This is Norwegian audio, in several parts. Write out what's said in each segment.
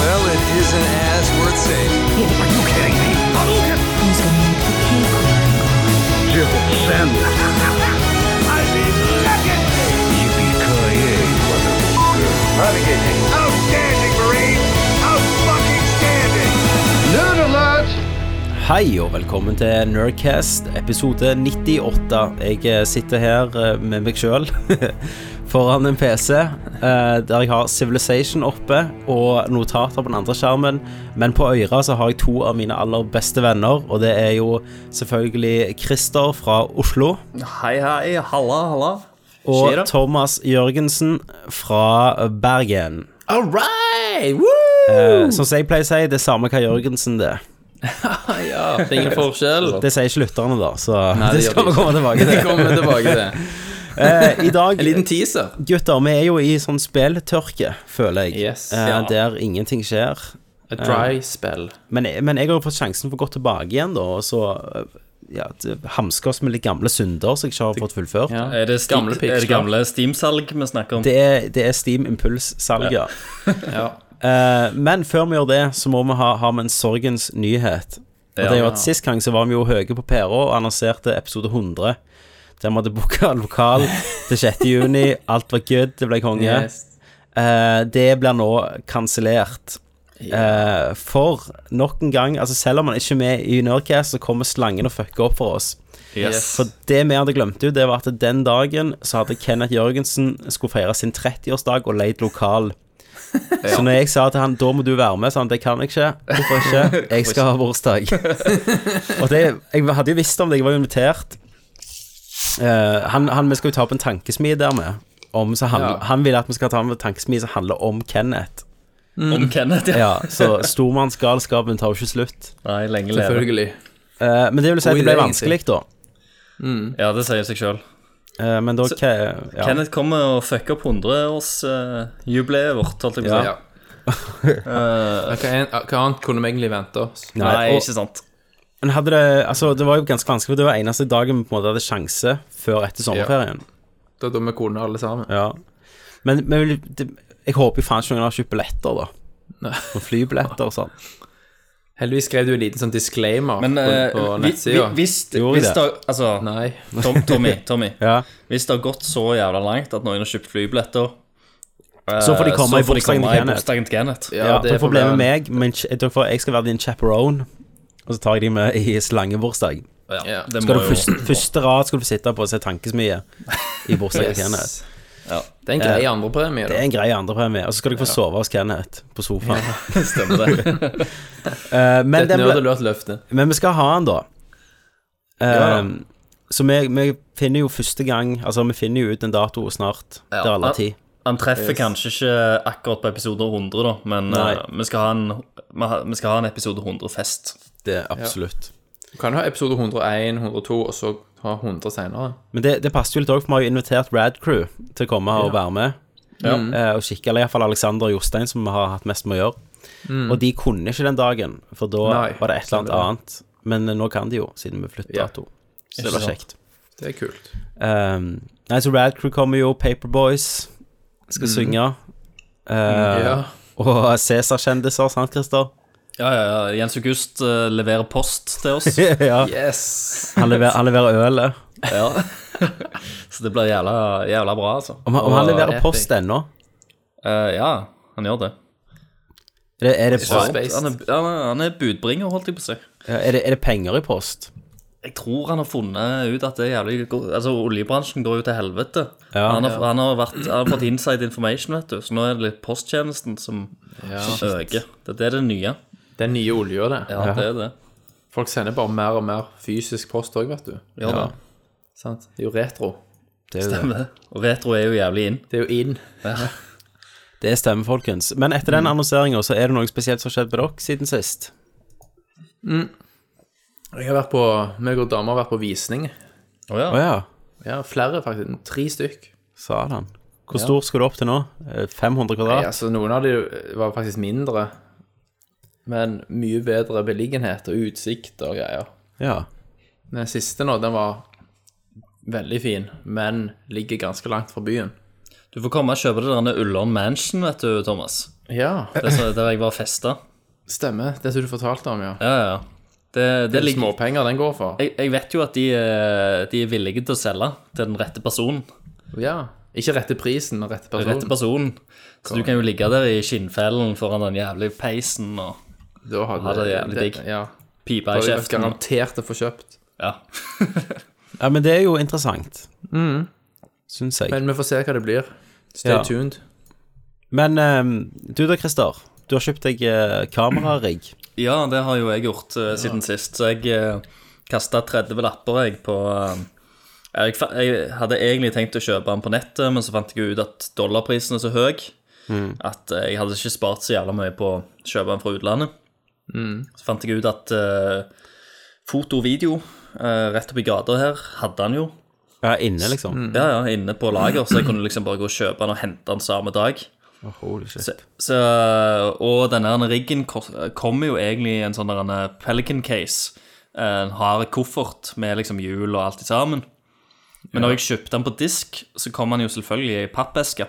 is an ass worth saving. Are you kidding me? Hadouken! Who's gonna make the cake cry? Jill Sand. I mean, legacy! Yippee-ki-yay, motherfucker. Renegade. Outstanding, Marine! Out-fucking-standing! Nerd alert! Hei og velkommen til Nerdcast episode 98. Jeg sitter her eh, med meg sjøl foran en PC eh, der jeg har Civilization oppe og notater på den andre skjermen. Men på øra så har jeg to av mine aller beste venner, og det er jo selvfølgelig Christer fra Oslo Hei, hei. Halla, halla. og Skjer'a? Thomas Jørgensen fra Bergen. All right! Woo! Eh, Som jeg pleier å si, det er samme hva Jørgensen det er. Ja, det er ingen forskjell. Det sier ikke lytterne, da, så Nei, det det skal gjør vi komme tilbake Det til. kommer vi tilbake til. Eh, I dag En liten teaser. Gutter, vi er jo i sånn spilltørke, føler jeg. Yes. eh, Ja. Der ingenting skjer. Et dry spell. Men, men jeg har jo fått sjansen for å gå tilbake igjen, da, og så eh, ja, t- hamske oss med litt gamle synder som jeg ikke har fått fullført. Ja. Er det, gamle er Gamle det piksler. gamle Steam-salg vi snakker om? Det, er, det er Steam Impuls-salget. Ja. Eh, men før vi gjør det, så må vi ha, ha med en sorgens nyhet. Og det er jo at Sist gang så var vi jo høye på pæra og annonserte episode 100. Der vi hadde booka lokal til 6. juni. Alt var good, det ble konge. Yes. Eh, det blir nå kansellert. Eh, for nok en gang, altså selv om han ikke er med i Nerdcast, så kommer slangen og fucker opp for oss. Yes. For det vi hadde glemt ut, det var at den dagen så hadde Kenneth Jørgensen skulle feire sin 30-årsdag og leid lokal. Så når jeg sa til han da må du være med, sa han det kan jeg ikke. Hvorfor ikke? Jeg skal ha bursdag. og det, jeg hadde jo visst om det, jeg var jo invitert. Eh, han, han, vi skal jo ta opp en tankesmie der med. Om, så handler, Ja. Han vil at vi skal ta opp en tankesmie som handler om Kenneth. Om Mm. Kenneth, ja. Ja, Så stormannsgalskapen tar jo ikke slutt. Nei, lenge leve. Selvfølgelig. Eh, men det vil si at God det ble idé, vanskelig, da. Ja, det sier seg sjøl. Eh, men da hva ja. Kenneth kommer og fucker opp 100-årsjubileet vårt, holdt jeg på å si. Ja. Ja, Hva, en, hva annet kunne vi egentlig vente oss? Nei, og- ikke sant. Men hadde det Altså, det var jo ganske vanskelig, for det var eneste dagen vi på en måte hadde sjanse før etter sommerferien. Da da vi kone alle sammen. Ja. Men, men vil- det, jeg håper jo faen ikke noen har kjøpt billetter, da. Og flybilletter og sånn. Heldigvis skrev du en liten sånn disclaimer Men på, eh, på vi- nettsida. vi- hvis Gjorde vi hvis det? det Altså, Nei. Tom, Tommy, Tommy. Ja. Hvis det har gått så jævla langt at noen har kjøpt flybilletter eh, Så får de komme i får de bursdagen til komme i Kenneth. bursdagen til Kenneth. Ja, det er problemet problemet. med meg, men ikke- jeg, tror for- jeg skal være din chaperone, og så tar jeg de med i slangebursdag. Ja. det Skal må du jo- første, første rad skal du sitte på og se tankesmie i bursdagen til Kenneth. Yes. Det er en grei andrepremie, Det er da. en grei andrepremie, og så skal dere få sove hos Kenneth på sofaen. Stemmer det. Eh, men, Et den ble, nerdelørt-løfte. men vi skal ha den, da. Ja. Ehm, Så vi, vi finner jo første gang Altså, vi finner jo ut en dato snart. Ja. Det er alle ti. Han treffer kanskje ikke akkurat på episode 100, da, men Nei. eh, vi, skal ha en, vi ha- vi skal ha en episode 100-fest. Det er absolutt. Du kan ha episode 101, 102, og så ha 100 seinere. Men det, det passer jo litt òg, for vi har jo invitert Rad Crew til å komme og være med. Eh, og kikke, eller iallfall Alexander og Jostein, som vi har hatt mest med å gjøre. Og de kunne ikke den dagen, for da Nei, var det et eller annet stemmer annet. Men eh, nå kan de jo, siden vi flytter Ja. dato. Så det var sant. kjekt. Det er kult. Ehm, nei, så Rad Crew kommer jo, Paperboys skal synge. Eh, Ja. Og Cæsar-kjendiser, sant, Christer? Ja, ja, ja. Jens August eh, leverer post til oss, ja. Yes! Han leverer, han leverer ølet. så det blir jævla, jævla bra, altså. Om, han- om han Åh, leverer epic. post ennå? Eh, ja, han gjør det. Er det, er, det Ja. bra? Spaced. Han er, han er, han er budbringer, holdt jeg på å si. Ja, er, det, er det penger i post? Jeg tror han har funnet ut at det er jævlig god Altså, oljebransjen går jo til helvete. Ja. han, har, han, har vært, han har fått inside information, vet du, så nå er det litt posttjenesten som, som øker. Det, det er det nye. Den nye olja, det. Ja, det er det. Folk sender bare mer og mer fysisk post òg, vet du. Gjør det. Sant? Det er jo retro. Det, er jo det. Stemmer det. Og retro er jo jævlig inn. Det er jo in. det stemmer, folkens. Men etter Mm. den annonseringa, så er det noe spesielt som har skjedd med dere siden sist? Jeg har vært på, meg og dama har vært på visning. Å ja. Å ja, Ja, flere faktisk. Tre stykk. sa han. Hvor stor skal du opp til nå? Eh, 500 Nei, kvadrat? altså, noen av de var faktisk mindre. Men mye bedre beliggenhet og utsikt og greier. Ja. Den siste nå, den var veldig fin, men ligger ganske langt fra byen. Du får komme og kjøpe det der Ullern Mansion, vet du, Thomas. Ja. Det er så, der jeg var festa. Stemmer. Det som du fortalte om, ja. Ja, ja. Det, det Det er ligger småpenger den går for. jeg, jeg vet jo at de, eh, de er villige til å selge til den rette personen. Ja. Ikke rette prisen, men rette personen. Rette personen. Så du kan jo ligge der i skinnfellen foran den jævlig peisen og Da hadde Ja, det er jævlig digg. Ja. Da pipe i hadde jeg kjeften. garantert å få kjøpt. Ja. Ja, men det er jo interessant. Mm. Syns jeg. Men, Men vi får se hva det blir. Stay Ja. tuned. ehm, du da, Christer. Du har kjøpt deg eh, kamerarigg. ja, det har jo jeg gjort eh, siden sist. Så jeg uh, kasta 30 lapper, jeg, på eh, jeg, fa- jeg hadde egentlig tenkt å kjøpe den på nettet, men så fant jeg jo ut at dollarprisen er så høy at eh, jeg hadde ikke spart så jævla mye på å kjøpe den fra utlandet. Så fant jeg ut at eh, foto og video eh, rett oppi gata her hadde han jo. Ja, inne, liksom. Mm. Ja, ja, inne på lager, så jeg kunne liksom bare gå og kjøpe den og hente den samme dag. Å, holy shit. Så, så, og denne her riggen kost- kommer jo egentlig i en sånn der en Pelican case. Eh, En hard koffert med liksom hjul og alt i sammen. Men når jeg kjøpte den på disk, så kom den jo selvfølgelig i pappeske.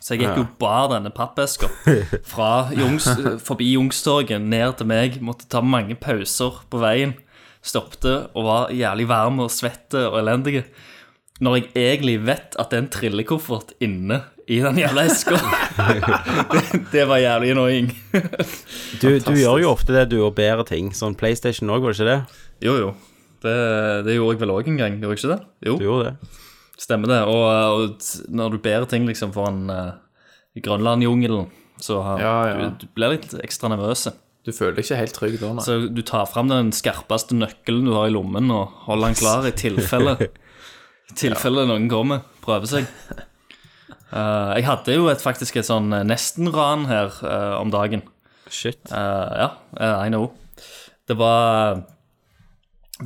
Så jeg gikk jo bar denne pappeska fra Jungs, forbi Youngstorget ned til meg. Måtte ta mange pauser på veien. Stoppte og var jævlig varm og svette og elendige. Når jeg egentlig vet at det er en trillekoffert inne i den jævla eska. det, det var jævlig annoying. du, du gjør jo ofte det, du, og bedre ting. Sånn PlayStation òg, var det ikke det? Jo, jo. Det, det gjorde jeg vel òg en gang, gjorde jeg ikke det? Jo, Du gjorde det. stemmer det. Og, og t- når du ber ting liksom foran uh, Grønlandjungelen, så har- Ja, ja. Du, du blir litt ekstra nervøs. Du føler deg ikke helt trygg da, nei. Så du tar fram den skarpeste nøkkelen du har i lommen, og holder den klar i tilfelle I tilfelle noen kommer, prøver seg. Eh, jeg hadde jo et, faktisk et sånn eh, nesten-ran her eh, om dagen. Shit. Eh, ja, eh, I know. Det var eh,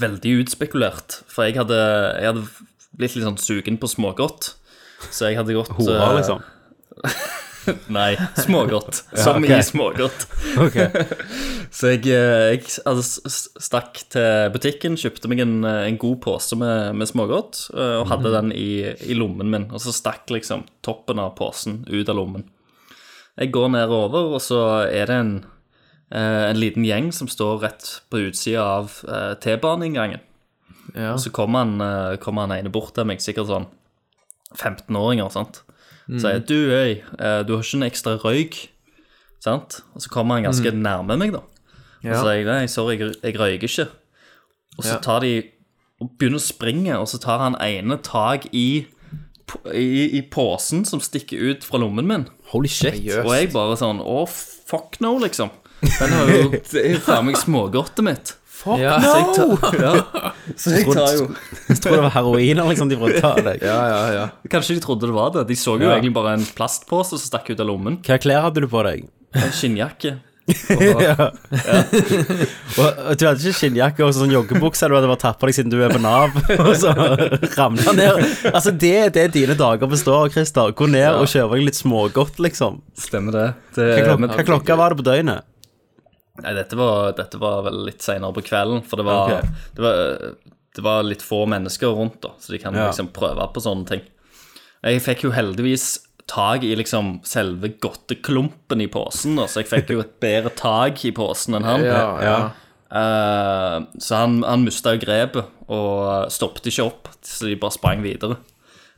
veldig utspekulert, for jeg hadde, jeg hadde blitt litt sånn sugen på smågodt. Så jeg hadde gått Hora, eh, liksom. Nei, smågodt. Som ok. i smågodt. Ok. Så jeg, eh, jeg altså, s- s- stakk til butikken, kjøpte meg en, eh, en god pose med, med smågodt, eh, og hadde Mhm. den i, i lommen min. Og så stakk liksom toppen av posen ut av lommen. Jeg går nedover, og så er det en, eh, en liten gjeng som står rett på utsida av eh, T-baneinngangen. Ja. Og så kommer han, eh, kommer han ene bort til meg, sikkert sånn 15-åringer, sant. Sier 'du, øy, eh, du har ikke en ekstra røyk', sant. Og så kommer han ganske nærme meg, da. Og Ja. så sier jeg 'nei, sorry, jeg, jeg røyker ikke'. Og så Ja. tar de og begynner å springe, og så tar han ene tak i, p- i, i posen som stikker ut fra lommen min. Holy shit. Jøst. Og jeg bare sånn 'å, fuck no', liksom. Den har jo det er jo faen meg smågodtet mitt. Fuck Ja, no! Så jeg tar, ja. så jeg tar jo Jeg tror det var heroiner liksom, de prøvde å ta deg. Ja, ja, ja. Kanskje de trodde det var det. De så jo egentlig bare en plastpose som stakk ut av lommen. Hva klær hadde du på deg? En skinnjakke. Og, og du hadde ikke skinnjakke og sånn joggebukse du hadde bare tatt på deg siden du er på Nav, og så ramla ned. Altså, det er det dine dager består av, Christer. Gå ned og kjøpe deg litt smågodt, liksom. Stemmer det. Hva, klok men, hva klokka var det på døgnet? nei, dette var, dette var vel litt seinere på kvelden, for det var, Ok. det, var, det var litt få mennesker rundt, da, så de kan Ja. liksom prøve på sånne ting. Jeg fikk jo heldigvis tak i liksom selve godteklumpen i posen, da, så jeg fikk jo et bedre tak i posen enn han. Ja, ja. Eh, så han, han mista jo grepet og stoppet ikke opp, så de bare sprang videre.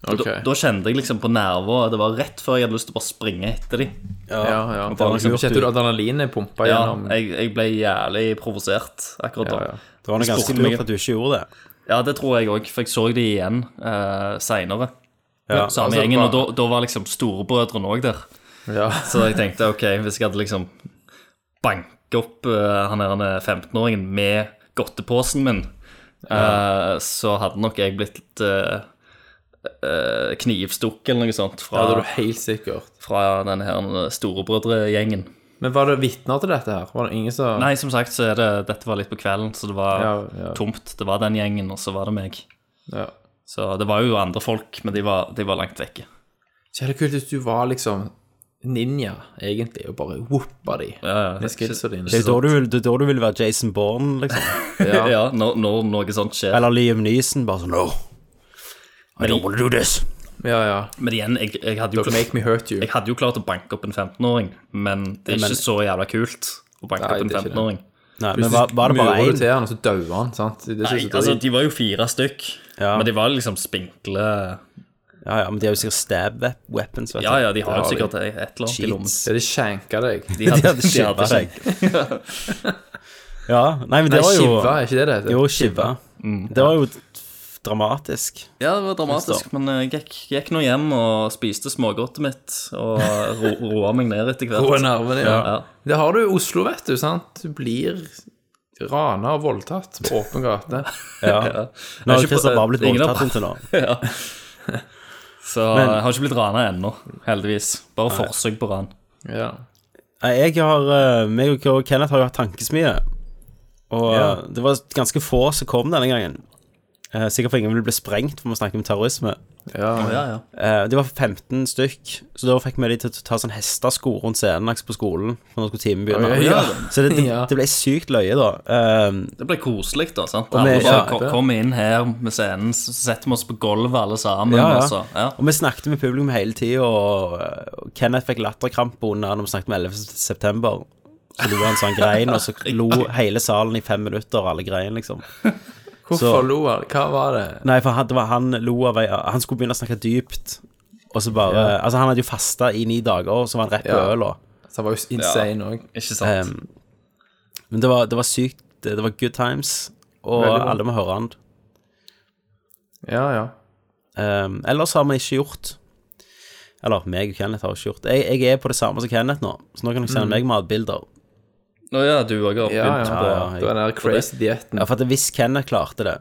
Og Ok. Da, da kjente jeg liksom på nerver, og det var rett før jeg hadde lyst til å bare springe etter dem. ja, ja. var liksom lurt Kjente ut. du adrenalinet pumpa Ja, gjennom? jeg, jeg ble jævlig provosert akkurat da. Ja, Ja, ja. Det var noe ganske Spurte meg- lurt at du ikke gjorde det. det tror jeg òg, for jeg så de igjen uh, seinere. Ja, Samme altså, gjengen, og da, hva- da var liksom storebrødrene òg der. Ja. Så jeg tenkte ok, hvis jeg hadde liksom banket opp eh, han her eh, 15-åringen med godteposen min, eh, så hadde nok jeg blitt litt eh, eh, knivstukket eller noe sånt Ja, fra, det er du helt sikkert. fra denne her eh, storebrødregjengen. Men var det vitner til dette her? Var det ingen som Nei, som sagt, så er det, dette var litt på kvelden, så det var Ja, ja. tomt. Det var den gjengen, og så var det meg. Ja. Så det var jo andre folk, men de var, de var langt vekke. Så er det kult hvis du var liksom ninja, egentlig, og bare whoppa de. Ja, ja. Med skillsa dine. Det er da du vil, det er da du vil være Jason Bourne, liksom. Ja, når, når noe sånt skjer. Eller Liam Neeson, bare sånn no. I don't wanna do this. Ja, ja. Men igjen, jeg, jeg hadde jo Don't make me hurt you. Jeg hadde jo klart å banke opp en 15-åring, men det er ikke så jævla kult. og banket Nei, opp en det er ikke det. 15-åring. Nei, men var, var det bare Murer du én? til han, og så dauer han, sant? Det Nei, synes jeg er altså, drit. de var jo fire stykk, Ja. men de var liksom spinkle Ja, ja, men de har jo sikkert stab wep- weapons, vet du. Ja, ja, de har Ja, jo de- sikkert et eller annet i lommen. Cheats. Ja, de skjenker deg. De hadde, De hadde de hadde skippa seg. ja, nei, men det Nei, var jo skiva, er ikke det det heter? Jo, skiva. Det var jo f- dramatisk. Ja, det var dramatisk, men jeg gikk, gikk nå hjem og spiste smågodtet mitt og ro, roa meg ned etter hvert. Roe nervene, ja. Ja. Det har du i Oslo, vet du, sant? Du blir rana og voldtatt på åpen gate. Ja. Nå har Jeg er ikke Christer på- bare blitt ingen har voldtatt inntil nå. Ja. Så jeg har ikke blitt rana ennå, heldigvis. Bare forsøk på ran. Ja. Nei, Jeg har, eh, meg og Kenneth har jo hatt tankesmie. Og eh, det var ganske få som kom denne gangen. Eh, Sikkert for ingen ville bli sprengt, for vi snakker om terrorisme. Ja, ja. Eh, De var 15 stykk, så da fikk vi de til å ta sånn hestesko rundt scenen akkurat på skolen. Når skulle timen begynne. Oi, ja. Så det, det, Ja. det ble sykt løye, da. Eh, Det ble koselig, da. sant? Og vi- Alle bare ja. ko- kom inn her med scenen, så setter vi oss på gulvet alle sammen. Ja, ja. Og så, ja. Og vi snakket med publikum hele tida, og, og Kenneth fikk latterkrampe under når vi snakket om 11. september. Så lo han sånn grein, og så lo hele salen i fem minutter, og alle grein, liksom. Hvorfor Så- lo han? Hva var det? Nei, for han, det var, han lo av ei Han skulle begynne å snakke dypt, og så bare Altså, han hadde jo fasta i ni dager, og så var han rett på Ja. øla. Så han var jo insane òg. Ikke sant? Ehm, men det var, det var sykt. Det, det var good times, og Veldig bra. alle må høre han. Ja, ja. Ehm, ellers har vi ikke gjort Eller meg og Kenneth har ikke gjort jeg, jeg er på det samme som Kenneth nå, så nå kan dere sende Mm. meg matbilder. Å ja, du òg har Ja, begynt ja. på ja, jeg- Det var den der crazy dietten. Ja, for at Hvis Kenneth klarte det,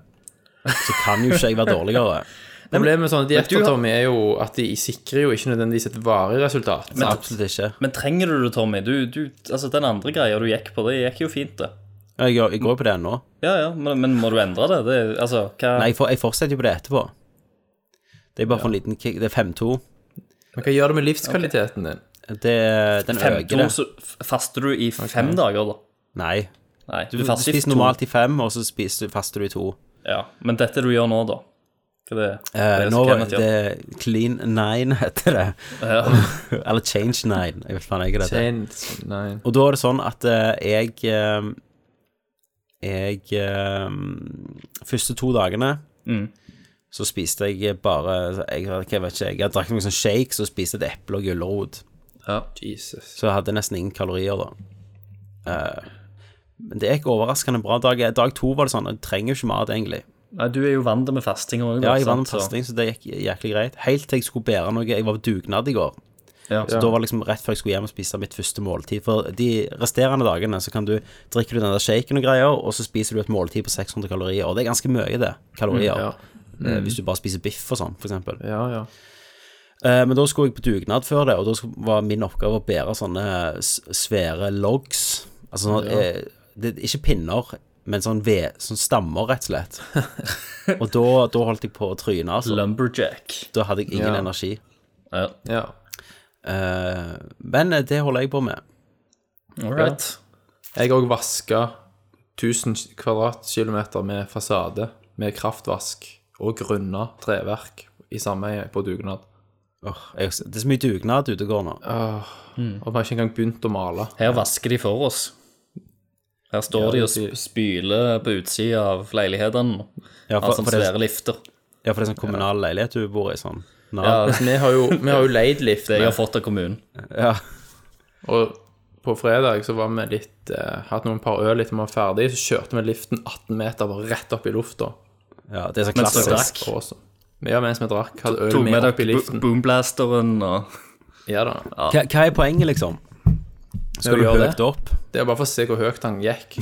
så kan jo ikke jeg være dårligere. Problemet med sånne dietter, du har- Tommy, er jo at de sikrer jo ikke nødvendigvis et varig resultat. Så sant? Absolutt ikke. Men trenger du det, Tommy? Du, du, altså, den andre greia du gikk på, det gikk jo fint, det. Jeg, jeg går jo på det ennå. Ja, ja, men, men må du endre det? det er- altså, hva Nei, jeg, for, jeg fortsetter jo på det etterpå. Det er bare for en liten kick. Det er 5-2. Men hva gjør det med livskvaliteten din? Det, den fem, øker to, det. så f- faster du i fem dager, da? Nei. Nei, du, Du faster i spiser to. normalt i fem, og så spiser, faster du i to. Ja, men dette du gjør nå, da? Hva det, Eh, det er nå så var Kenneth det gjør. clean nine, heter det. Ja. Eller change nine. Jeg vet faen ikke hva det heter. Chains, nei. Og da er det sånn at eh, jeg eh, Jeg eh, Første to dagene Mm. så spiste jeg bare Jeg, jeg vet ikke, jeg drakk noen sånn shakes og spiste et eple og gulrot. Ja. Jesus. Så jeg hadde nesten ingen kalorier da. Eh, men det gikk overraskende bra. Dag, dag to var det sånn Jeg trenger jo ikke mat, egentlig. Nei, du er jo vant med fasting òg. Ja, jeg var med testing, så det gikk jæklig greit. Helt til jeg skulle bære noe. Jeg var på dugnad i går. Ja. Så da var det liksom rett før jeg skulle hjem og spise mitt første måltid. For de resterende dagene så kan du drikke du den der shaken og greier, og så spiser du et måltid på 600 kalorier. Og det er ganske mye, det. Kalorier. Ja, Eh, Hvis du bare spiser biff og sånn, for eksempel. ja. ja. Eh, men da skulle jeg på dugnad før det, og da skulle- var min oppgave å bære sånne s- svære logs. Altså sånn, eh, det, ikke pinner, men sånn, ve, sånn stammer, rett og slett. og da, da holdt jeg på å tryne, altså. Lumberjack. Da hadde jeg ingen Ja. energi. Ja. ja. Eh, men eh, det holder jeg på med. All right. Jeg har òg vaska 1000 kvadratkilometer med fasade med kraftvask og grunna treverk i sameie på dugnad. Åh, jeg, det er så mye dugnad ute og går nå. Og vi har ikke engang begynt å male. Her vasker de for oss. Her står de og sp- spyler på utsida av leilighetene. Ja, for, Altså for, det, svære lifter. ja, for det er sånn kommunal leilighet du bor i, sånn. Nå. Ja, Vi har jo, vi har jo leid lift, det jeg har fått av kommunen. Ja. og på fredag så var vi litt eh, Hatt noen par øl litt når vi var ferdig, så kjørte vi liften 18 meter bare rett opp i lufta. ja, det er så Men så klassisk. drakk. Og så- Men Ja, mens vi drakk, hadde øl Tok med med opp i dere bo- liften. boomblasteren og Ja da. Hva, hva er poenget, liksom? Skal vi du gjøre det? høyt opp? Det er bare for å se hvor høyt han gikk.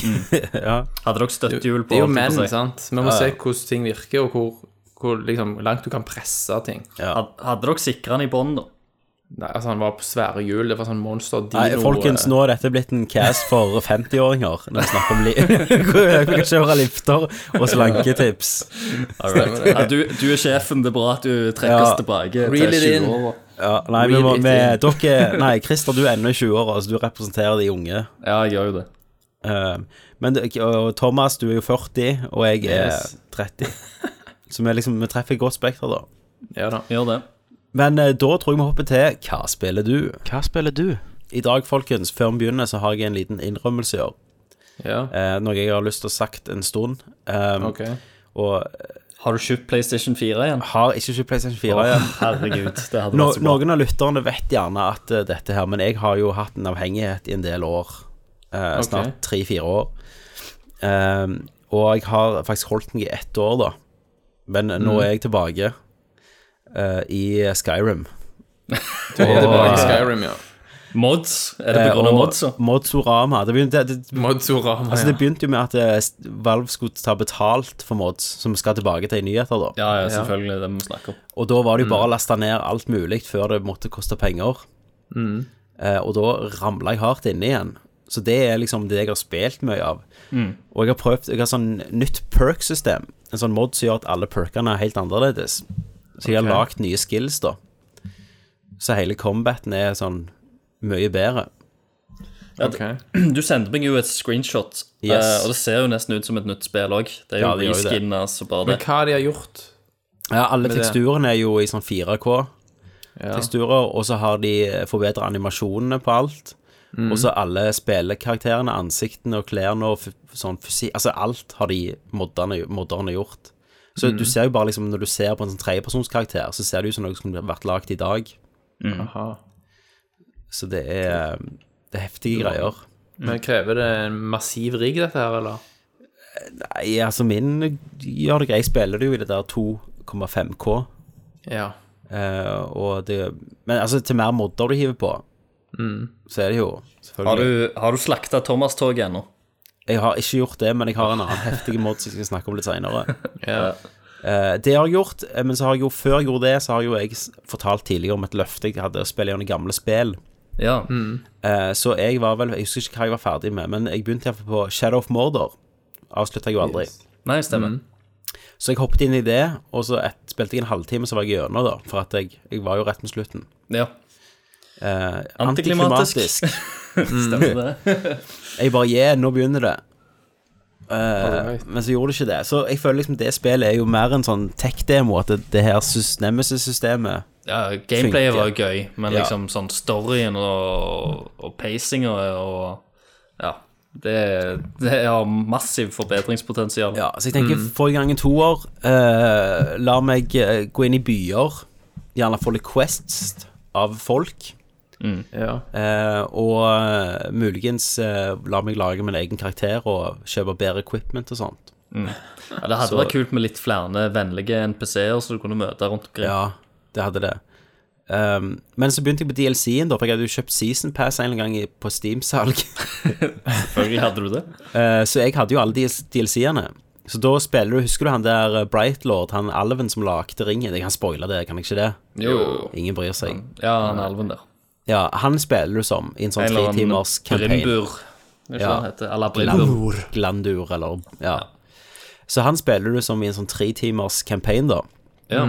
Ja. Hadde dere støttehjul på? Det er jo holdt jeg menn, på å si? sant. Vi må se hvordan ting virker, og hvor, hvor liksom, langt du kan presse ting. Had- Hadde dere sikra den i bånn, da? Nei, altså Han var på svære hjul. Det var sånn monster dino Nei, folkens, nå er dette blitt en cast for 50-åringer. Når vi snakker om li Vi kan kjøre lifter og slanketips. Ja, du, du er sjefen, det er bra at du trekkes Ja. tilbake Reel til it 20 in. år. Ja, nei, vi må, vi, dere, nei, Christer, du er ennå i 20-åra, så du representerer de unge. Ja, jeg gjør jo det. Eh, men det- og Thomas, du er jo 40, og jeg er Yes. 30. Så vi, liksom, vi treffer et godt spekter, da. eh, Ja da. Gjør det. Men eh, da tror jeg vi hopper til Hva spiller du? Hva spiller du? I dag, folkens, før vi begynner, så har jeg en liten innrømmelse i år. Ja, Eh, noe jeg har lyst til å sagt en stund. Um, ok. Og Har du kjøpt PlayStation 4 igjen? har ikke kjøpt PlayStation 4 igjen. Herregud, det hadde vært No, så bra. noen av lytterne vet gjerne at eh, dette her, men jeg har jo hatt en avhengighet i en del år. eh, Ok. Snart tre-fire år. Ehm, og jeg har faktisk holdt meg i ett år, da. Men nå er jeg tilbake eh, i Skyrim. Du er tilbake Og- i Skyrim, ja. Mods? Er det Eh, på grunn av og mods? da? Modsorama. Det begynte, det, det, Modsorama, altså, det ja. begynte jo med at eh, Valve skulle ta betalt for mods, som vi skal tilbake til i nyheter, da. Ja, ja, selvfølgelig. Det må vi snakke om. Og da var det jo bare å laste ned alt mulig før det måtte koste penger. Eh, og da ramla jeg hardt inne igjen. Så det er liksom det jeg har spilt mye av. Og jeg har prøvd Jeg har sånn nytt perk-system. En sånn mod som gjør at alle perkene er helt annerledes. Så jeg har lagd nye skills, da. Så hele combaten er sånn mye bedre. Ok. Du sendte meg jo et screenshot, Yes. eh, og det ser jo nesten ut som et nytt spill òg. Det er jo Ja, det gjør jo det. reskinnet og bare Men det. hva de har gjort Ja, alle det- teksturene er jo i sånn 4K-teksturer, ja. og så har de forbedra animasjonene på alt. Og så alle spillekarakterene, ansiktene og klærne og f- sånn fysikk Altså alt har de modderne, modderne gjort. Så du ser jo bare liksom når du ser på en sånn tredjepersonskarakter, så ser det ut som noe som har vært lagd i dag. Aha. Så det er, det er heftige greier. Mm. Men krever det en massiv rigg, dette her, eller? Nei, altså min gjør det greit. Jeg spiller det jo i det der 2,5K. Ja. eh, og det Men altså, til mer modder du hiver på, så er det jo Har selvfølgelig du, har du slakta Thomas-toget ennå? Jeg har ikke gjort det, men jeg har en annen heftig mod som jeg skal snakke om litt seinere. ja. Eh, Det har jeg gjort, eh, men så har jeg jo, før jeg gjorde det, så har jo jeg s- fortalt tidligere om et løfte jeg hadde å spille gjennom gamle spill. Ja. Eh, Så jeg var vel, jeg husker ikke hva jeg var ferdig med, men jeg begynte iallfall på Shadow of Murder. Avslutta jeg jo aldri. Nei, stemmer. Så jeg hoppet inn i det, og så et, spilte jeg en halvtime, så var jeg gjennom, da. For at jeg, jeg var jo rett med slutten. Ja. Eh, Antiklimatisk. Mm. Stemmer det. Jeg bare yeah, nå begynner det. Eh, Alright. Men så gjorde det ikke det. Så jeg føler liksom det spillet er jo mer en sånn tech-demo, at det, det her sys- Nemesis-systemet Ja, gameplayet Funker. var jo gøy, men Ja. liksom sånn storyen og, og pacinga og Ja. Det, det har massiv forbedringspotensial. Ja, så jeg tenker få i gang en toer. eh, la meg eh, gå inn i byer. Gjerne få litt quests av folk. ja. eh, og eh, muligens eh, la meg lage min egen karakter og kjøpe bedre equipment og sånt. Ja, det hadde vært kult med litt flere vennlige NPC-er som du kunne møte rundt omkring. Ja, det hadde det. Um, men så begynte jeg på DLC-en, da, for jeg hadde jo kjøpt Season Pass en eller annen gang i- på Steam-salg. Selvfølgelig hadde du det. Eh, så jeg hadde jo alle de DLC-ene. Så da spiller du Husker du han der eh, Brightlord, han alven som lagde ringen? Jeg kan spoile det, kan jeg ikke det? Jo. Ingen bryr seg. Ja, han alven der. Ja, han spiller du som i en sånn tre timers campaign. Brimbur. Er ikke det Ja. han heter? Eller Brimbur. Glandur, eller ja. Så han spiller du som i en sånn tre timers campaign, da. Ja.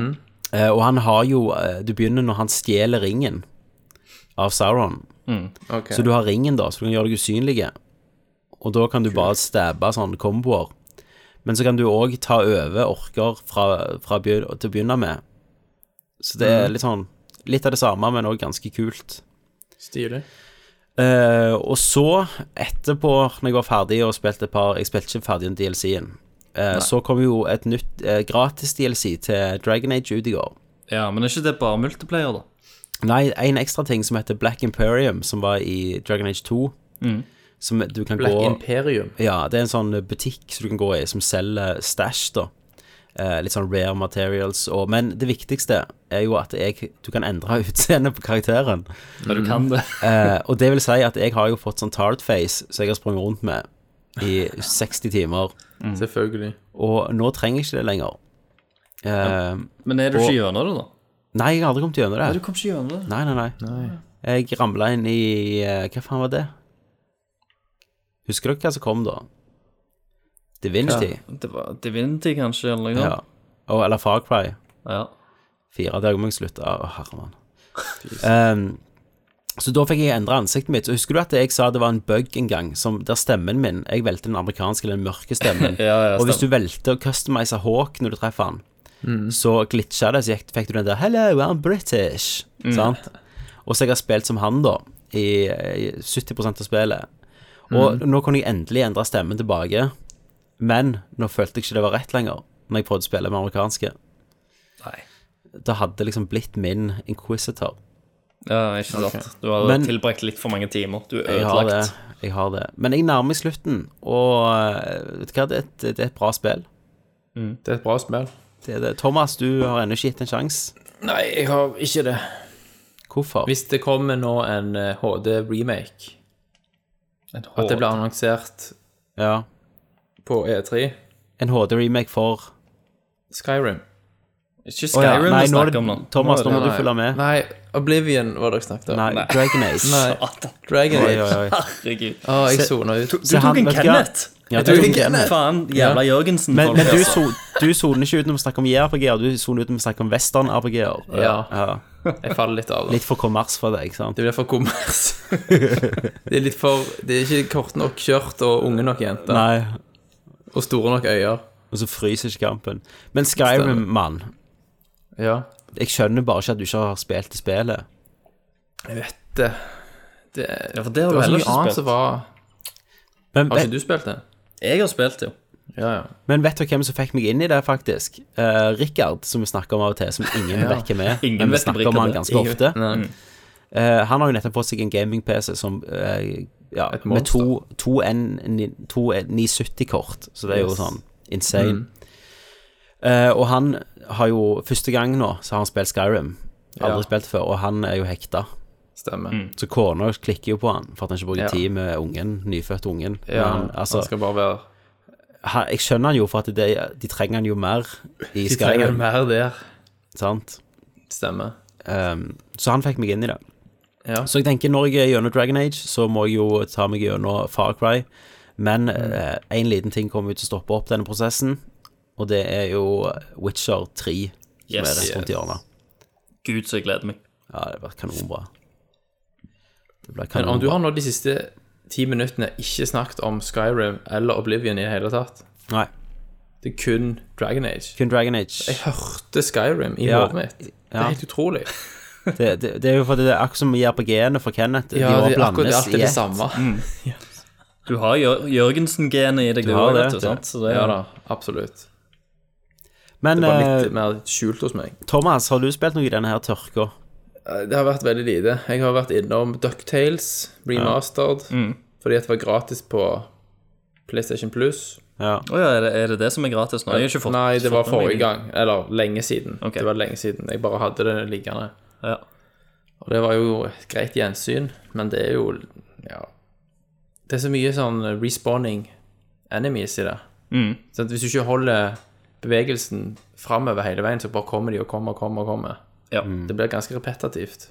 Eh, og han har jo eh, Du begynner når han stjeler ringen av Sauron. Ok. Så du har ringen, da, så du kan gjøre deg usynlige. Og da kan du bare stabbe sånne komboer. Men så kan du òg ta over orker fra, fra begyn til å begynne med. Så det Mm. er litt sånn Litt av det samme, men òg ganske kult. Stilig. Eh, og så, etterpå, når jeg var ferdig og spilte et par Jeg spilte ikke ferdig den DLC-en. eh, så kom jo et nytt eh, gratis DLC til Dragon Age ut i går. ja, men er ikke det bare multiplayer, da? Nei, en ekstra ting som heter Black Imperium, som var i Dragon Age 2. Som du kan Mm. Black gå Imperium. Ja, det er en sånn butikk som du kan gå i, som selger stash, da. Eh, litt sånn rare materials og Men det viktigste er jo at jeg, du kan endre utseendet på karakteren. Ja, du kan det. Eh, og det vil si at jeg har jo fått sånn tard face som jeg har sprunget rundt med i 60 timer. Selvfølgelig. Og nå trenger jeg ikke det lenger. Eh, Men er du ikke gjennom det, da? nei, jeg har aldri kommet gjennom det. kom ikke gjennom det. Nei, nei, nei. Jeg ramla inn i eh, Hva faen var det? Husker dere hva som kom da? Divinity. Det var Divinity, kanskje, eller noe Ja. sånt. Og, eller Far Cry. Ja. Fire dager må jeg slutte. Å, herre mann. Ehm, så da fikk jeg endra ansiktet mitt. Så husker du at jeg sa det var en bug en gang, som, der stemmen min Jeg velte den amerikanske eller den mørke stemmen. Ja, ja, og hvis du velte å customize Hawk når du treffer han, Mm. så Mm. glitcha det, så gikk- fikk du den der 'Hello, I'm British'. Sant? Og så jeg har spilt som han, da, i, i 70 av spillet. Og Mm. nå kunne jeg endelig endre stemmen tilbake, men nå følte jeg ikke det var rett lenger, når jeg prøvde å spille med amerikanske. Nei. Det hadde liksom blitt min inquisitor. Ja, ikke sant. Du har Men- tilbrakt litt for mange timer. Du er Jeg har det. ødelagt. Jeg har det. Men jeg nærmer meg slutten, og eh, vet du hva, det er, et, det er et bra spill. Det er et bra spill. Det er det. Thomas, du har ennå ikke gitt en sjanse. Nei, jeg har ikke det. Hvorfor? Hvis det kommer nå en eh, HD-remake, Et at hår. det blir annonsert Ja. på E3 En HD-remake for Skyrim. Ikke Å ja, Skyrim vi nei, nå er snakker det- om nå. Thomas, nå må du Nei. følge med. Nei, Oblivion var det jeg snakket om. Nei, Dragon Age. Satan. Dragon Oi, Age. oi, oi. Herregud. Å, jeg Se- sona ut. Du Så han- tok en vet du hva? Kenneth. Ja, Jeg tok du- en Kenneth. Faen, jævla Jørgensen. Men, men folk, du, altså. so, du soner ikke ut når vi snakker om JRPG-er, du soner ut når vi snakker om western-RPG-er. Ja. Jeg faller litt av. da. Litt for kommers for deg, ikke sant? Det blir for kommers. det er litt for Det er ikke kort nok kjørt og unge nok jenter. Nei, Og store nok øyne. og så fryser ikke kampen. Men Skyrim, mann, Ja. jeg skjønner bare ikke at du ikke har spilt i spillet. Jeg vet det. Det, Ja, for det har du var så heller mye ikke annet spilt. som var Men, Har ikke du spilt det? Jeg har spilt, jo. Ja, ja. men vet du hvem som fikk meg inn i det, faktisk? Eh, Rikard, som vi snakker om av og til, som ingen Ja. vet hvem er. Ingen men vi vet hvem snakker om han Rikard er. ganske ofte. Nei. Eh, han har jo nettopp fått seg en gaming-PC som eh, ja, Et med monster. to, to, N- to 970-kort, så det er jo Yes. Mm. sånn insane. Eh, og han har jo første gang nå, så har han spilt Skyrim. Aldri Ja. spilt før, og han er jo hekta. Stemmer. Så kona klikker jo på han for at han ikke bruker Ja. tid med ungen, nyfødte ungen. Ja, Men, altså, han skal bare være han, jeg skjønner han jo, for at det, de trenger han jo mer i De trenger Skyrim. mer der. Sant? Stemmer. Um, så han fikk meg inn i det. Ja. Så jeg tenker når jeg er gjennom Dragon Age, så må jeg jo ta meg gjennom Far Cry. Men Mm. én liten ting kommer jo til å stoppe opp denne prosessen, og det er jo Witcher 3 som Yes. er rett rundt hjørnet. Gud, så jeg gleder meg. Ja, det blir kanonbra. Det blir Men om du kanonbra. har nå de siste ti minuttene ikke snakket om Skyrim eller Oblivion i det hele tatt Nei, Det er kun Dragon Age. kun Dragon Age. Jeg hørte Skyrim i Ja. hodet mitt. Det Ja. er helt utrolig. Det, det, det er jo fordi det er akkurat som med JRPG-ene for Kenneth. Ja, de det må er akkurat blandes alt i er det ett. Mm. samme. Du har Jør Jørgensen-genet i deg, du har òg, det, vet du. det. sant? Så det, Ja da, absolutt. Men Det var litt eh, mer skjult hos meg. Thomas, har du spilt noe i denne her tørka? Eh, Det har vært veldig lite. Jeg har vært innom Ducktales remastered Mm. fordi at det var gratis på PlayStation Plus. Ja. Å ja, er det, er det det som er gratis nå? Jeg har ikke fått Nei, det var fått med meg forrige gang. Eller lenge siden. Ok. Det var lenge siden. Jeg bare hadde det liggende. Ja. Og det var jo et greit gjensyn, men det er jo Ja. Det er så mye sånn respawning enemies i det. Mm. Sånn at hvis du ikke holder bevegelsen framover hele veien, så bare kommer de og kommer og kommer. og kommer. Ja. Det blir ganske repetitivt.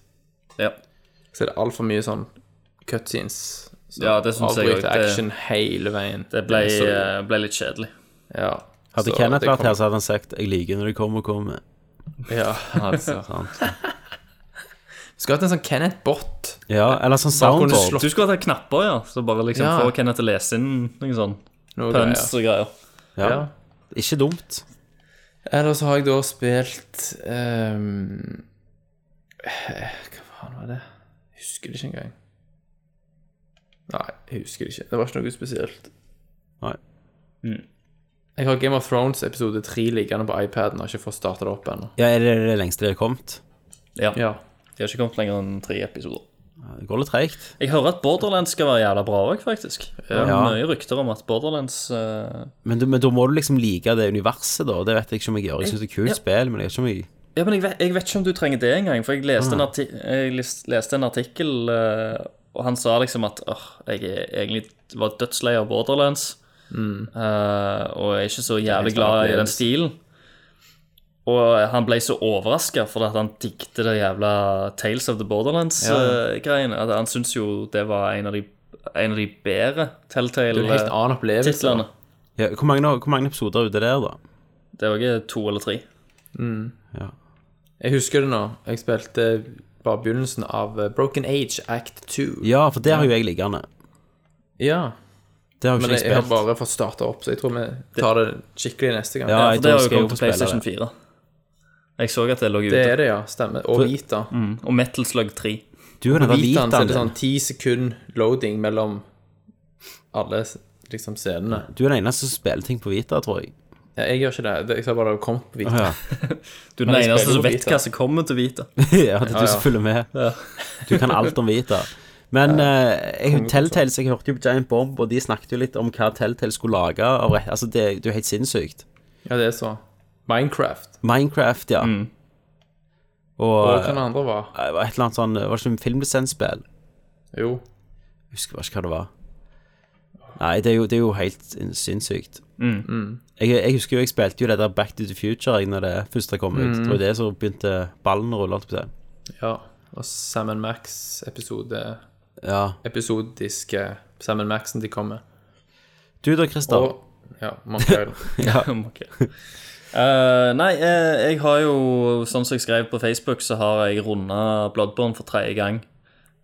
ja. Så er det altfor mye sånn cutscenes. som Ja, det synes jeg avbryter også. Det- action hele veien. Det ble, Så- eh, ble litt kjedelig. ja. Hadde Så Kenneth det vært kom- her, så hadde han sagt 'jeg liker når det kommer og kommer'. Ja, altså. Skulle hatt en sånn Kenneth-bot. Ja, eller sånn Bare kunne soundboard. slå- Du skulle hatt knapper, ja. Så bare liksom Ja. få Kenneth til å lese inn noen sånn noe puns greier. og greier. Ja. Ikke dumt. Eller så har jeg da spilt ehm, eh, Hva faen var det? Husker det ikke engang. Nei, jeg husker det ikke. Det var ikke noe spesielt. Nei. Mm. Jeg har Game of Thrones episode 3 liggende på iPaden og har ikke fått starta det opp ennå. Ja, Er det det lengste dere har kommet? Ja. Ja. De har ikke kommet lenger enn tre episoder. Ja, Det går litt treigt. Jeg hører at Borderlands skal være jævla bra òg, faktisk. Det er Ja. Mye rykter om at Borderlands eh, Men, du- men da må du liksom like det universet, da. Det vet jeg ikke om jeg gjør. Jeg syns det er et kult Ja. spill, men jeg vet ikke om jeg Ja, men jeg vet, jeg vet ikke om du trenger det engang, for jeg leste, en, arti jeg lis- leste en artikkel, eh, og han sa liksom at åh, jeg er egentlig var dødslei av Borderlands, eh, og er ikke så jævlig helt glad i den annerledes. stilen. Og han ble så overraska fordi at han digte det jævla Tales of the Borderlands-greiene. at Han syntes jo det var en av de, en av de bedre eh, Det er jo en helt Telltale-titlene. annen opplevelse. da. ja, hvor, mange, hvor mange episoder er ute der, da? Det er òg to eller tre. Jeg husker det nå. Jeg spilte bare begynnelsen av eh, Broken Age Act 2. Ja, for det har jo jeg liggende. Ja. Det har jo Men jeg, ikke jeg jeg har spilt. bare fått starta opp, så jeg tror vi tar det skikkelig neste gang. Ja, Ja, for jeg det tror jeg har jo skal kommet til spille det. PlayStation 4. Jeg så at det lå ute. Det er det, ja. Stemmer. Og Vita. Og Metal Slug 3. Du kan hente Vitaen så er det Vitaen din. sånn ti sekund loading mellom alle liksom scenene. Du er den eneste som spiller ting på Vita, tror jeg. Ja, jeg gjør ikke det. det. Jeg sa bare det har kommet på Vita. Ja, Du er den Men jeg eneste spiller som på vet Vita. hva som kommer til Vita. ja det er du som følger med. Du kan alt om Vita. Men eh, jeg, Telltales, jeg hørte jo på Giant Bomb, og de snakket jo litt om hva Telltale skulle lage. Av, re- altså, det, det er jo helt sinnssykt. Ja, det er så. Minecraft. Minecraft, ja. Og Og hva den andre var? eh, et eller annet sånn Var det ikke en filmlisensspill? Jo. Jeg husker bare ikke hva det var. Nei, det er jo, det er jo helt sinnssykt. Jeg, jeg husker jo jeg spilte jo det der Back to the Future jeg, når det første kom ut. Det var jo det som begynte ballen å rulle. holdt jeg på å si. Ja. Og Sam Max-episode Ja. Episodiske Sam Maxen de kom med. Du da, Christer. Og ja, Monkey Island. Ok. Eh, nei, eh, jeg har jo, sånn som jeg skrev på Facebook, så har jeg runda Bloodborne for tredje gang.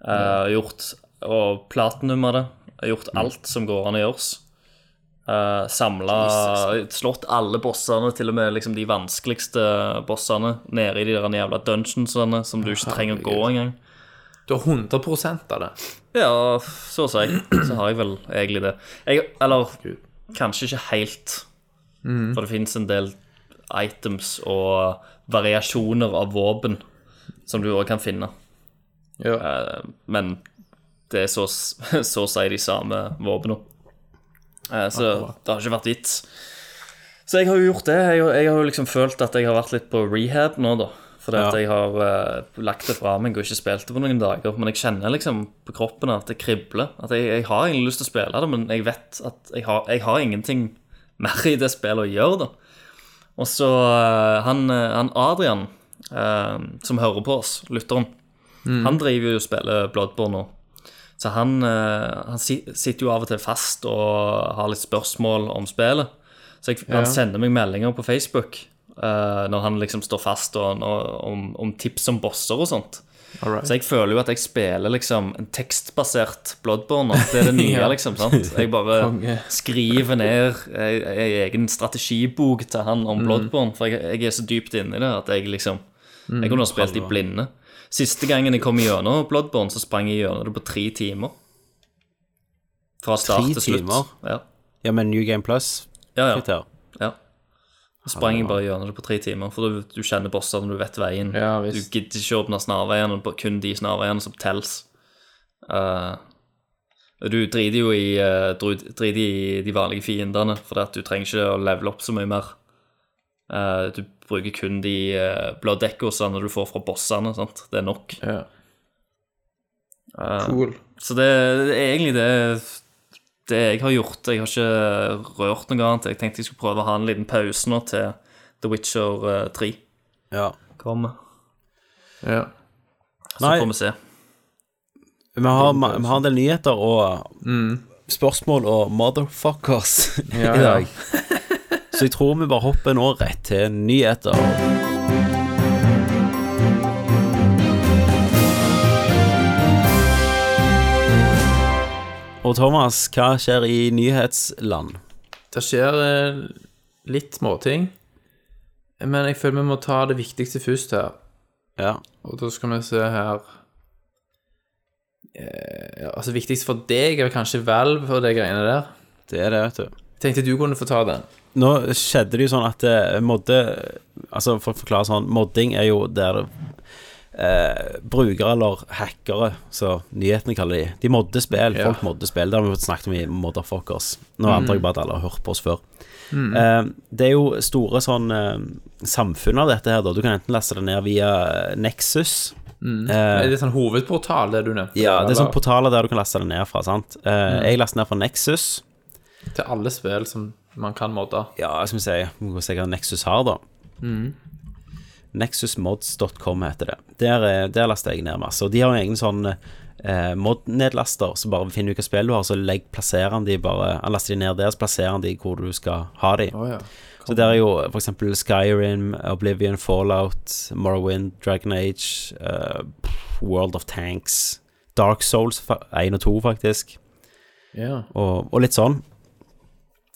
Eh, Gjort og platinum av det. Jeg har Mm. Gjort alt som går an å gjøres. Uh, Samla Slått alle bossene, til og med liksom de vanskeligste bossene, nede i de der jævla dungeonsene som du ikke trenger å gå engang. Du har 100 av det. Ja, så å si. Så har jeg vel egentlig det. Jeg, eller kanskje ikke helt. For det fins en del items og variasjoner av våpen som du òg kan finne. Ja. Eh, Men det er så, så å si de samme våpnene. Eh, Så det har ikke vært vits. Så jeg har jo gjort det. Jeg, har- jeg har jo liksom følt at jeg har vært litt på rehab nå, da. Fordi at Ja. jeg har eh, lagt det fra meg og ikke spilt det på noen dager. Men jeg kjenner liksom på kroppen at det kribler. At jeg, jeg har egentlig lyst til å spille det, men jeg vet at jeg har, jeg har ingenting mer i det spillet å gjøre, da. Og så eh, han, eh, han Adrian, eh, som hører på oss, lytteren, han driver jo og spiller Bloodborne nå. Så han, eh, han si- sitter jo av og til fast og har litt spørsmål om spillet. Så jeg, han sender meg meldinger på Facebook eh, når han liksom står fast og, og, om, om tips om bosser og sånt. Så jeg føler jo at jeg spiller liksom en tekstbasert Bloodborne. nå. Det er det nye, liksom. sant? Jeg bare Konge. skriver ned ei ei egen strategibok til han Mm. om Bloodborne, for jeg, jeg er så dypt inne i det at jeg liksom Mm. Jeg kunne ha spilt i blinde. Siste gangen jeg kom gjennom Bloodborne, så sprang jeg gjennom det på tre timer. Fra start Tre til slutt. timer? Ja. Ja, men New Game Plus. Ja, ja. Christer. Ja. Så sprang jeg bare gjennom det på tre timer, for du, du kjenner bossene, du vet veien. Ja, du visst. gidder ikke åpne snarveiene, det er bare kun de snarveiene som telles. Eh, du driter jo i, eh, dru- driter i de vanlige fiendene, for at du trenger ikke å levele opp så mye mer. Eh, du bruker kun de uh, blood echoesene du får fra bossene, sant? det er nok. Ja. Eh, Cool. så det, det er egentlig det, det jeg har gjort. Jeg har ikke rørt noe annet. Jeg tenkte jeg skulle prøve å ha en liten pause nå til The Witcher eh, 3 Ja. kommer. Ja. Så Nei. får vi se. Vi har, vi har en del nyheter og Mm. spørsmål og motherfuckers Ja, ja. i dag. Så jeg tror vi bare hopper nå rett til nyheter. Og Thomas, hva skjer i nyhetsland? Det skjer eh, litt småting, men jeg føler vi må ta det viktigste først her. Ja. Og da skal vi se her eh, ja, Altså, viktigst for deg er kanskje Valve og de greiene der. Det er det, vet du. Tenkte du kunne få ta den. Nå skjedde det jo sånn at eh, modde Altså for å forklare sånn Modding er jo der det eh, brukere eller hackere, som nyhetene kaller de, de modder spill. Ja. Mm. Folk modder spill. Det har vi jo snakket om i Motherfuckers. Nå antar jeg bare at alle har hørt på oss før. Eh, det er jo store sånn eh, samfunn av dette her, da. Du kan enten laste det ned via eh, Nexus. Eh, Det er litt sånn hovedportal, det Mm. du nevnte. Ja, det er sånn sånne eller? portaler der du kan laste det ned fra, sant. Eh, Jeg laster ned fra Nexus. Til alle spill som man kan modde. ja, hva skal vi si, vi må se hva Nexus har da. Nexusmods.com heter det. Der, er- der laster jeg ned masse, og de har jo egen sånn eh, mod-nedlaster, så bare finner du hva spill du har, så legg, plasserer han de bare, han laster de ned der, så plasserer han de hvor du skal ha de. Å ja. Så der er jo eh, for eksempel Skyrim, Oblivion, Fallout, Morrowind, Dragon Age, eh, World of Tanks, Dark Souls fa- 1 og 2 faktisk Ja. og, og litt sånn.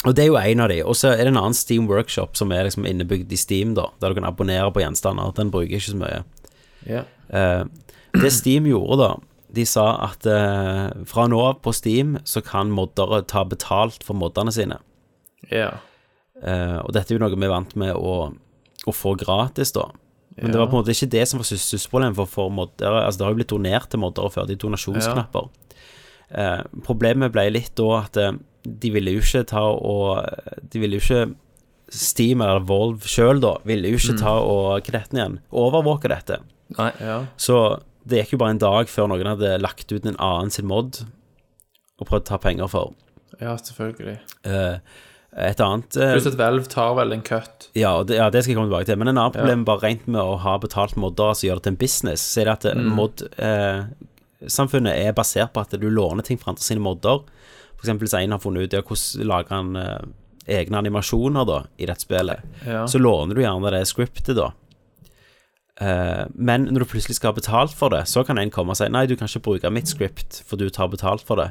Og det er jo en av de. Og så er det en annen Steam Workshop som er liksom innebygd i Steam, da, der du kan abonnere på gjenstander. Den bruker jeg ikke så mye. ja. Eh, det Steam gjorde, da, de sa at eh, fra nå av på Steam så kan moddere ta betalt for moddene sine. Ja. Eh, og dette er jo noe vi er vant med å, å få gratis, da. Men det var på en måte ikke det som var susseproblemet for, for moddere. Altså, det har jo blitt donert til moddere før, de er donasjonsknapper. Eh, problemet ble litt da at eh, de ville jo ikke ta og De ville jo ikke Steam eller Volve sjøl, da, ville jo ikke ta og hva heter den igjen, overvåke dette. Nei. Ja. Så det gikk jo bare en dag før noen hadde lagt ut en annen sin mod og prøvd å ta penger for. ja, selvfølgelig. Eh, et annet eh, Pluss at Valve tar vel en cut. ja, og det, ja, det skal jeg komme tilbake til. Men en annen problem bare rent med å ha betalt modder som gjør det til en business, så er det at eh, mod... Eh, Samfunnet er basert på at du låner ting fra andre sine modder. For eksempel hvis en har funnet ut ja, hvordan lager han eh, egne animasjoner da, i dette spillet, Ja. så låner du gjerne det scriptet da. Eh, men når du plutselig skal ha betalt for det, så kan en komme og si nei, du kan ikke bruke mitt script, for du tar betalt for det.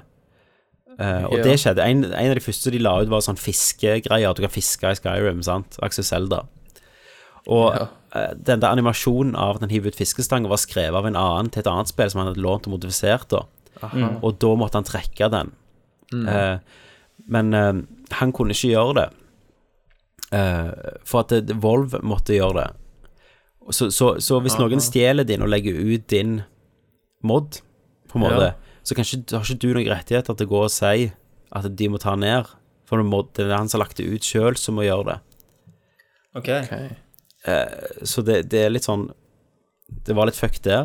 Eh, og Ja. det skjedde. En, en av de første de la ut, var sånn fiskegreier. At du kan fiske i Skyrim. sant? Axel Selda. Og Ja. eh, den der animasjonen av at han hiver ut fiskestanger, var skrevet av en annen til et annet spill som han hadde lånt og modifisert. da. Og da måtte han trekke den. Mm. Eh, men eh, han kunne ikke gjøre det. Eh, for at eh, Volv måtte gjøre det. Så, så, så hvis noen stjeler din og legger ut din mod, på en måte, Ja. så kan ikke, har ikke du noen rettigheter til å gå og si at de må ta ned. For det må- det er han som har lagt det ut sjøl, som må gjøre det. Ok. Ok. Så det, det er litt sånn Det var litt fucked der.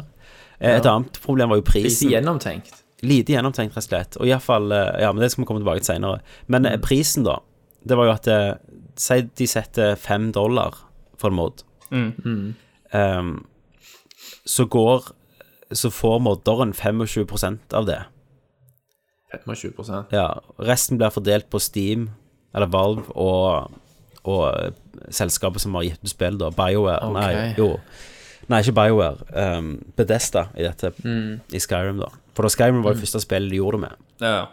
Eh, Et annet problem var jo Lite prisen. gjennomtenkt. Lite gjennomtenkt, rett og slett. Og iallfall eh, Ja, men det skal vi komme tilbake til seinere. Men Mm. eh, prisen, da. Det var jo at eh, Si de setter fem dollar for en mod. Mm. Ehm, så går Så får modderen 25 av det. 25 Ja, resten blir fordelt på Steam, eller Valve, og, og eh, selskapet som har gitt ut spill, da. BioWare. Ok. Nei, jo. Nei, ikke BioWare. Um, Bedesta i dette, Mm. i Skyrim, da. For da Skyrim var det første spillet de gjorde det med. Ja, ja.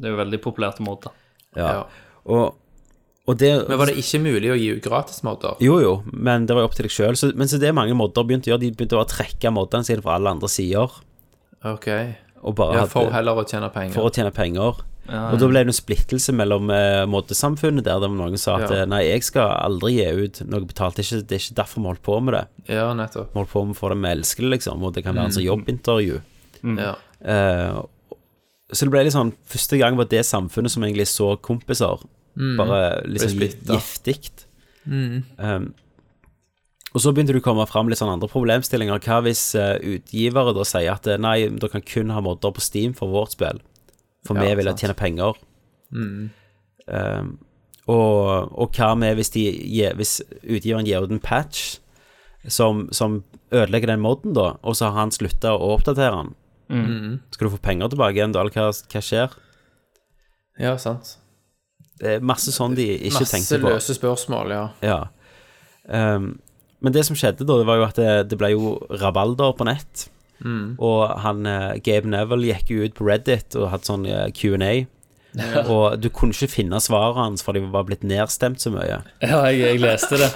Det er jo veldig populært måte. Ja. Ja. Og, og det Men var det ikke mulig å gi ut gratismodder? Jo, jo, men det var jo opp til deg sjøl. Men så det mange modder begynte å gjøre, de begynte å trekke moddene sine fra alle andre sider. Ok. Og bare Ja, hadde- for heller å tjene penger. for å tjene penger. Og da ble det en splittelse mellom eh, moddesamfunnet, der det var noen som sa at Ja. eh, nei, jeg skal aldri gi ut noe betalt, det er ikke, det er ikke derfor vi holdt på med det. Ja, nettopp. Vi holdt på med å få det vi elsker, liksom, og det kan være en Mm. sånn jobbintervju. Mm. Ja. Eh, så det ble litt sånn Første gang var det samfunnet som egentlig så kompiser, bare Mm. liksom Ble litt splittet. giftig. Um, og så begynte du å komme fram litt sånn andre problemstillinger. Hva hvis eh, utgivere da sier at eh, nei, dere kan kun ha modder på Steam for vårt spill, for Ja, vi vil sant. Mm. tjene penger. Um, og, og hva med hvis, de, gir- hvis utgiveren gir ut en patch som, som ødelegger den modden, da, og så har han slutta å oppdatere den? Mm. Skal du få penger tilbake igjen, da? Eller hva, hva skjer? ja, sant. Det er masse sånn de ikke Masse tenkte på. løse spørsmål, ja. Ja. Ehm, men det som skjedde da, det var jo at det, det ble jo rabalder på nett. Og han eh, Gabe Neville gikk jo ut på Reddit og hadde sånn eh, Q&A. Og du kunne ikke finne svaret hans, for de var blitt nedstemt så mye. Ja, jeg, jeg leste det.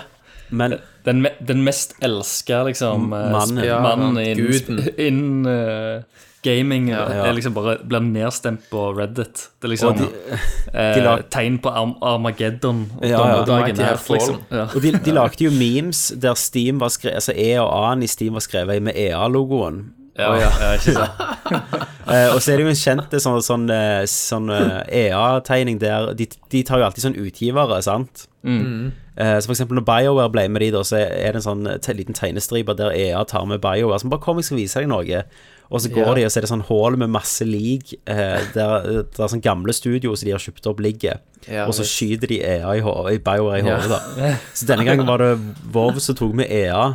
Men Den, me- den mest elska, liksom, eh, Mannen. sp- Ja, mannen han- innen guden. sp- innen eh, gaming eh, ja. er liksom bare blir nedstemt på Reddit. Det er liksom Og eh, de la- tegn på Arm Armageddon og Ja, ja. dommedagen Mighty her, have liksom. Ja. Og de, de lagde jo memes der Steam var skrevet Altså E og A-en i Steam var skrevet med E EA-logoen. Ja, ja, ikke sant. Eh, og så er det jo en kjent sånn, sånn, eh, sånn eh, EA-tegning der de, de tar jo alltid sånn utgivere, sant? Mm. Eh, så for eksempel når BioWare ble med de, da, så er det en sånn te liten tegnestripe der EA tar med BioWare. Som bare 'Kom, jeg skal vise deg noe'. Og så går Ja. de, og så er det sånn hull med masse lik eh, der, der sånn gamle studio som de har kjøpt opp, ligger. Ja, og så visst. skyter de EA i hodet, i BioWare i Ja. hodet, da. Så denne gangen var det Vov som tok med EA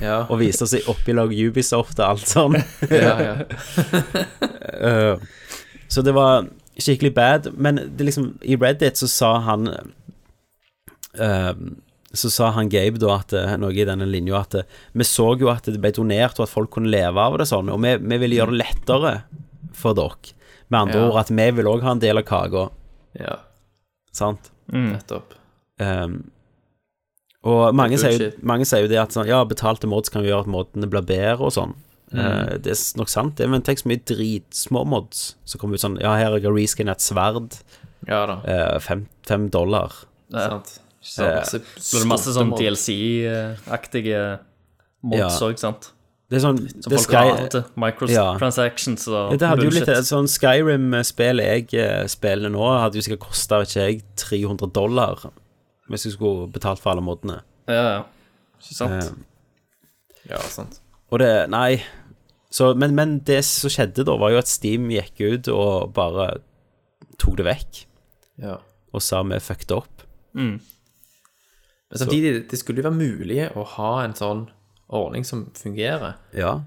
Ja, og viste oss i opplag Ubisoft og alt sånn. ja, ja. Eh, Så det var skikkelig bad. Men det liksom, i Reddit så sa han eh, Så sa han Gabe da at eh, noe i denne linja at eh, vi så jo at det ble donert, og at folk kunne leve av det sånn, og vi, vi ville gjøre det lettere for dere. Med andre Ja. ord at vi vil òg ha en del av kaka, ja. sant? Mm, Nettopp. Ehm, og mange sier, jo, Bullshit. mange sier jo det at sånn, ja, betalte mods kan jo gjøre at måtene blir bedre og sånn. Mm. Eh, det er s- nok sant, det, men tenk så mye dritsmå mods som kommer ut sånn Ja, her har jeg reskinnet et sverd. Ja da. eh, fem, fem dollar. Sant. Så masse, så det er masse sånn DLC-aktige mods Ja. òg, sant? Det er sånn Som det folk Sky- har hatt. Ja. Microtransactions og Ja, Det hadde jo litt bullshit. Sånn Skyrim-spillet jeg eh, spiller nå, hadde jo sikkert kosta ikke jeg 300 dollar hvis jeg skulle betalt for alle modene. Ja, ja. Ikke sant? Eh, Ja, sant. Og det Nei. Så, men, men det som skjedde da, var jo at Steam gikk ut og bare tok det vekk. Ja. Og sa vi fucked up. Men samtidig, det skulle jo være mulig å ha en sånn ordning som fungerer. Ja.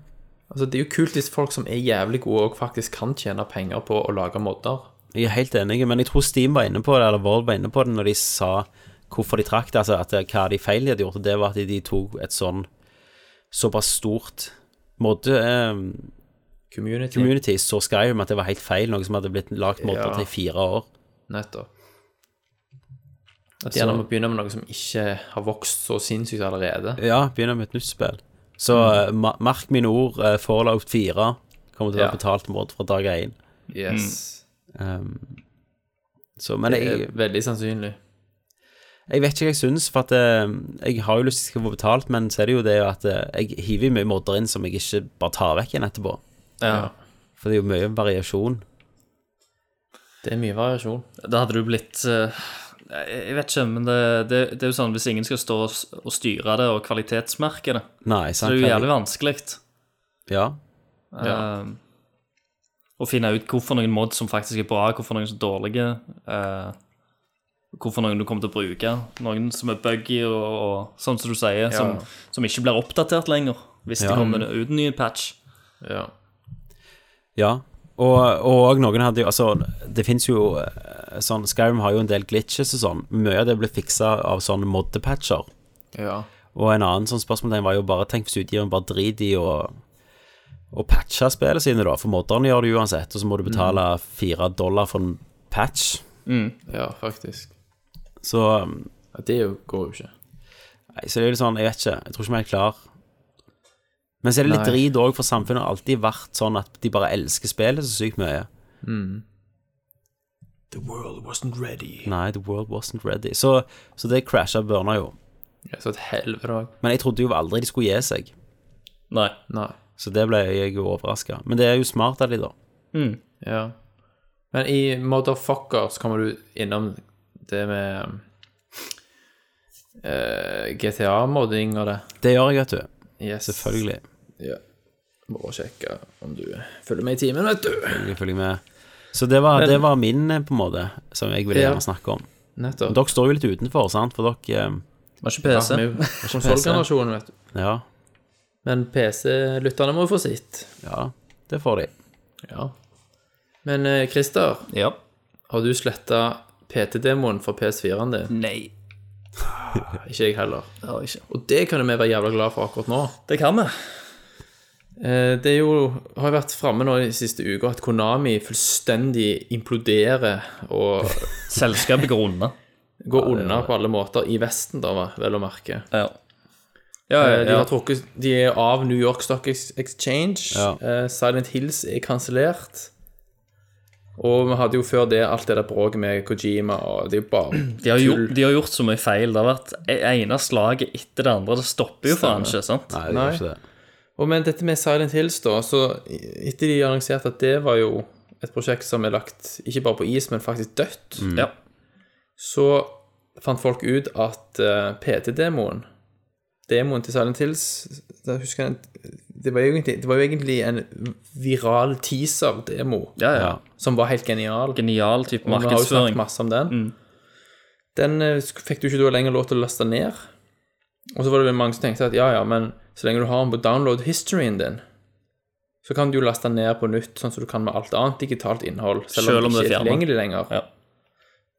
Altså, Det er jo kult hvis folk som er jævlig gode og faktisk kan tjene penger på å lage modder. Jeg er helt enig, men jeg tror Steam var inne på det, eller Valve var inne på det, når de sa hvorfor de trakk det, altså at det- hva de feil de hadde gjort, og det var at de tok et sånn såpass stort modde... Eh, Community. Community så Skyrim at det var helt feil, noe som hadde blitt lagt modder Ja. til i fire år. Nettopp. At de gjerne må begynne med noe som ikke har vokst så sinnssykt allerede. Ja, begynner med et nytt spill. Så eh, Mm. ma merk mine ord, uh, Fallout 4 kommer til å Ja. være betalt mod fra dag én. Yes. Um, så, men Det jeg, er veldig sannsynlig. jeg vet ikke hva jeg syns, for at eh, jeg har jo lyst til å få betalt, men så er det jo det at eh, jeg hiver mye modder inn som jeg ikke bare tar vekk igjen etterpå. Ja. For det er jo mye variasjon. Det er mye variasjon. Da hadde du blitt eh, Jeg jeg vet ikke, men det, det, det er jo sånn hvis ingen skal stå og s- og styre det og kvalitetsmerke det, Nei, så sant? det er jo Fredrik? jævlig vanskelig. Ja. Eh, Å finne ut hvorfor noen mods som faktisk er bra, hvorfor noen som er dårlige. eh, hvorfor noen du kommer til å bruke. Noen som er buggy og, og sånn som du sier, som, som ikke blir oppdatert lenger hvis Ja. det kommer ut en ny patch. Ja. Ja, og, og noen hadde jo Altså, det fins jo eh, sånn Skyrim har jo en del glitches og sånn. Mye av det ble fiksa av sånne moddepatcher. Ja. Og en annen sånn spørsmålstegn var jo bare Tenk hvis utgiveren bare driter i å å patche spillet sine, da. For modderne gjør det uansett, og så må du betale fire dollar for en patch. ja, faktisk. Så Nei, Mm. Ja, det er jo- går jo ikke. så det er jo litt sånn Jeg vet ikke. Jeg tror ikke vi er helt klar. Men så er det litt Nei. drit òg, for samfunnet har alltid vært sånn at de bare elsker spillet så sykt mye. The world wasn't ready. Nei, the world wasn't ready. Så, så det crasha burna jo. Ja, så et helvete òg. Men jeg trodde jo aldri de skulle gi seg, Nei. Nei. så det ble jeg jo overraska. Men det er jo smart av de, da. Ja. Men i Motherfucker så kommer du innom det med eh, GTA-modding og det. Det gjør jeg, vet du. Yes. Selvfølgelig. Ja. Må sjekke om du følger med i timen, vet du. Jeg følger med. Så det var, det var min, eh, på en måte, som jeg ville Ja. gjerne snakke om. Nettopp. Dere står jo litt utenfor, sant, for dere eh, Var ikke PC. Ja, vi- Konsolgenerasjonen, vet du. Ja, Men PC-lytterne må jo få sitt. ja, det får de. Ja. Men eh, Christer, Ja. har du sletta PT-demoen for PS4-en din? Nei. Ikke jeg heller. Det har jeg ikke. Og det kan jo vi være jævla glad for akkurat nå. Det kan vi. Eh, Det er jo, har jo vært framme nå de siste uka at Konami fullstendig imploderer og Selskapet går unna. går unna på alle måter i Vesten, da, va, vel å merke. Ja. Ja, Eh, ja, De, ja. har trukket, de er av New York Stock Ex- Exchange. Ja. Eh, Silent Hills er kansellert. Og vi hadde jo før det alt det der bråket med Kojima og Det er jo bare De har, gjort, de har gjort så mye feil. Det har vært e- ene slaget etter det andre. Det stopper jo faen ikke, sant? Nei, det Nei. gjør ikke det. Og men dette med Silent Hills, da, så etter de annonserte at det var jo et prosjekt som er lagt ikke bare på is, men faktisk dødt, Ja. så fant folk ut at eh, PT-demoen Demoen til Silent Hills da husker jeg, det, var jo egentlig, det var jo egentlig en viral teaser-demo Ja, ja. Ja. som var helt genial. Genial type Og vi har jo markedsføring. snakket Mm. masse om den. Den eh, sk- fikk du ikke da lenger lov til å laste ned. Og så var det vel mange som tenkte at ja, ja, men så lenge du har den på download historyen din, så kan du jo laste den ned på nytt, sånn som du kan med alt annet digitalt innhold. Selv, Selv om om det er det ikke er fjernet. tilgjengelig lenger. Ja.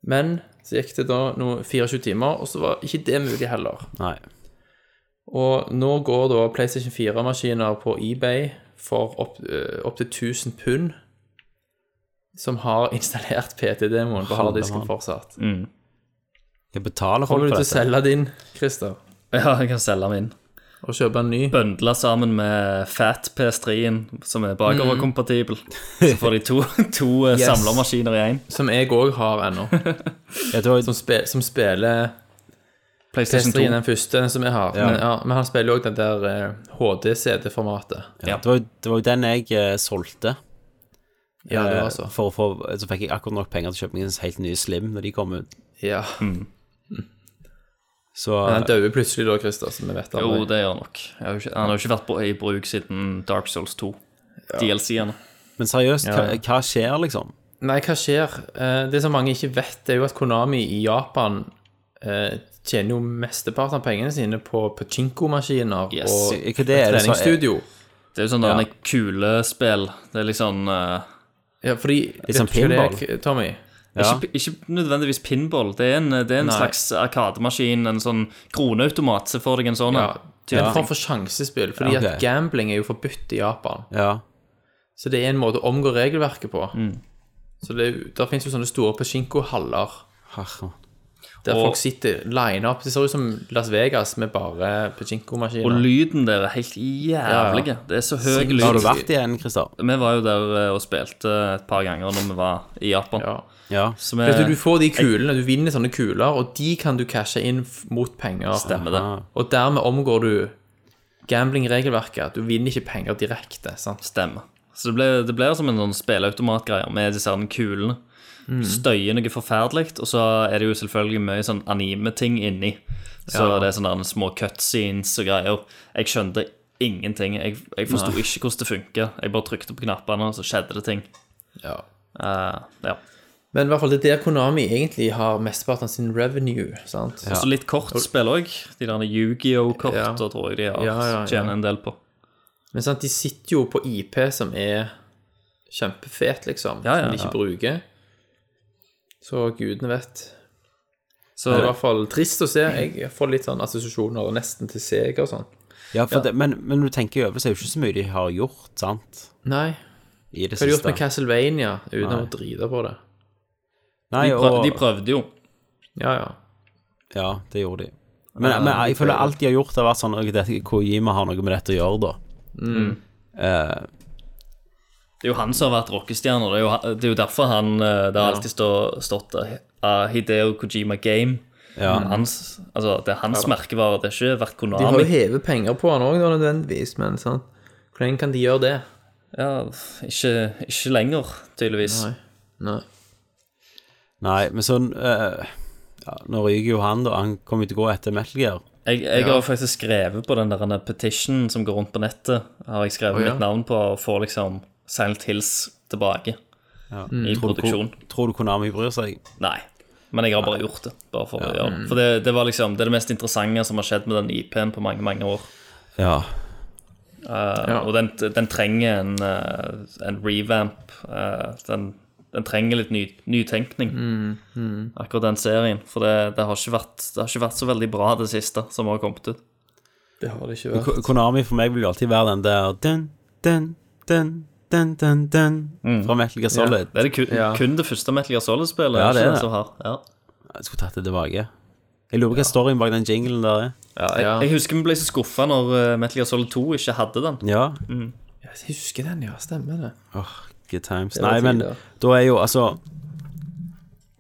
Men så gikk det da noe 24 timer, og så var ikke det mulig heller. Nei. Og nå går da PlayStation 4-maskiner på eBay for opptil opp til 1000 pund som har installert PT-demoen på Halve harddisken mann. fortsatt. Jeg betaler folk Kommer du for til å dette. selge din, Christer? Ja, jeg kan selge min. og kjøpe en ny. Bøndla sammen med Fat PS3-en, som er bakoverkompatibel. Så får de to, to eh, Yes. samlermaskiner i én. Som jeg òg har ennå. Ja, du har Som, spe, som spiller PlayStation PS3 den 2. første, den som jeg har. Men, ja, men han spiller òg den der eh, HD-CD-formatet. Ja, det, var, jo- det var jo den jeg eh, solgte. Ja, det var eh, altså. for å få, så fikk jeg akkurat nok penger til å kjøpe meg en helt ny Slim når de kom ut. Ja. Så Men han døde plutselig da, Christer, som vi vet Jo, aldri. det gjør han nok. Jeg har jo ikke, han har jo ikke vært på- i bruk siden Dark Souls 2. DLC-ene. eh, Men seriøst, Ja, ja. Hva, hva skjer, liksom? Nei, hva skjer? Eh, Det som mange ikke vet, det er jo at Konami i Japan eh, tjener jo mesteparten av pengene sine på pachinko-maskiner Yes. og Hva det er det som er- treningsstudio. Det er jo sånn ja. kulespill. Det er litt sånn eh, Ja, fordi Litt sånn vet du hva det er, pinball. Tommy? Ja. ikke, ikke nødvendigvis pinball. Det er en, det er en Nei. slags arkademaskin, en sånn kroneautomat. Se for deg en sånn. Ja, det er Ja. en form for sjansespill, fordi Ja, ok. at gambling er jo forbudt i Japan. Ja. Så det er en måte å omgå regelverket på. Mm. Så det, er jo- der finnes jo sånne store pachinko-haller Herre. der Og- folk sitter line up. Det ser ut som Las Vegas med bare Og pachinko-maskiner. lyden der er helt jævlig. Det er så høy lyd. Har du vært igjen, Christer? Vi var jo der eh, og spilte et par ganger når vi var i Japan. Ja. Ja. Så vi Vet du, du får eh, de kulene, du vinner sånne kuler, og de kan du cashe inn f- mot penger. stemmer det. Og dermed omgår du gambling-regelverket. Du vinner ikke penger direkte. sant? Stemmer. Så det ble, det ble som en sånn spilleautomatgreier med disse her kulene. Mm. Støyer noe forferdelig, og så er det jo selvfølgelig mye sånn anime-ting inni. Så det er sånne der små cutscenes og greier. Jeg skjønte ingenting. Jeg, jeg forsto ikke hvordan det funka. Jeg bare trykte på knappene, og så skjedde det ting. Ja. Eh, ja. Men i hvert fall det er der Konami egentlig har mesteparten av sin revenue. sant? Og så litt kortspill òg. De der Yu-Gi-Oh-korta Ja. tror jeg de har Ja, ja, ja. tjener en del på. Men sant, de sitter jo på IP som er kjempefet, liksom, Ja, ja, som de ikke ja. bruker. Så gudene vet. Så Det er i hvert fall trist å se. Jeg får litt sånn assosiasjoner nesten til Sega og sånn. ja, for Det, men, men når du tenker over, så er det jo ikke så mye de har gjort, sant? Nei. I det Hva har de gjort siste. med Castlevania uten å drite på det? Nei, de, prøv, og, de prøvde jo. Ja, ja. Ja, det gjorde de. Eh, Men, men jeg føler alt de har gjort, har vært sånn ok, dette- Kojima har noe med dette å gjøre, da. Det er jo han som har vært rockestjerne. og Det er jo, han- det er jo derfor han eh, Det har alltid stå, stått eh, Hideo Kojima Game. Hans, altså, det er hans merkevare. Det har ikke vært De har Konami. jo hevet penger på han òg, nødvendigvis, men sant? Hvor lenge kan de gjøre det? Ja, ikke, ikke lenger, tydeligvis. Nei. Nei. Nei, men sånn eh, ja, Nå ryker jo han, da. Han kommer jo til å gå etter Metal Gear. Jeg, jeg har faktisk skrevet på den der ene petitionen som går rundt på nettet. Har jeg skrevet Å, ja. mitt navn på og får liksom Silent Hills tilbake Mm. i produksjon. Tror du Konami bryr seg? Nei. Men jeg har bare gjort det. Bare for, å gjøre det. for det, det var liksom Det er det mest interessante som har skjedd med den IP-en på mange, mange år. Ja. Ja. Og den, den trenger en, eh, en revamp. eh, Den, den trenger litt ny, nytenkning, akkurat den serien. For det, det, har ikke vært, det har ikke vært så veldig bra, det siste som har kommet ut. Det har det ikke vært. Ko- Konami for meg vil jo alltid være den der dun, dun, dun, dun, dun, dun, Mm. fra Metal Gear Solid. Det er det kun, Ja. kun det første Metal Gear Solid-spillet. Ja, det ikke er det. som har- Ja. Jeg skulle tatt det tilbake. Jeg lurer på hva storyen bak den jinglen der er. Jeg, Ja. jeg husker vi ble så skuffa når eh, Metal Gear Solid 2 ikke hadde den. Ja. Jeg husker den, ja. Stemmer det. Åh, good times. var Nei, men tider. da er jo altså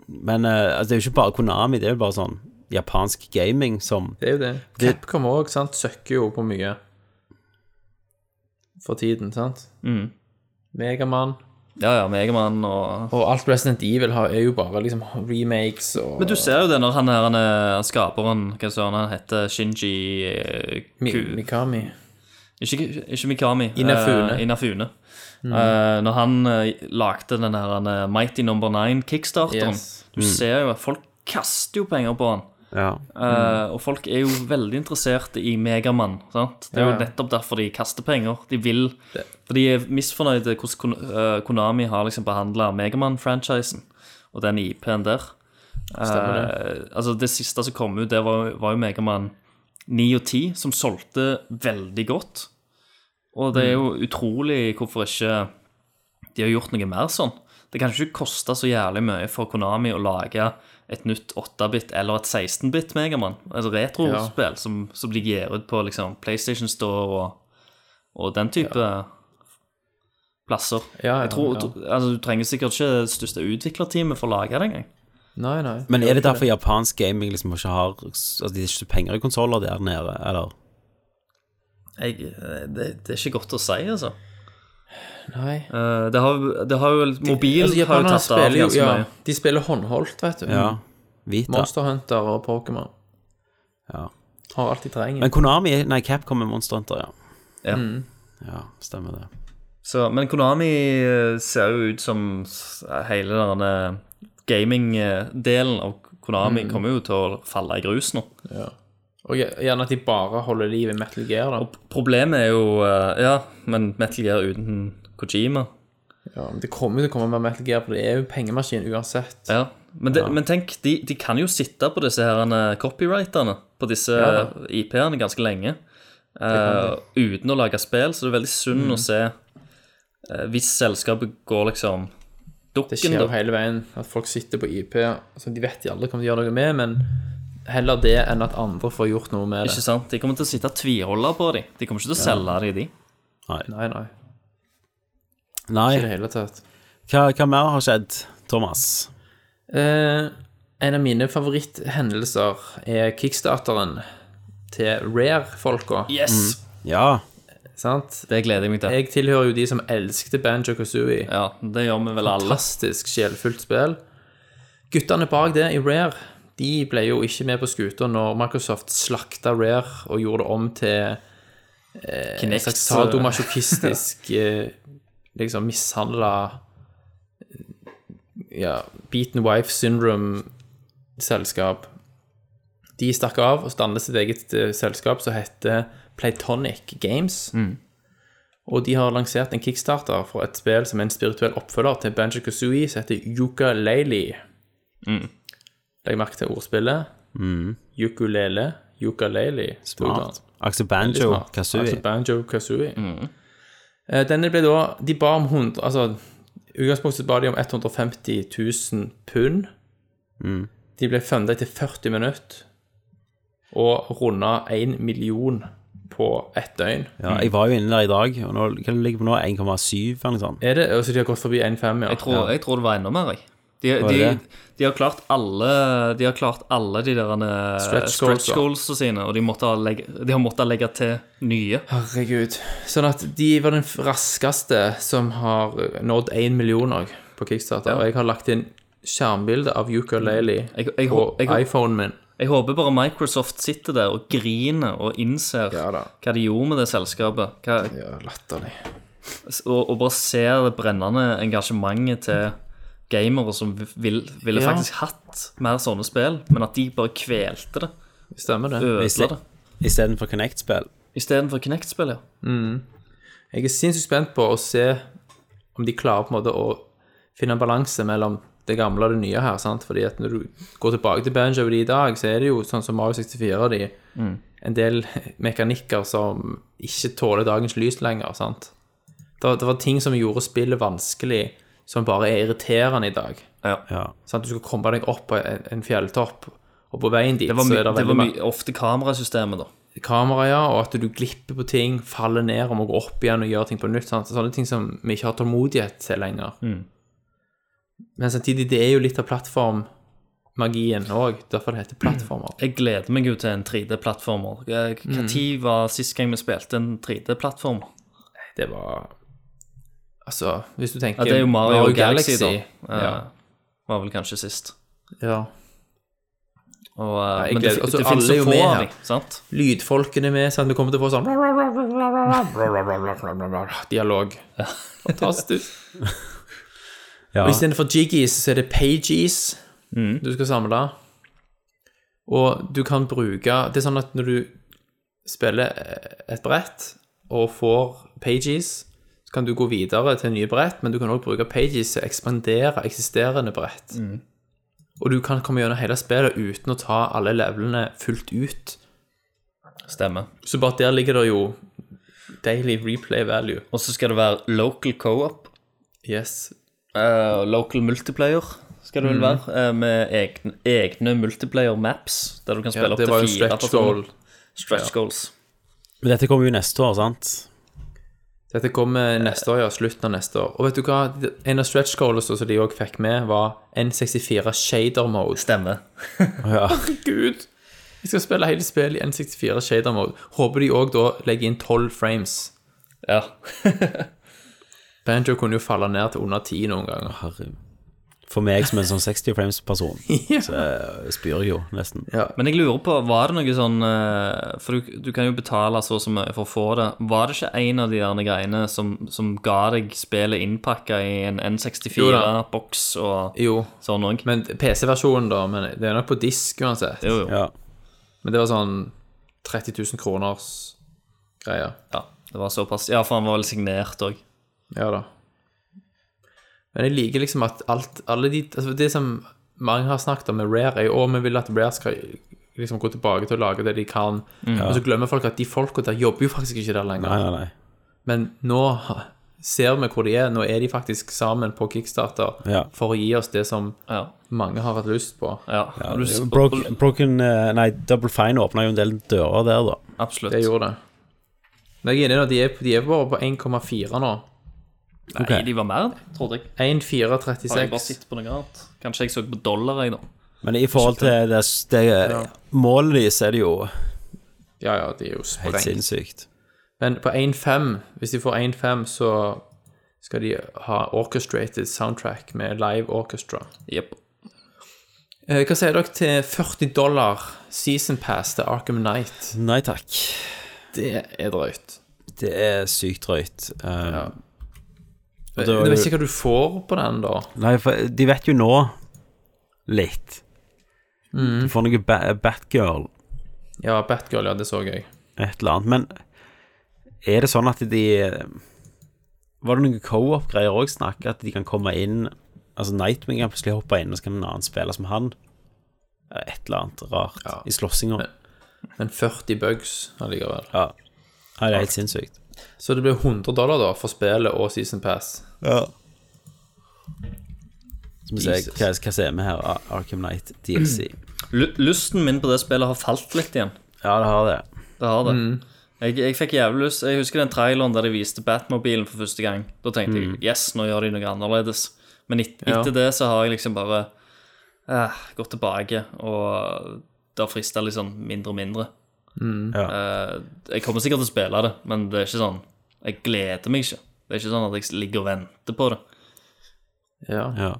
Men eh, altså, det er jo ikke bare Konami, det er jo bare sånn japansk gaming som Det er jo det. Capcom òg, sant, søkker jo på mye for tiden, sant? Mm. Megaman. Ja, ja, Megaman og Og alt Resident Evil har, er jo bare liksom remakes og Men du ser jo det når han her, han er skaperen, hva søren han heter, Shinji eh, Mi- Ku- Mikami. Ikke, ikke Mikami. eh, Inafune. Inafune. Mm. Eh, når han eh, lagde den her han, eh, Mighty Number Nine kickstarteren, Yes. Mm. du ser jo at folk kaster jo penger på han. Ja. Mm. Eh, Og folk er jo veldig interesserte i Megamann. sant? Det er jo Ja, ja. nettopp derfor de kaster penger. De vil For de er misfornøyde hvordan Kon- eh, Konami har liksom behandla Megamann-franchisen og den IP-en der. Stemmer det. Eh, altså Det siste som kom ut, det var, var jo Megamann 9 og 10, som solgte veldig godt. Og det er jo utrolig hvorfor ikke de har gjort noe mer sånn. Det kan ikke koste så jævlig mye for Konami å lage et nytt 8-bit eller et 16-bit Megaman. Altså retrospill som, som blir gir ut på liksom, PlayStation Store og, og den type plasser. Ja, ja, jeg tror, ja. tro- Altså, du trenger sikkert ikke det største utviklerteamet for å lage det engang. Nei, nei. Men er det derfor japansk gaming liksom ikke har Altså, de har ikke penger i konsoller der nede, eller? Jeg, eh, det, det er ikke godt å si, altså. nei. Eh, det, har, det har jo Mobil har Altså, jo japanerne tatt av spiller jo ganske ja, mye. De spiller håndholdt, vet du. Ja. Vita. Monster Hunter og Pokémon. Ja. Har alt de trenger. Men Konami Nei, Capcom er Monster Hunter, ja. Ja. Ja, stemmer det. Så, men Konami eh, ser jo ut som s- eh, hele den gaming-delen av Konami Mm. kommer jo til å falle i grus nå. Og gje- gjerne at de bare holder liv i Metal Gear, da. Problemet er jo eh, Ja, men Metal Gear uten Kojima Ja, men det kommer jo til å komme mer Metal Gear, for det er jo en pengemaskin uansett. Ja, men, det, men tenk, de, de kan jo sitte på disse her copywriterne på disse Ja. IP-ene ganske lenge. eh, uten å lage spill, så det er veldig synd Mm. å se eh, hvis selskapet går liksom Det dukken. skjer jo da. hele veien at folk sitter på IP, altså de vet de aldri kommer til å gjøre noe med, men heller det enn at andre får gjort noe med Ikke det. sant? De kommer til å sitte og tviholde på dem. De kommer ikke til å selge dem, de. Nei, nei. Nei, Ikke i det hele tatt. hva, hva mer har skjedd, Thomas? Eh, en av mine favoritthendelser er kickstarteren til Rare-folka, Yes! Ja. sant? Mm. Det gleder jeg meg til. Jeg tilhører jo de som elskte Banjo-Kazooie. Ja, det gjør vi vel alle. Fantastisk sjelfullt spill. Guttene bak det i Rare de ble jo ikke med på skuta når Microsoft slakta Rare og gjorde det om til en Kinect. slags sadomasochistisk eh, liksom mishandla ja, Beaten Wife Syndrome-selskap. De stakk av og dannet sitt eget eh, selskap som heter Playtonic Games. Og de har lansert en kickstarter for et spill som er en spirituell oppfølger til Banjo Kazooie, som heter Yuka Laylee. Legg merke til ordspillet. Ukulele, Yuka Laylee. Smart. Axel Veldig Banjo, smart. Kazooie. Altså Banjo Kazooie. Mm. Eh, Denne ble da De ba om 100 Altså, i utgangspunktet ba de om 150 000 pund. Mm. De ble fundet til 40 minutter og runda 1 million på ett døgn. Ja, jeg var jo inne der i dag, og nå, hva ligger det på nå? 1,7 eller noe sånt? Er det, altså De har gått forbi 1,5, ja. Jeg tror, jeg tror det var enda mer, jeg. De, Var de, det det? de har klart alle De har klart alle de der eh, Stretch goals, stretch goalsene sine, og de, måtte ha legge, de har måttet legge til nye. Herregud. Sånn at de var den raskeste som har nådd 1 million òg på Kickstarter. Og jeg har lagt inn skjermbilde av Yuka Laylee Mm. Jeg- jeg på hå- jeg- iPhonen min. Jeg håper bare Microsoft sitter der og griner og innser Ja da. hva de gjorde med det selskapet. Hva, Ja, latterlig. og, og bare ser det brennende engasjementet til gamere som vil, ville Ja. faktisk hatt mer sånne spill, men at de bare kvelte det. Stemmer det. Ødela det. Istedenfor Connect-spill. Istedenfor Kinect-spill, ja. Jeg er sinnssykt spent på å se om de klarer på en måte å finne en balanse mellom det gamle og det nye her. sant? Fordi at når du går tilbake til Banjo og de i dag, så er det jo sånn som Mario 64 og de, Mm. en del mekanikker som ikke tåler dagens lys lenger. sant? Det, det var ting som gjorde spillet vanskelig, som bare er irriterende i dag. Ja. sant? Du skal komme deg opp på en, en fjelltopp, og på veien dit Det var, så my, er det det veldig var mange my, ofte kamerasystemet, da. kamera, ja, og at du glipper på ting, faller ned og må gå opp igjen og gjøre ting på nytt. Sant? Sånne ting som vi ikke har tålmodighet til lenger. Mm. Men samtidig, det er jo litt av plattformmagien òg, derfor det heter plattformer. Jeg gleder meg jo til en Eh, 3D-plattformer. Mm. Når var sist gang vi spilte en 3D-plattformer? Det var Altså, hvis du tenker Ja, det er jo Mario, Galaxy, da. Ja. Var vel kanskje sist. Ja. ja. Og, eh, jeg men det, gleder- altså, det finnes alle er så jo få med av her. dem, sant? Lydfolkene med, sant. Vi kommer til å få sånn Dialog. Fantastisk. ja. Og istedenfor jiggies, så er det pages du skal samle. Og du kan bruke Det er sånn at når du spiller et brett og får pages, så kan du gå videre til nye brett, men du kan òg bruke pages til å ekspandere eksisterende brett. Og du kan komme gjennom hele spillet uten å ta alle levelene fullt ut. Stemmer. Så bare der ligger det jo daily replay value. Og så skal det være local co-op. Yes. eh, local multiplayer. skal Mhm. det vel være, eh, med egne, egne multiplayer maps, der du kan spille Ja, opp det var til jo en fire stretch goal. Stretch goals. Men dette kommer jo neste år, sant? Dette kommer neste år, ja. Slutten av neste år. Og vet du hva? En av stretch goalsene som de òg fikk med, var N64 shader mode. Stemmer. Ja. Herregud! Vi skal spille hele spillet i N64 shader mode. Håper de òg da legger inn 12 frames. Ja. Banjo kunne jo falle ned til under 10 noen ganger. Herre. For meg som en sånn 60 frames-person, så eh, spyr jeg jo nesten. Men jeg lurer på, var det noe sånn eh, For du, du kan jo betale så og så mye for å få det. Var det ikke en av de der greiene som, som ga deg spillet innpakka i en Jo da. N64-boks og Jo. sånn òg? Men PC-versjonen, da. Men det er nok på disk uansett. Jo, jo. Ja. Men det var sånn 30 000 kroners greier. Ja, det var såpass. Ja, for han var vel signert òg. Ja da. Men jeg liker liksom at alt alle de, altså Det som mange har snakket om med Rare, er jo at vi vil at Rare skal liksom gå tilbake til å lage det de kan. Og så glemmer folk at de folka der jobber jo faktisk ikke der lenger. Nei, nei, nei. Men nå ser vi hvor de er. Nå er de faktisk sammen på Kickstarter Ja. for å gi oss det som Ja. mange har hatt lyst på. ja. Og du- Broken, broken eh, Nei, Double Fine åpna jo en del dører der, da. Absolutt. Det gjorde det. Men jeg er enig i at de er, de er bare på 1,4 nå. Nei, Ok. de var mer, trodde jeg. Har jeg bare 1,436. sett på noe annet? Kanskje jeg så på dollar, jeg, da. Men i forhold til det, det eh, målet deres, er det jo Ja, ja, de er jo helt sprengt. sinnssykt. Men på 1.5, hvis de får 1.5, så skal de ha orchestrated soundtrack med live orchestra. Jepp. Eh, hva sier dere til 40 dollar season pass til Arkham Knight? Nei takk. Det er drøyt. Det er sykt drøyt. Eh, Jeg da er vet du- ikke hva du får på den, da. Nei, for de vet jo nå litt. Du får noe ba Batgirl, Ja, Batgirl, ja, det så jeg. et eller annet. Men er det sånn at de Var det noen co-op-greier òg snakk? At de kan komme inn Altså Nightwing kan plutselig hoppe inn, og så kan en annen spille som han. Et eller annet rart Ja. i slåssinga. Men 40 bugs allikevel. Ja. Nei, det er helt sinnssykt. Så det blir 100 dollar, da, for spillet og season pass. Som jeg, Jesus. hva, hva ser vi her? Ar- Arkham Knight DLC. Lu- Lysten min på det spillet har falt litt igjen. Ja, det har det. Det har det. Jeg, jeg fikk jævlig lyst Jeg husker den traileren der de viste Batmobilen for første gang. Da tenkte jeg yes, nå gjør de noe annerledes. Men et, Ja. etter det så har jeg liksom bare eh, gått tilbake, og det har frista liksom mindre og mindre. Eh, jeg kommer sikkert til å spille det, men det er ikke sånn Jeg gleder meg ikke. Det er ikke sånn at jeg ligger og venter på det. Ja. Ja.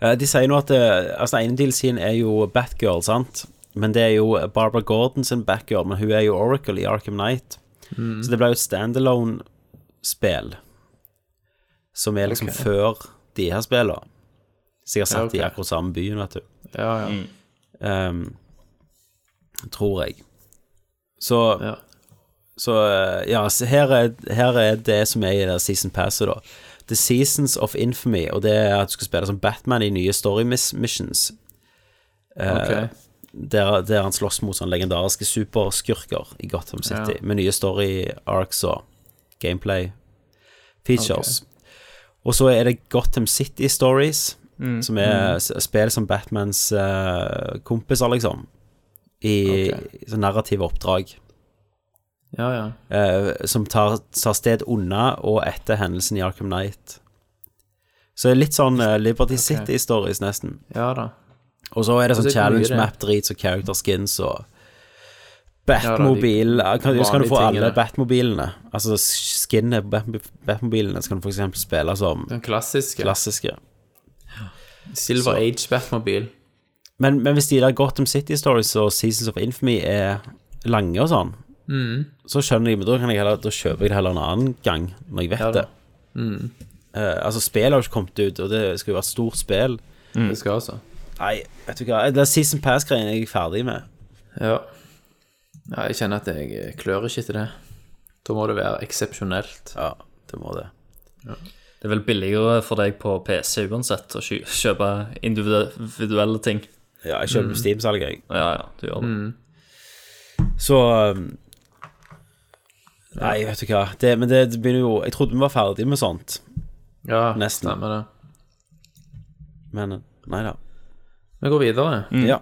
Eh, De sier nå at eh, Altså, den ene DLC-en er jo Batgirl, sant? Men det er jo Barbara Gordon sin Batgirl, men hun er jo Oracle i Arkham Knight. Mm. Så det ble jo et standalone-spill, som er liksom før de her spillene. Sikkert satt Ja, ok. i akkurat samme byen, vet du. ja, ja. Ehm, tror jeg. Så, Ja. så eh, ja, så her er, her er det som er i det season passet, da. The Seasons of Infamy, og det er at du skal spille som Batman i nye story miss- missions. Ok. Der, der han slåss mot sånne legendariske superskurker i Gotham City, Ja. med nye story arcs og gameplay features. Og så er det Gotham City Stories, mm. som er s- spill som Batmans eh, kompiser, liksom. I Ok. sånn narrative oppdrag. ja, ja. eh, som tar, tar sted unna og etter hendelsen i Arkham Knight. Så det er litt sånn eh, Liberty City Stories, nesten. Ja da. Og så er det Og sånn det er mye, challenge det. map-drit og character skins da, og de Batmobil ja, kan, Så kan du få vanlige alle tingene. Batmobilene. Altså skinnet på Batmo- Batmobilene, så kan du for eksempel spille som Den klassiske. klassiske. Silver Age Batmobil. Men, men hvis de der Gotham City Stories og Seasons of Infamy er lange og sånn, så skjønner jeg, men da, kan jeg heller, da kjøper jeg det heller en annen gang, når jeg vet Ja da. det. Eh, altså, spillet har jo ikke kommet ut, og det skal jo være et stort spill. Det skal altså. Nei, vet du hva, det er Season Pass-greien jeg er ferdig med. Ja. ja. Jeg kjenner at jeg klør ikke til det. Da må det være eksepsjonelt. Ja, det må det. Det er vel billigere for deg på PC uansett å kjø- kjøpe individuelle ting. Ja, jeg kjøper Steam-salget, jeg. Ja, ja, du gjør Mm. det. Så um, Nei, vet du hva. Det, men det, det begynner jo Jeg trodde vi var ferdig med sånt, Ja, Nesten. stemmer det. men eh, nei da. Vi går videre. Ja.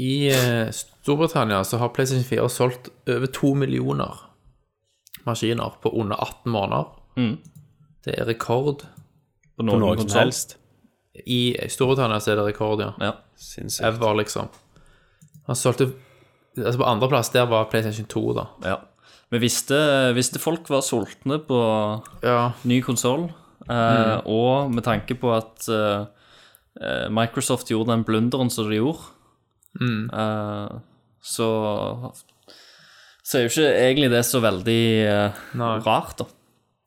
I eh, Storbritannia så har PlayStation 4 solgt over to millioner maskiner på under 18 måneder. Det er rekord. På På noen, noe som konsol. helst. I Storbritannia så er det rekord, ja. Ja. Sinnssykt. Ever, liksom. Han solgte Altså på andreplass, der var PlayStation 2, da. ja. Vi visste, visste folk var sultne på Ja. ny konsoll, eh, Mm. og med tanke på at eh, eh, Microsoft gjorde den blunderen som de gjorde, Mm. eh, så så er jo ikke egentlig det så veldig eh, Nei. rart, da.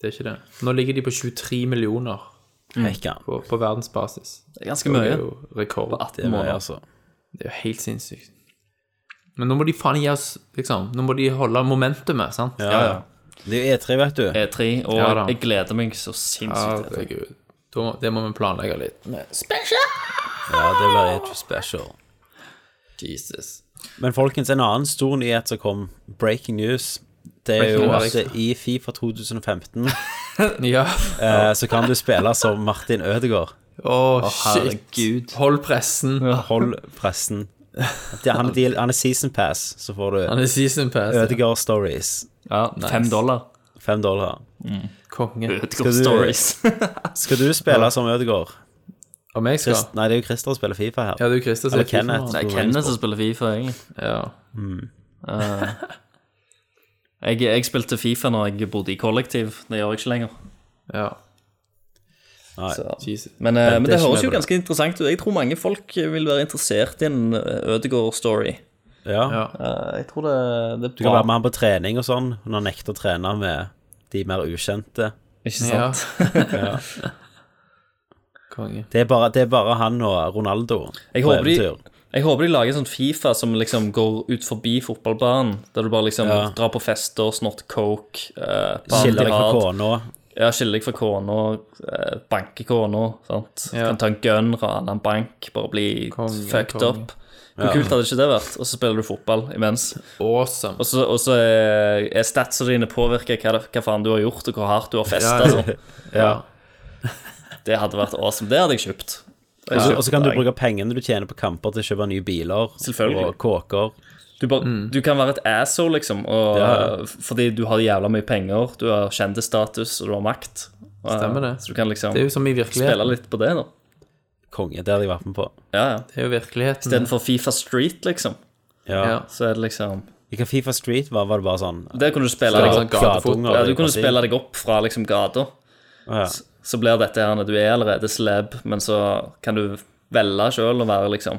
Det er ikke det. Nå ligger de på 23 millioner Heika. på, på verdensbasis. Det er ganske Det mye. er jo rekord. Det var jeg, altså. Det er jo helt sinnssykt. Men nå må de faen gi oss liksom, Nå må de holde momentumet, sant? Ja, ja. Det er jo E3, vet du. E3, E og Ja da. jeg gleder meg så sinnssykt. til det. Herregud. Da må- Det må vi planlegge litt. Ja, det blir E3 special. Jesus. Men folkens, en annen stor nyhet som kom, breaking news, det er jo Breaking at news. i Fifa 2015 Ja. eh, så kan du spille som Martin Ødegaard. Å, shit. Hold pressen. Hold pressen. Det- Han er, deal- han er season pass, så får Han du er season pass. Ødegaard stories. Ja, Fem dollar. Fem dollar. Konge. Skal du- Stories. Skal du spille som Ødegaard? Om jeg skal? Chris, Nei, det er jo Christer som spiller Fifa her. Ja, du Christer som Eller er FIFA Kenneth. nå. Det er Kenneth som spiller Fifa, egentlig. Ja. Jeg, jeg spilte Fifa når jeg bodde i kollektiv. Det gjør jeg ikke lenger. ja. Nei. Jesus. Men, eh, men det er det ikke høres med jo på det. ganske interessant ut. Jeg tror mange folk vil være interessert i en eh, Ødegaard-story. Ja. Ja. Eh, Jeg tror det, det Du er bra. kan være med han på trening og sånn, når han nekter å trene med de mer ukjente. Ikke sant? Konge. Det er bare, det er bare han og Ronaldo Jeg på håper de- eventyr. Jeg håper de lager sånn Fifa som liksom går ut forbi fotballbanen. Der du bare liksom Ja. drar på fester, snorter coke, eh, på Skiller deg fra antirad. kona. Ja, skiller deg fra kona, eh, banker kona, sant. Ja. Kan ta en gun, rane en bank, bare bli Konge, fucked konge. up. Hvor kult hadde ikke det vært? Og så spiller du fotball imens. Awesome. Og så, og så er, er statsene dine påvirka hva, hva faen du har gjort, og hvor hardt du har festa. Ja, ja. sånn. Det hadde vært awesome. Det hadde jeg kjøpt. Og så- Og så kan du Nei. bruke pengene du tjener på kamper til å kjøpe nye biler Selvfølgelig. og kåker. Du, bare, Mm. du kan være et asshole, liksom, og, Ja. f- fordi du har jævla mye penger, du har kjendisstatus, og du har makt. Og, Stemmer det. Så du kan liksom Det er jo som i virkeligheten. spille litt på det, da. Konge, det hadde jeg vært med på. Ja, ja. Det er jo virkeligheten. Istedenfor Fifa Street, liksom, Ja. Ja. så er det liksom Hva Fifa Street var, var det bare sånn Der kunne du spille Spille deg sånn opp. gatefotball. Ja, du kunne spille deg opp fra liksom gata. ja. Så blir dette her når du er allerede slab, men så kan du velge sjøl å være liksom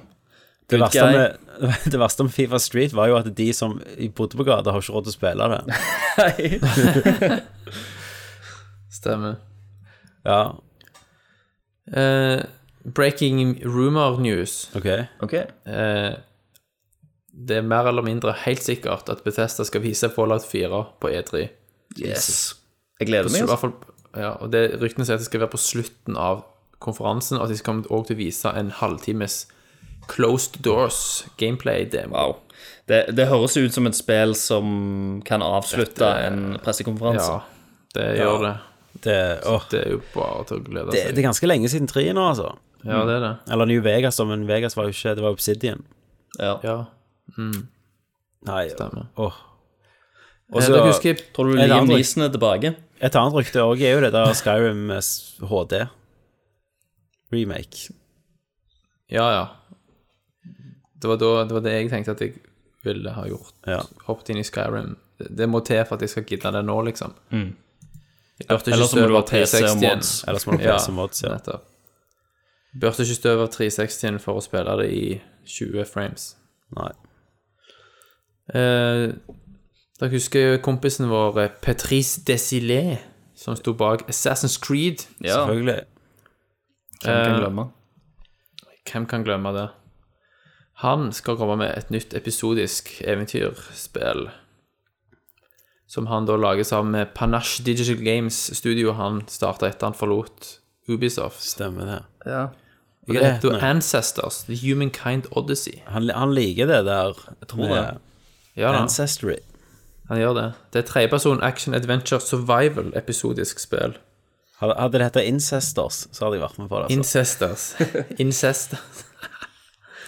det, good verste guy. med, det verste med Fifa Street var jo at de som bodde på gata, har ikke råd til å spille det. Nei. Stemmer. Ja, Eh, breaking rumor news. ok. Ok. Eh, det er mer eller mindre helt sikkert at Bethesda skal vise Fallout 4 på E3. Yes. Jeg gleder Så i meg. hvert Altså. fall, ja, og det Ryktene sier at det skal være på slutten av konferansen, og at de skal også til å vise en halvtimes closed doors gameplay-demo. Wow. Det, det høres ut som et spill som kan avslutte Dette- en pressekonferanse. Ja, det gjør det. Det, åh, Det er jo bare til å glede det, seg. det er ganske lenge siden 3 nå, altså. Ja, det er det. Eller New Vegas, da, men Vegas var jo ikke Det var Obsidian. Ja. Ja, Nei, stemmer. åh. Og så- så Eh, husker jeg Tror du Er det Liam andre- Neeson er tilbake? Et annet rykte òg er jo det der Skyrim eh, s- HD remake. Ja, ja. Det var, da, det var det jeg tenkte at jeg ville ha gjort. Ja. Hoppet inn i Skyrim. Det, det må til for at jeg skal gidde det nå, liksom. Jeg Burde ikke Mm. Eller så må du støve ha PC og 360-en. mods. Eller som Ja, som mods, ja. nettopp. Burde ikke støve av 360-en for å spille det i 20 frames. Nei. Eh, dere husker kompisen vår eh, Patrice Desilé, som sto bak Assassin's Creed? Eh, Ja, Selvfølgelig. hvem kan glemme? Hvem kan glemme det? Han skal komme med et nytt episodisk eventyrspill. Som han da lager sammen med Panache Digital Games, studioet han starta etter han forlot Ubisoft. Stemmer det. Ja. Og Det heter Ancestors, The Humankind Odyssey. Han, han liker det der. Jeg tror det. Ja da, Ancestry. han gjør det. Det er tredjeperson action adventure survival-episodisk spill. Hadde, hadde det hett Incestors, så hadde jeg vært med på det. Altså. Incestors. Incestors.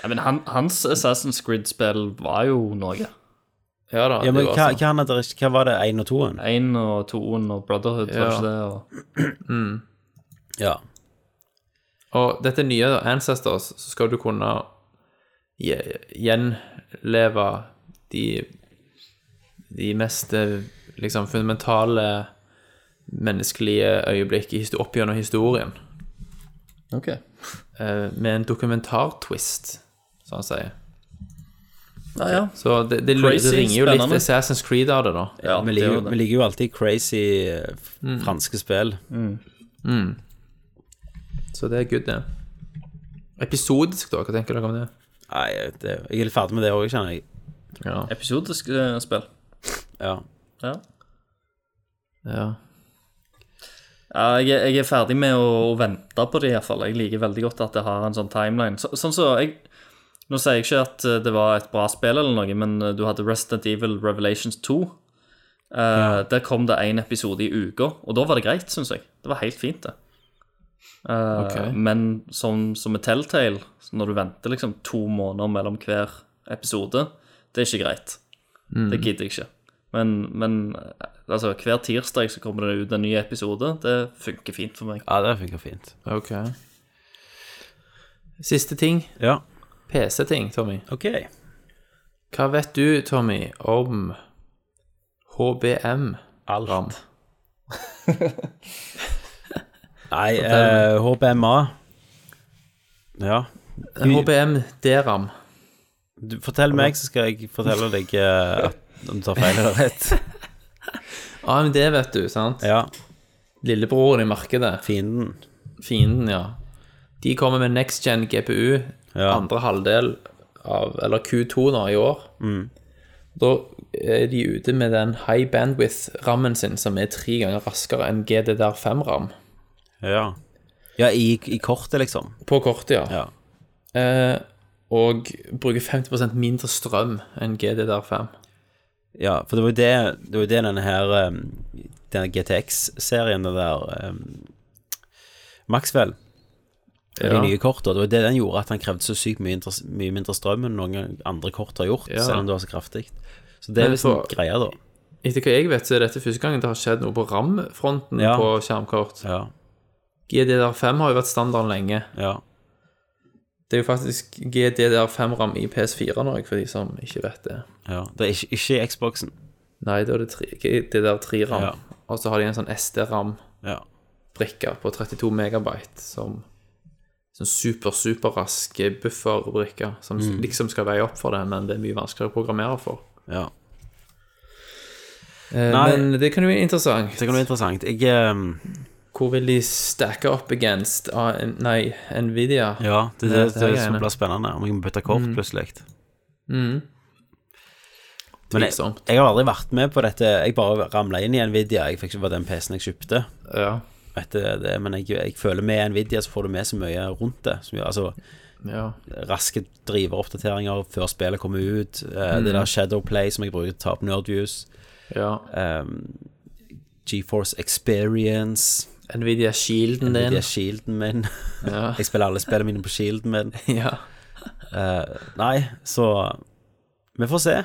Ja, men han, hans Assassin's Creed-spill var jo noe. Ja da. Ja, men det var hva, sånn. hva, han hadde, hva var det, én og toen? Én og toen og Brotherhood, var Ja. ikke det? Og... Ja. Og dette nye da, Ancestors, så skal du kunne gje- gjenleve de, de mest eh, liksom, fundamentale menneskelige øyeblikk i histo- opp gjennom historien. eh, Med en dokumentartwist, som han sier. Ja, ja. Så det, det, det Crazy, ringer jo litt spennende. Assassin's Creed av det, da. ja vi, det er liker, jo jo- det. vi liker jo alltid crazy eh, f- franske spill. Så det er good, det. Episodisk, da? Hva tenker dere om det? Nei, jeg, vet det, jeg er litt ferdig med det òg, kjenner jeg. Ja. Episodisk eh, spill. Ja. Ja. ja. Ja, jeg, er- jeg er ferdig med å, å vente på det, iallfall. Jeg liker veldig godt at det har en sånn timeline. Så, sånn så jeg, Nå sier jeg ikke at eh, det var et bra spill, eller noe, men eh, du hadde Resident Evil Revelations 2. Eh, Der kom det én episode i uka, og da var det greit, syns jeg. Det var helt fint, det. Eh, Ok. Men som, som med Telltale, så når du venter liksom to måneder mellom hver episode, det er ikke greit. Det gidder jeg ikke. Men, men eh, altså, hver tirsdag så kommer det ut en ny episode. Det funker fint for meg. ja, det funker fint. Ok. Siste ting. Ja, PC-ting, Tommy. OK. Hva vet du, Tommy, om HBM? Alt. Ram. Nei, eh, HBMA Ja. HBM DRAM. Du, fortell meg, så skal jeg fortelle deg eh, at- om du tar feil eller rett. AMD, vet du, sant? Ja, Lillebroren i markedet. fienden. Fienden, ja. De kommer med next gen GPU Ja. andre halvdel av Eller Q2 nå i år. Da er de ute med den high bandwidth-rammen sin, som er tre ganger raskere enn GDDR5-ram. Ja, ja i, i kortet, liksom. På kortet, ja. Ja. Eh, og bruker 50 mindre strøm enn GDDR5. Ja, for det var jo det, det, var jo det denne her um, Denne GTX-serien, den der um, Maxwell med Ja. De nye kortene. Det var det den gjorde at han krevde så sykt mye, inter- mye mindre strøm enn noen andre kort har gjort, Ja. selv om det var så kraftig. Så det er Men liksom for- greia, da. Etter hva jeg vet, så er dette første gangen det har skjedd noe på RAM-fronten Ja. på skjermkort. Ja, GDDR5 har jo vært standarden lenge. ja. Det er jo faktisk GDDR5-ram i PS4 nå, for de som ikke vet det. ja. Det er ikke, ikke i Xboxen. Nei, da er det tre- GDDR3-ram. Ja. Og så har de en sånn SD-ram-brikke Ja. på 32 megabyte som sånn super, superrask bufferbrikke som Mm. liksom skal veie opp for det, men det er mye vanskeligere å programmere for. ja. Eh, Nei. Men det kan jo være interessant. Så det kan være interessant. Jeg um, Hvor vil de stacke opp against ah, nei, Nvidia? Ja, Med det er det, dette det, her som greiene. blir spennende. Om jeg må bytte kort plutselig. Men jeg, Tvilsomt. jeg har aldri vært med på dette. Jeg bare ramla inn i Nvidia. Jeg fikk ikke på den PC-en jeg kjøpte. Ja. Etter det, men jeg, jeg føler med Nvidia så får du med så mye rundt det. Som, gjør- altså ja. Raske driveroppdateringer før spillet kommer ut. eh, Det der Shadowplay som jeg bruker til å ta opp Nerdviews. ja. GeForce Experience. Nvidia Shielden Nvidia din. Shielden min. Ja. Jeg spiller alle spillene mine på Shielden min. ja. Eh, Nei, så Vi får se.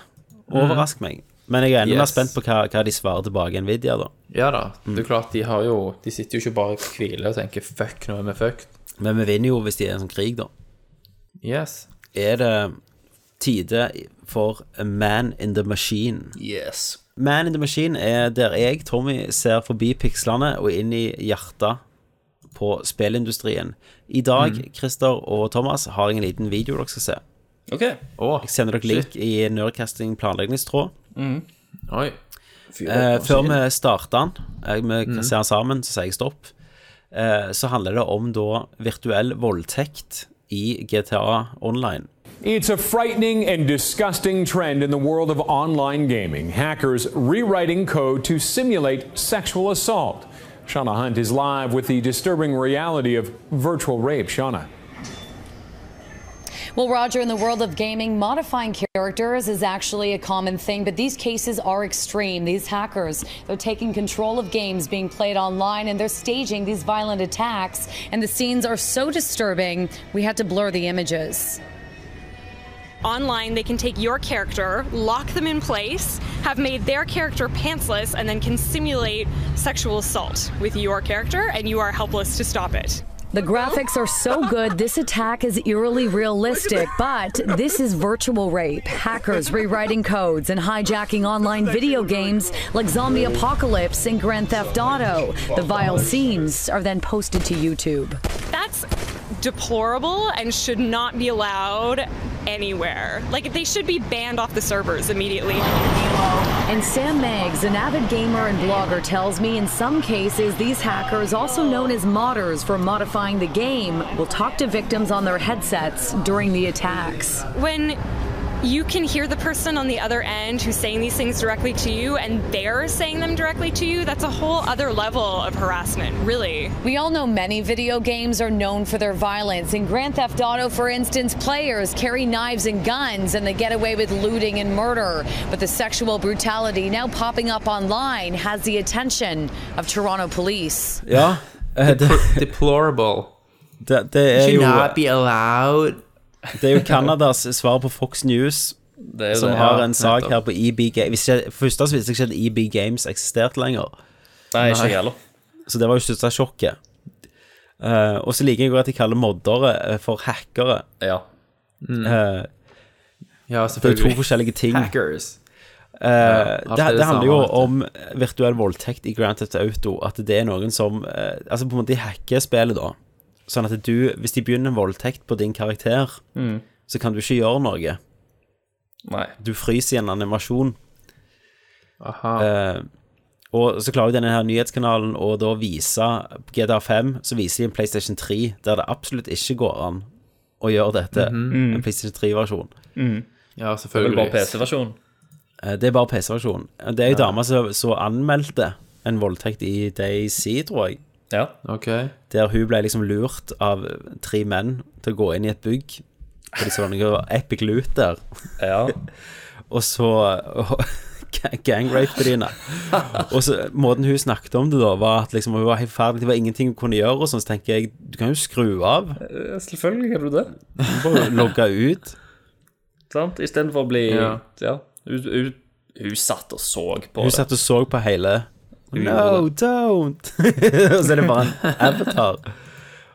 Overrask meg. Men jeg er enda mer Yes. spent på hva, hva de svarer tilbake Nvidia, da. ja da. Mm. Det er klart, de har jo De sitter jo ikke bare og hviler og tenker 'fuck, nå er vi fucked'. Men vi vinner jo hvis de er i en sånn krig, da. Yes. Er det tide for a man in the machine? Yes. Man in the machine er der jeg, Tommy, ser forbi pikslene og inn i hjertet på spillindustrien. I dag, Christer og Thomas, har jeg en liten video dere skal se. OK. Å, Jeg sender dere link i Nerdcasting planleggingstråd. oi. Eh, før vi starter den, eh, vi Mm. kan se den sammen, så sier jeg stopp. Eh, så handler det om da virtuell voldtekt i GTA Online. It's a frightening and disgusting trend in the world of online gaming. Hackers rewriting code to simulate sexual assault. Shauna Hunt is live with the disturbing reality of virtual rape. Shauna. Well, Roger, in the world of gaming, modifying characters is actually a common thing, but these cases are extreme. These hackers, they're taking control of games being played online and they're staging these violent attacks, and the scenes are so disturbing, we had to blur the images. online, they can take your character, lock them in place, have made their character pantsless, and then can simulate sexual assault with your character, and you are helpless to stop it. The graphics are so good, this attack is eerily realistic, but this is virtual rape. Hackers rewriting codes and hijacking online video games like Zombie Apocalypse and Grand Theft Auto. The vile scenes are then posted to YouTube. That's deplorable and should not be allowed anywhere. Like, they should be banned off the servers immediately. And Sam Meggs, an avid gamer and blogger, tells me in some cases these hackers, also known as modders for modifying the game, will talk to victims on their headsets during the attacks. when you can hear the person on the other end who's saying these things directly to you and they're saying them directly to you, that's a whole other level of harassment, really. We all know many video games are known for their violence. In Grand Theft Auto, for instance, players carry knives and guns and they get away with looting and murder. But the sexual brutality now popping up online has the attention of Toronto police. Ja. eh, Det, Deplorable. det, det er jo be allowed. Det er jo Canadas svar på Fox News, Det er jo som det, har ja, en sak nettopp. her på E EB Games. Først så visste jeg ikke at EB Games eksisterte lenger. Nei, ikke jeg heller. Så det var jo største sjokket. Eh, og så liker jeg godt at de kaller moddere eh, for hackere. Ja. Mm. Eh, Ja, det er jo to selvfølgelig. forskjellige ting. Hackers. Eh, alt det, er det det handler samme, jo vet du. om virtuell voldtekt i Grand Theft Auto. At det er noen som eh, Altså, på en måte, de hacker spillet, da. Sånn at du, hvis de begynner en voldtekt på din karakter, Mm. så kan du ikke gjøre noe. Nei. Du fryser i en animasjon. Aha. Eh, og så klarer jo denne her nyhetskanalen å da vise på GTA5, så viser de en PlayStation 3 der det absolutt ikke går an å gjøre dette. Mhm. En PlayStation 3-versjon. Ja, Det er vel selvfølgelig. bare PC-versjonen. Eh, det er bare PC-versjonen. Det er ei dame som som anmeldte en voldtekt i DayZ, tror jeg. Ja. Ok. Der hun ble liksom lurt av tre menn til å gå inn i et bygg. For det var noe epic loot der. ja. og så og, gangrape dine. Og så måten hun snakket om det da, var at liksom, hun var helt ferdig, det var ingenting hun kunne gjøre, og sånn, så tenker jeg, du kan jo skru av, Selvfølgelig kan du det. bare logge ut. Sant? Istedenfor å bli Ja. ja. Hun, hun, hun satt og så på Hun det. satt og så på hele, no, don't. og så er det bare en avatar.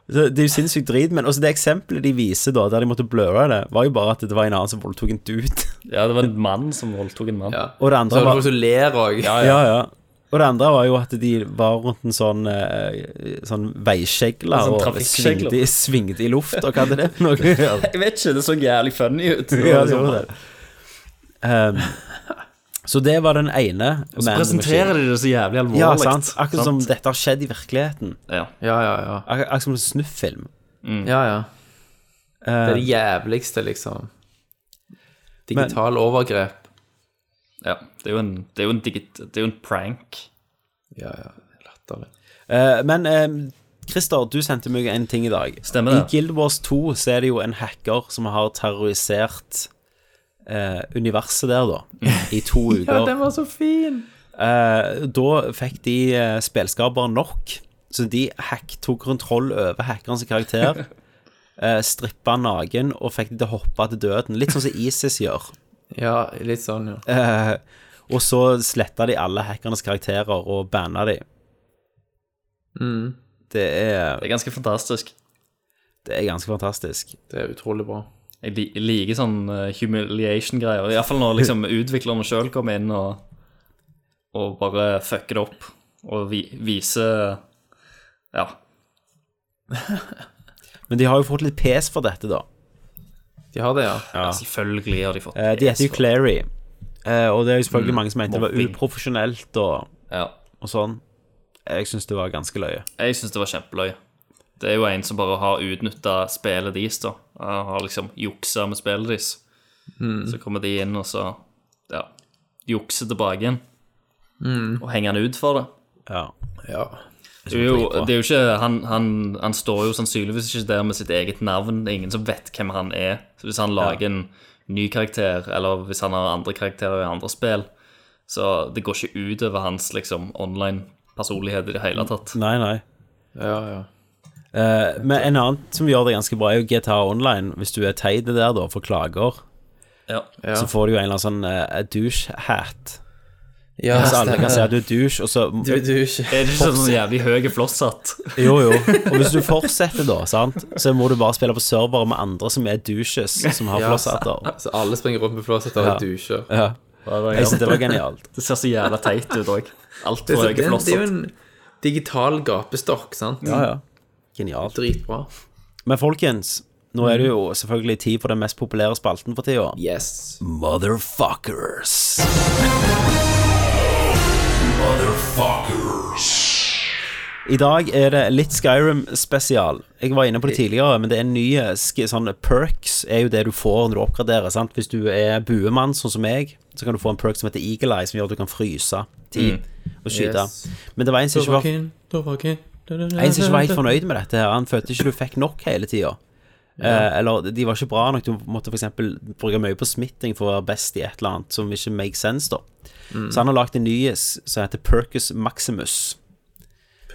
Så det er jo sinnssykt drit, men også det eksempelet de viser da, der de måtte bløre det, var jo bare at det var en annen som voldtok en dude. Ja, det var en mann som voldtok en mann. Ja. Og det Så andre er det var... folk som ler òg. Ja, Ja, ja. Og det andre var jo at de var rundt en sånn, eh, sånn veiskjegle En sånn og trafikkskjegle. svingte, i- svingte i luft, og hva hadde det for noe å gjøre? Jeg vet ikke, det så jævlig funny ut. Ja, det gjorde det. Um, så det var den ene. Så presenterer de det så jævlig alvorlig. Ja, sant. Akkurat som dette har skjedd i virkeligheten. Ja. ja, ja. Ak akkurat som en snufffilm. Mm. Ja, ja. Det er det jævligste, liksom. Digital overgrep. ja. Det er jo en, det er jo en, digit, det er jo en prank. Ja, ja. Latterlig. Eh, men eh, Christer, du sendte meg en ting i dag. Stemmer I det. Guild Wars 2 så er det jo en hacker som har terrorisert eh, universet der, da, i to uker. var så fin! Eh, da fikk de eh, spilskapere nok, så de hack, tok kontroll over hackerens karakter. eh, Strippa naken og fikk de til å hoppe til døden. Litt sånn som ISIS gjør. Ja, litt sånn, ja. Eh, og så sletta de alle hackernes karakterer og banna de. Det, er, Det er ganske fantastisk. det er ganske fantastisk. Det er utrolig bra. Jeg li- jeg liker sånn eh, humiliation-greier. Iallfall når liksom utviklerne sjøl kommer inn og, og bare fucker det opp og vi, viser Ja. Men de har jo fått litt pes for dette, da. De har det, ja. ja. Selvfølgelig har de fått Eh, de heter jo PS for- Clary, eh, og det er jo selvfølgelig mange som mente det var mobbing. uprofesjonelt og, Ja. og sånn. Jeg syns det var ganske løye. Jeg syns det var kjempeløye. Det er jo en som bare har utnytta spillet deres, da. Han har liksom juksa med spillet deres. Så kommer de inn og så ja, jukser tilbake igjen. Og henger han ut for det. Ja. Ja, Det er jo, dritbra. det er jo ikke, han, han, han står jo sannsynligvis ikke der med sitt eget navn. Det er ingen som vet hvem han er. Så hvis han lager en ny karakter, eller hvis han har andre karakterer i andre spill, så det går ikke ut over hans liksom, online-personlighet i det hele tatt. Nei, nei. ja. ja. Eh, men en annen som gjør det ganske bra, er jo GTA Online, hvis du er teit der, da, for klager. Ja. Ja. Så får du jo en eller annen sånn eh, douche-hat. Ja, Så alle kan si stemmer at det. du er douche, og så Du, du er ikke Er det ikke sånn jævlig høy flosshatt? Jo, jo. Og hvis du fortsetter, da, sant? så må du bare spille på servere med andre som er douches, som har Ja, flosshatter. Så alle springer rundt med flåsetter og dusjer. Ja. Jeg synes det var genialt. Det ser så jævla teit ut òg. Det, Altfor er- høy det, er- det er jo flosshatt. en digital gapestokk, sant? Ja, ja. Genialt. Dritbra. Men folkens, nå er det jo selvfølgelig tid for den mest populære spalten for tida. Yes. Motherfuckers. I dag er det litt Skyrim-spesial. Jeg var inne på det tidligere, men det er en ny sk- sånn perks er jo det du får når du oppgraderer. sant? Hvis du er buemann, sånn som meg, så kan du få en perk som heter Eagle Eye, som gjør at du kan fryse tid og skyte. Yes. Men det var en som ikke var Dovakin, Dovakin, en som ikke var helt fornøyd med dette her, han følte ikke du fikk nok hele tida. Eh, eller de var ikke bra nok. Du måtte f.eks. bruke mye på smitting for å være best i et eller annet som ikke makes sense, da. Mm. Så han har lagd en ny s- som heter Percus Maximus,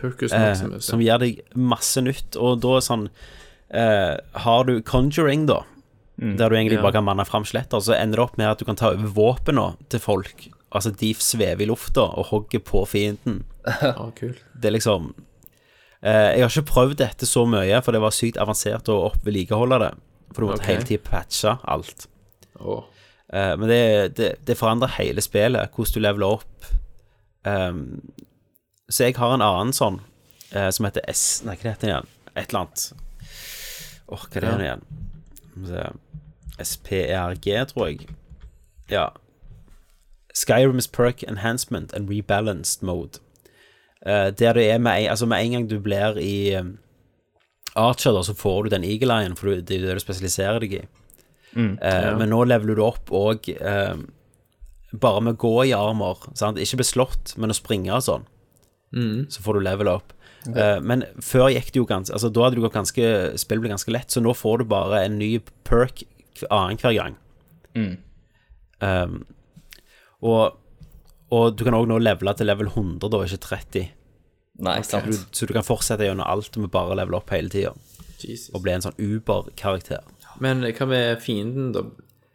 Percus eh, Maximus. som gir deg masse nytt. Og da er sånn eh, Har du conjuring, da, der du egentlig Mm. Ja. bare kan manne fram skjeletter, så ender det opp med at du kan ta over våpnene til folk. Altså, de svever i lufta og hogger på fienden. Å, Ah, kult. Det er liksom eh, Jeg har ikke prøvd dette så mye, for det var sykt avansert å opp- vedlikeholde det. For du Ok. måtte hele tiden patche alt. Å, Eh, men det, det, det forandrer hele spillet, hvordan du leveler opp. Ehm, så jeg har en annen sånn, eh, som heter S Nei, hva heter den igjen? Et eller annet. Åh, hva er det den igjen? Skal vi se. SPERG, tror jeg. Ja. Skyrim's Perk Enhancement and Rebalanced Mode. Eh, der det er med en, altså med en gang du blir i eh, Archer, da, så får du den eagle-eyen, for du- det er jo det du spesialiserer deg i. Eh, Men nå leveler du opp og eh, bare med å gå i armer, sant? ikke bli slått, men å springe og sånn, så får du level opp. Eh, men før gikk det jo ganske Altså Da hadde det gått ganske spillet ble ganske lett, så nå får du bare en ny perk annenhver gang. Um, og, og du kan òg nå levele til level 100, da, ikke 30. Nei, sant. Du, så du kan fortsette gjennom alt med bare å levele opp hele tida. Jesus. Og bli en sånn Uber-karakter. Men hva med fienden, da?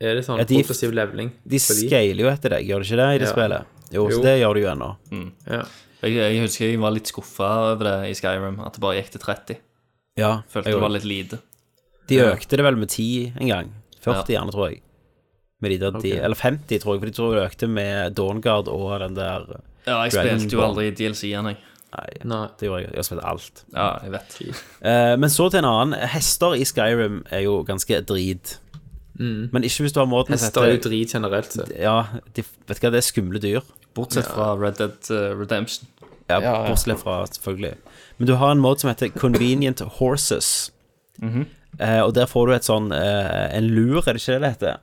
Er det sånn Ja, de- progressiv leveling? De på de? scaler jo etter deg, gjør de ikke det, i det Ja. spillet? Jo, Jo. så det gjør de jo ennå. Ja. Jeg, jeg husker jeg var litt skuffa over det i Skyrim, at det bare gikk til 30. Ja, Følte det var litt lite. De økte det vel med 10 en gang. 40 Ja. gjerne, tror jeg. Med de der, de, eller 50, tror jeg, for de tror det økte med Dawnguard og den der Ja, jeg Dragon spilte jo Ball. aldri DLC-en, jeg. Nei, Nei. det gjorde jeg. Jeg har spilt alt. Ja, jeg vet. Eh, men så til en annen. Hester i Skyrim er jo ganske drit. Men ikke hvis du har måten Mm. Hester er jo drit generelt sett. Ja, de, vet du hva, det er skumle dyr. Bortsett fra Red Dead eh, Redemption. Ja, Bortsett fra, selvfølgelig. Men du har en mode som heter Convenient Horses. Eh, og der får du et sånn eh, En lur, er det ikke det det heter?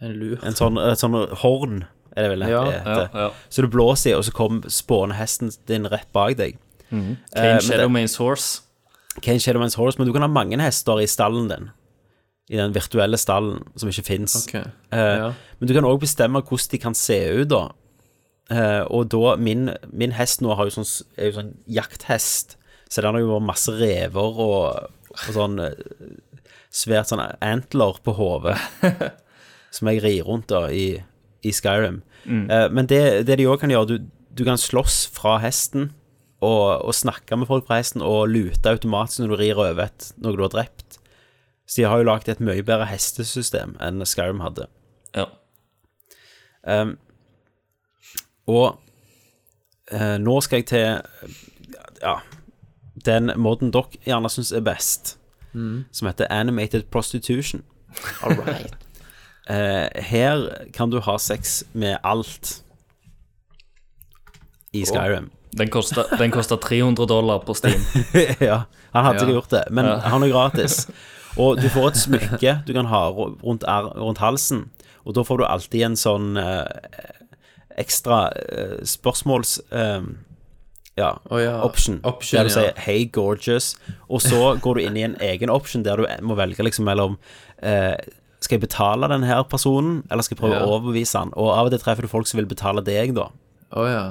En lur. En sånn, et sånn horn, er det vel det Ja, heter. Ja, ja. Så du blåser i, og så kommer spående hesten din rett bak deg. Eh, Kane men Shadow det- Mains Horse. Kane Shadowman's Horse, men du kan ha mange hester i stallen din. I den virtuelle stallen som ikke fins. Ok. Eh, Ja. Men du kan òg bestemme hvordan de kan se ut, da. Eh, og da Min, min hest nå har jo sånn, s- er jo sånn jakthest, så den har jo vært masse rever og, og sånn eh, svært sånn antler på hodet som jeg rir rundt da i, i Skyrim. Eh, men det, det de òg kan gjøre, du, du kan slåss fra hesten og, og snakke med folk fra hesten og lute automatisk når du rir over et, noe du har drept. Så de har jo lagd et mye bedre hestesystem enn Skyrim hadde. Ja. Og eh, nå skal jeg til ja, den måten dere gjerne syns er best, som heter animated prostitution. Eh, her kan du ha sex med alt i Skyrim. Den kosta, den kosta 300 dollar på Steam. ja, han hadde Ja. ikke gjort det, men han er gratis. Og du får et smykke du kan ha ro- rundt, ar- rundt halsen, og da får du alltid en sånn eh, ekstra eh, spørsmåls... eh, ja, Å ja, option. option, der du ja. sier 'Hey, gorgeous', og så går du inn i en egen option der du må velge liksom mellom eh, Skal jeg betale denne her personen, eller skal jeg prøve Ja. å overbevise han? Og av og til treffer du folk som vil betale deg, da. Å ja.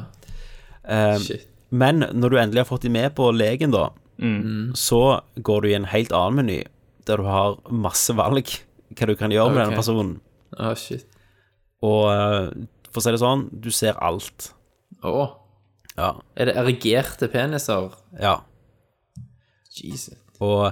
Eh, Shit. men når du endelig har fått dem med på legen, da, så går du i en helt annen meny, der du har masse valg hva du kan gjøre Ok. med denne personen. Å, shit. Og eh, for å si det sånn, du ser alt. Å. Ja. Er det erigerte peniser? ja. Jesus. Og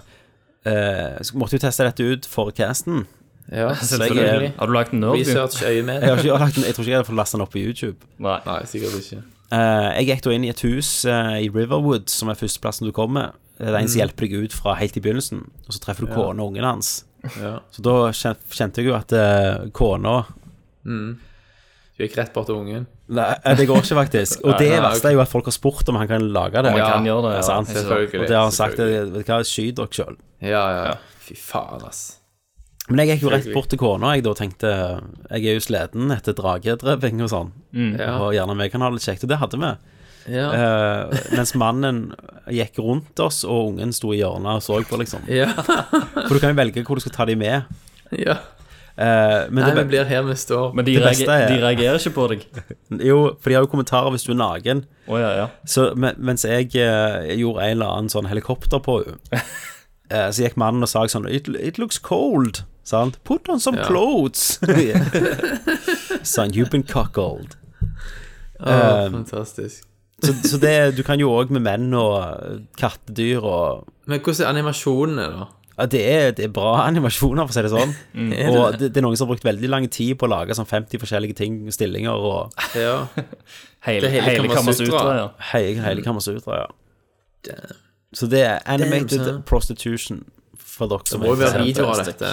eh, så måtte jo teste dette ut for casten. Ja, Selvfølgelig. selvfølgelig. Har du lagd en nerdview? Research-øyemed. Jeg, har ikke, jeg, har lagt den, jeg tror ikke jeg hadde fått lasta den opp på YouTube. Nei. Nei, sikkert ikke. Eh, jeg gikk da inn i et hus eh, i Riverwood, som er førsteplassen du kommer. Det er en som hjelper deg ut fra helt i begynnelsen, og så treffer du kona og ungen hans. Ja. Så da kjen- kjente jeg jo at eh, kona Du gikk rett bort til ungen. Nei, eh, det går ikke, faktisk. Og Nei, det nei, verste er jo at folk har spurt om han kan lage det. Om han kan gjøre det, ja. sant? Selvfølgelig, Og det har han sagt. eh, selvfølgelig. Vet du hva, skyt dere sjøl. Ja, ja. Fy faen, ass. Men jeg gikk jo rett bort til kona jeg da tenkte Jeg er jo sliten etter dragedreping og sånn. Ja. Og gjerne vi kan ha det litt kjekt. Og det hadde vi. Ja. Eh, mens mannen gikk rundt oss, og ungen sto i hjørnet og så på, liksom. Ja. For du kan jo velge hvor du skal ta de med. ja. Eh, men Nei, det, vi blir her vi står. Men de, Det beste reager, er- de reagerer ikke på deg? jo, for de har jo kommentarer hvis du er naken. Å ja, ja. Så men, mens jeg eh, gjorde en eller annen sånn helikopter på henne, eh, så gikk mannen og sa sånn It, it looks cold. Sant? Put on some clothes. Sånn, you've been cuckold. Å, eh, fantastisk. Så, så det, du kan jo òg med menn og eh, kattedyr og Men hvordan er animasjonene, da? ja, det, er, det er bra animasjoner, for å si det sånn. Mm. Og det, det er noen som har brukt veldig lang tid på å lage sånn 50 forskjellige ting, stillinger og Ja. Hele, Det hele hele Kamasutra. Kamasutra, ja. Hele, hele Kamasutra, ja. Mm. Damn. Så det er animated Damn, son. prostitution for dere som Det må jo være interessert. videoer av dette.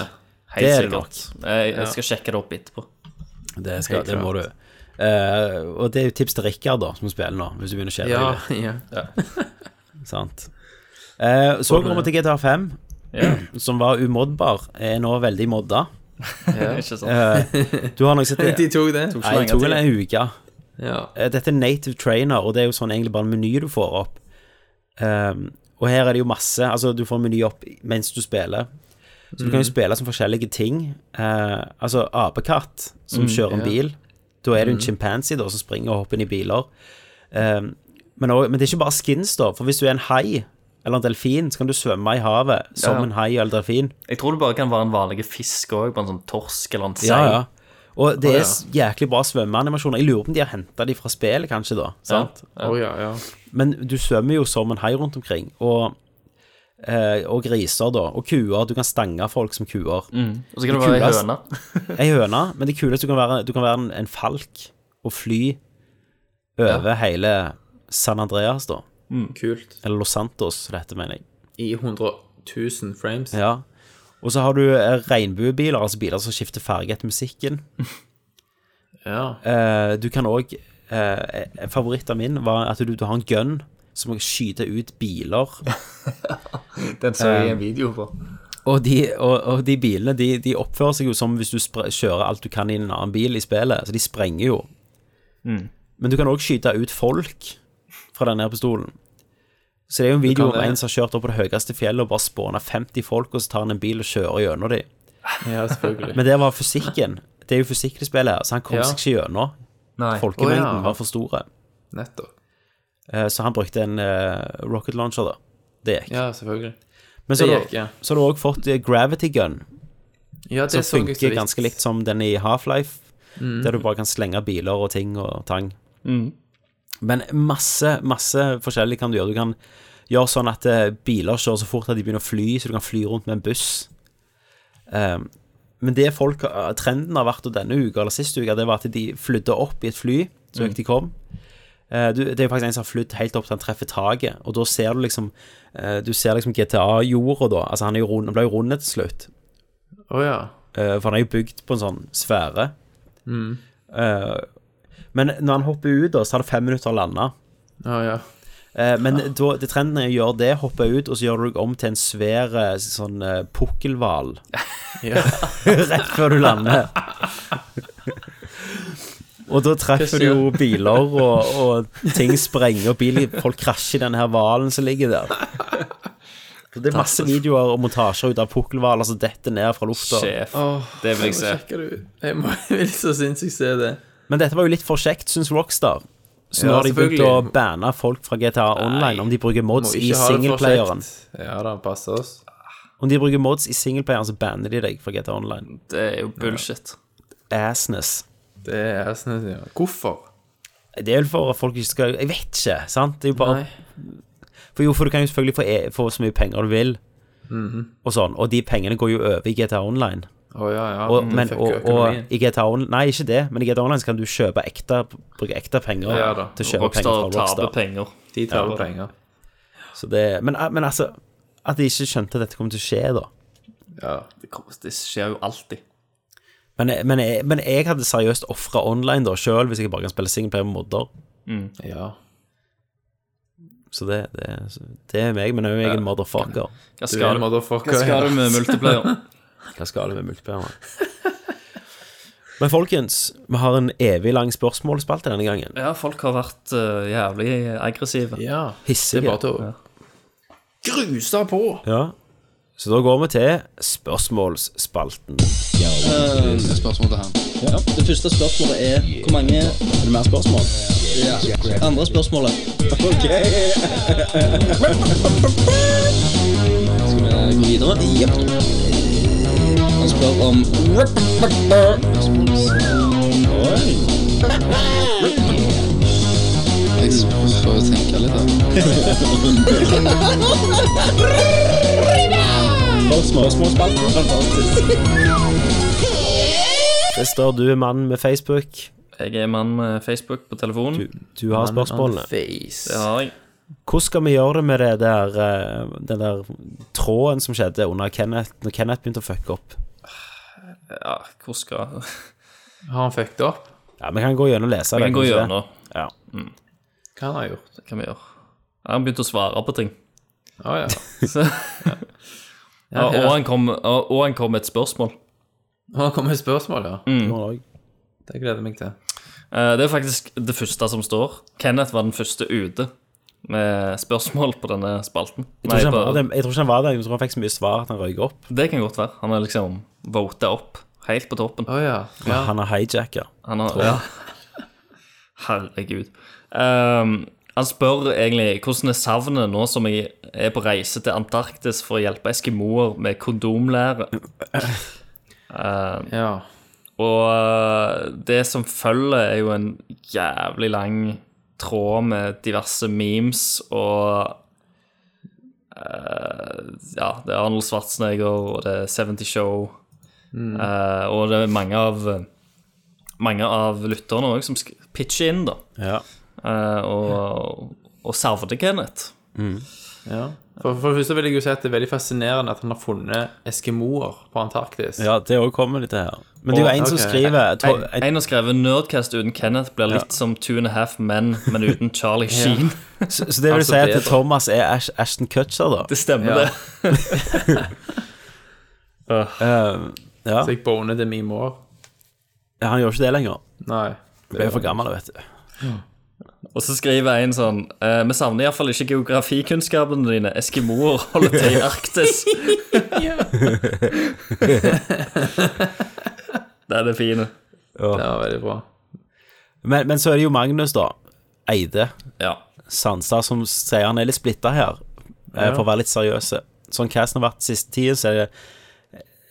Helt Det er det sikkert. Jeg, jeg skal sjekke det opp etterpå. Det, skal, Helt det må du. klart. Eh, og det er jo tips til Rikard, da, som spiller nå, hvis du begynner å kjede Ja, deg. ja. litt, Sant? Eh, så kommer vi til GTA 5, Ja. som var umodbar, er nå veldig modda. Ikke sant? Eh, du har nok sett det? De tok det. Nei, jeg tok vel en uke. Ja. Eh, Dette er native trainer, og det er jo sånn egentlig bare en meny du får opp. Ehm, og her er det jo masse Altså, du får en meny opp mens du spiller. Så du kan jo spille som forskjellige ting. Eh, altså apekatt som kjører en bil. Da er det en chimpanse da, som springer og hopper inn i biler. Ehm, men, også, men det er ikke bare skins, da. For hvis du er en hai eller en delfin, så kan du svømme i havet som Ja. en hai eller delfin. Jeg tror det bare kan være en vanlig fisk òg, på en sånn torsk eller en sei. Ja, ja. Og det Å, er s- jæklig bra svømmeanimasjoner. Jeg lurer på om de har henta de fra spillet, kanskje, da. Sant? Å ja, ja. Men du svømmer jo som en hai rundt omkring, og, eh, og griser, da, og kuer. Du kan stange folk som Og kuer. så kan det være ei Kulest. høne. Ei høne, men det kuleste du kan være, du kan være en, en falk og fly over hele San Andreas, da. Kult. Eller Los Santos, som det heter, mener jeg. I 100 000 frames. Ja. Og så har du eh, regnbuebiler, altså biler som skifter farge etter musikken. Ja. Eh, du kan òg eh, En favoritt av min var at du, du har en gun som skyter ut biler. Den så jeg en video på. Og de, og, og de bilene de, de oppfører seg jo som hvis du spre- kjører alt du kan i en annen bil i spillet, så de sprenger jo. Mm. Men du kan òg skyte ut folk fra denne her pistolen. Så det er jo en video kan om det. en som har kjørt opp på det høyeste fjellet og bare spåna 50 folk, og så tar han en bil og kjører gjennom dem. Ja, selvfølgelig. Men det var fysikken. Det er jo fysikk det spillet her, så han kom Ja. seg ikke gjennom. Folkemengden Å, ja. var for store. Nettopp. Eh, Så han brukte en eh, rocket launcher, da. Det gikk. Ja, selvfølgelig. Men så det har du- gikk, ja. så har du òg fått eh, gravity gun. Ja, det så Mm. som jeg så funker vidt. ganske likt som den i Half-Life, der du bare kan slenge biler og ting og tang. Mm. Men masse, masse forskjellig kan du gjøre. Du kan gjøre sånn at eh, biler kjører så fort at de begynner å fly, så du kan fly rundt med en buss. Ehm, men det folk, eh, trenden har vært og denne uka eller siste uka, det var at de flydde opp i et fly så Mm. høyt de kom. Eh, du, det er jo faktisk en som har flydd helt opp til han treffer taket, og da ser du liksom eh, Du ser liksom GTA-jorda, da. Altså, han, er jo rund, han ble jo rund til slutt. Å ja. Eh, For han er jo bygd på en sånn sfære. Eh, men når han hopper ut, da, så tar det fem minutter å lande. Å ja. Eh, men da, det trenden er å gjøre det, hoppe ut, og så gjør du deg om til en svær eh, sånn eh, pukkelhval Ja. rett før du lander. Og da treffer du jo biler, og, og ting sprenger, og biler, folk krasjer i denne her hvalen som ligger der. Så det er masse videoer og montasjer ut av pukkelhvaler som detter ned fra lufta. Sjef. Åh, Det vil jeg se. Sjekker du Jeg må jeg vil så sinnssykt se det. Men dette var jo litt for kjekt, syns Rockstar. Så Ja, nå har de begynt å selvfølgelig. banne folk fra GTA Online om de bruker Må mods i ikke ha det for singleplayeren. kjekt. Ja da, passe oss. Om de bruker mods i singleplayeren, så banner de deg fra GTA Online. Det er jo bullshit. assness. Det er sånn, ja. Hvorfor? Det er vel for at folk ikke skal Jeg vet ikke, sant? Det er jo bare Nei. For jo, for du kan jo selvfølgelig få, e- få så mye penger du vil, Mhm. og sånn. Og de pengene går jo over i GTA Online. Å ja, ja. Og, mm, men, fuck og, og økonomien. i GTA Online Nei, ikke det, men i GTA Online så kan du kjøpe ekte bruke ekte penger Ja, da. til å kjøpe Rockstar penger fra taper Rockstar. penger. De tar jo penger. Så det, men, men altså At de ikke skjønte at dette kom til å skje, da. Ja. Det, kommer- det skjer jo alltid. Men, men, jeg, men jeg hadde seriøst ofra online da sjøl, hvis jeg bare kan spille singleplayer med modder. ja. Så det, det, det er meg, men òg jeg er en motherfucker. Hva Du er skal en du, motherfucker. hva skal du med multiplayer? Hva skal det med multiplayer? mann? Men folkens, vi har en evig lang spørsmålsspalte denne gangen. Ja, folk har vært eh, jævlig aggressive. Ja. Det Hissige. er bare til å gruse på. Ja. Så da går vi til spørsmålsspalten. Det første spørsmålet er hvor mange Er det mer spørsmål? Andre spørsmålet. Skal vi gå videre? Jepp. Han spør om Jeg får jo tenke litt, da. Spørsmålsspalten. Fantastisk. Christer, du er mannen med Facebook. Jeg er mann med Facebook på telefonen. Du, du har spørsmålene. Face. Det har jeg. Hvordan skal vi gjøre det med det der, eh, den der tråden som skjedde under Kenneth, når Kenneth begynte å fucke opp? Ja, hvor skal Har han fucked opp? Ja, Vi kan gå gjennom og lese Vi det. kan gå kanskje. gjennom. Ja. Hva han har gjort? Det kan vi gjøre. Ja, Han begynte å svare på ting. Å ja. Så. Ja, og, han kom, og, og han kom med et spørsmål. Han kom med spørsmål, ja. Mm. Nå har Mm. jeg- Det gleder jeg meg til. Eh, Det er faktisk det første som står. Kenneth var den første ute med spørsmål på denne spalten. Jeg tror, ikke Nei, han var på, der, jeg tror ikke han var der, jeg tror han fikk så mye svar at han røyk opp. det kan godt være. Han er liksom vota opp helt på toppen. Å ja. ja. Han er hijacka. Han har, ja. Herregud. Ehm, han spør egentlig hvordan er savnet nå som jeg er på reise til Antarktis for å hjelpe eskimoer med kondomlære. ja. Og eh, det som følger, er jo en jævlig lang tråd med diverse memes og eh, Ja, det er Arnold Schwarzenegger, og det er 70 Show. eh, og det er mange av mange av lytterne òg som sk- pitcher inn, da. Ja. eh, og, og savner Kenneth. ja. For, for det første vil jeg jo si at det er veldig fascinerende at han har funnet eskimoer på Antarktis. ja, det òg kommer litt her. Men det er jo en som Ok. skriver jeg tror- En har skrevet 'Nerdcast uten Kenneth blir litt som Two and a Half Men, men uten Charlie Sheen'. Så, så det vil Altså, si at det er bra. Thomas er Ash, Ashton Kutcher, da? Det stemmer, Ja. det. Eh, ja. Så jeg boner det mime år. ja, Han gjør ikke det lenger. Nei. Ble jo for gammel, vet du. Og så skriver en sånn eh, Vi savner iallfall ikke geografikunnskapene dine. Eskimoer holder til i Arktis. Den er fin. Det var veldig bra. Men, men så er det jo Magnus, da. Eide Ja. Sansa, som sier han er litt splitta her, eh, for å være litt seriøse. Sånn casten har vært siste tiden, så er det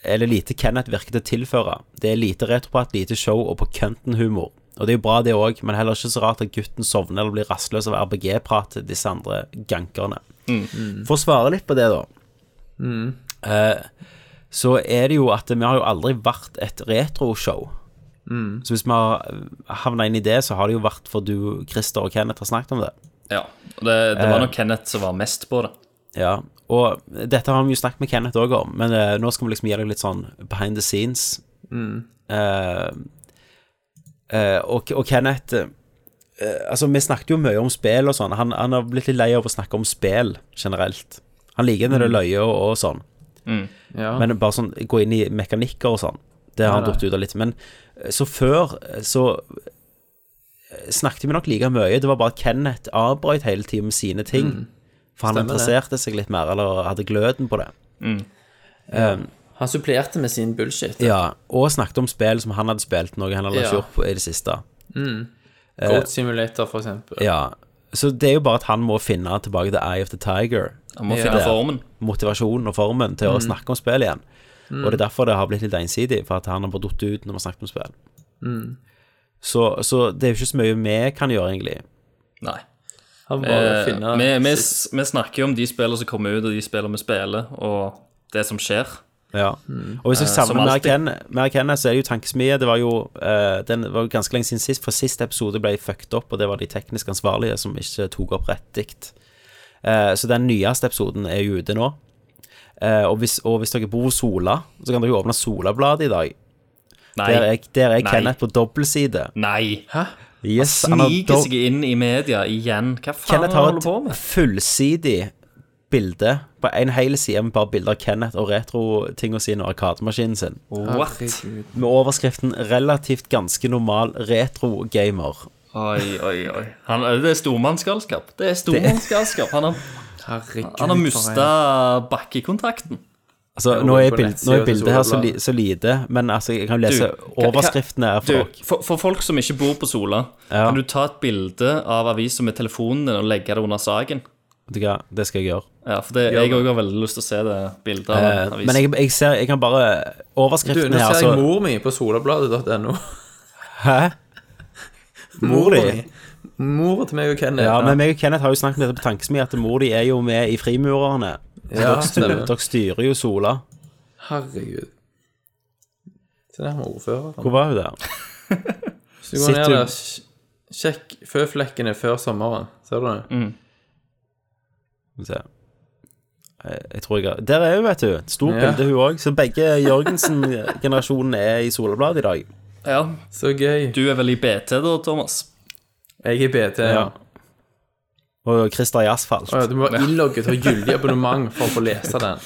er det lite Kenneth virker til å tilføre. Det er lite retroprat, lite show og på kønten-humor. Og det er jo bra, det òg, men heller ikke så rart at gutten sovner eller blir rastløs av RBG-prat til disse andre gankerne. For å svare litt på det, da. Eh, så er det jo at vi har jo aldri vært et retroshow. Så hvis vi har havna inn i det, så har det jo vært for du, Christer og Kenneth har snakket om det. ja. Og Det, det Eh. var nok Kenneth som var mest på det. Ja, og dette har vi jo snakket med Kenneth også om, men eh, nå skal vi liksom gi deg litt sånn behind the scenes. Eh, eh, og, og Kenneth eh, eh, Altså, vi snakket jo mye om spill og sånn. Han, han har blitt litt lei av å snakke om spill generelt. Han liker når det er løye og, og sånn, Ja. men bare sånn gå inn i mekanikker og sånn. Det har han Nei, nei. datt ut av litt. Men eh, så før eh, så eh, snakket vi nok like mye. Det var bare at Kenneth avbrøt hele tiden med sine ting. For han Mm. Stemmer det. interesserte seg litt mer, eller hadde gløden på det. han supplerte med sin bullshit. Ja, Og snakket om spill som han hadde spilt, noe han hadde Ja. ikke gjort på i det siste. Goat Simulator, for eksempel. Ja, Så det er jo bare at han må finne tilbake til Eye of the Tiger. Han må Ja. finne formen. Mm. Motivasjonen og formen til å snakke om spill igjen. Og det er derfor det har blitt litt ensidig, for at han har bare falt ut når vi har snakket om spill. Mm. Så, så det er jo ikke så mye vi kan gjøre, egentlig. Nei. Han må Eh, finne vi, vi, vi snakker jo om de spillene som kommer ut, og de spillene vi spiller, og det som skjer. Ja. Og hvis jeg Mm. savner Eh, som mer alltid. Ken, mer Ken, så er det jo tankesmie. Det var jo eh, Den var jo ganske lenge siden sist, for sist episode ble fucked opp, og det var de teknisk ansvarlige som ikke tok opp rett dikt. Eh, så den nyeste episoden er jo ute nå. Eh, og, hvis, og hvis dere bor i Sola, så kan dere jo åpne Solabladet i dag. Nei. Der er, der er Nei. Kenneth på dobbeltside. Nei. Yes, han har Sniker dob- seg inn i media igjen. Hva faen holder han Kenneth har holder på et med? fullsidig bilde på en hel side med bare bilder av Kenneth og retrotinga sine og arkademaskinen sin. What? med overskriften 'Relativt ganske normal retro-gamer'. Oi, oi, oi. Han, det er stormannsgalskap. Det er stormannsgalskap. Han har, Herregud, han har for mista en- bakkekontakten. Altså, Jeg nå går er, på bild, nå nettsiden er til bildet her så, li, Solabladet. så lite, men altså, jeg kan jo lese Du, hva- overskriftene her for Du, dere. for, for folk som ikke bor på Sola, Ja. kan du ta et bilde av avisa med telefonen din og legge det under saken? Vet du hva, det skal jeg gjøre. Ja, for det, jeg òg har veldig lyst til å se det bildet av Eh, en avis. men jeg, jeg ser Jeg kan bare Du, Overskriften nå her, ser jeg så mor mi på solabladet.no. Hæ? Mor di? Mora til meg og Kenneth. Ja, men meg og Kenneth har jo snakket med dette på Tankesmi at mor di er jo med i Frimurerne. Ja, Dere, stemmer. dere styrer jo Sola. Herregud. Se der med ordfører. Hvor var hun der? Hvis du går ned sitter- der, sj- sjekk føflekkene før sommeren. Ser du det? Mm. Skal vi se. Jeg, jeg tror jeg har Der er hun, vet du. Et Stort Ja. bilde, hun òg. Så begge Jørgensen-generasjonen er i Solbladet i dag. Ja, Så gøy. Du er vel i BT da, Thomas? Jeg er BT. Ja. Ja. Og Christer i asfalt. Å ja, du må være innlogget og ha gyldig abonnement for å få lese den.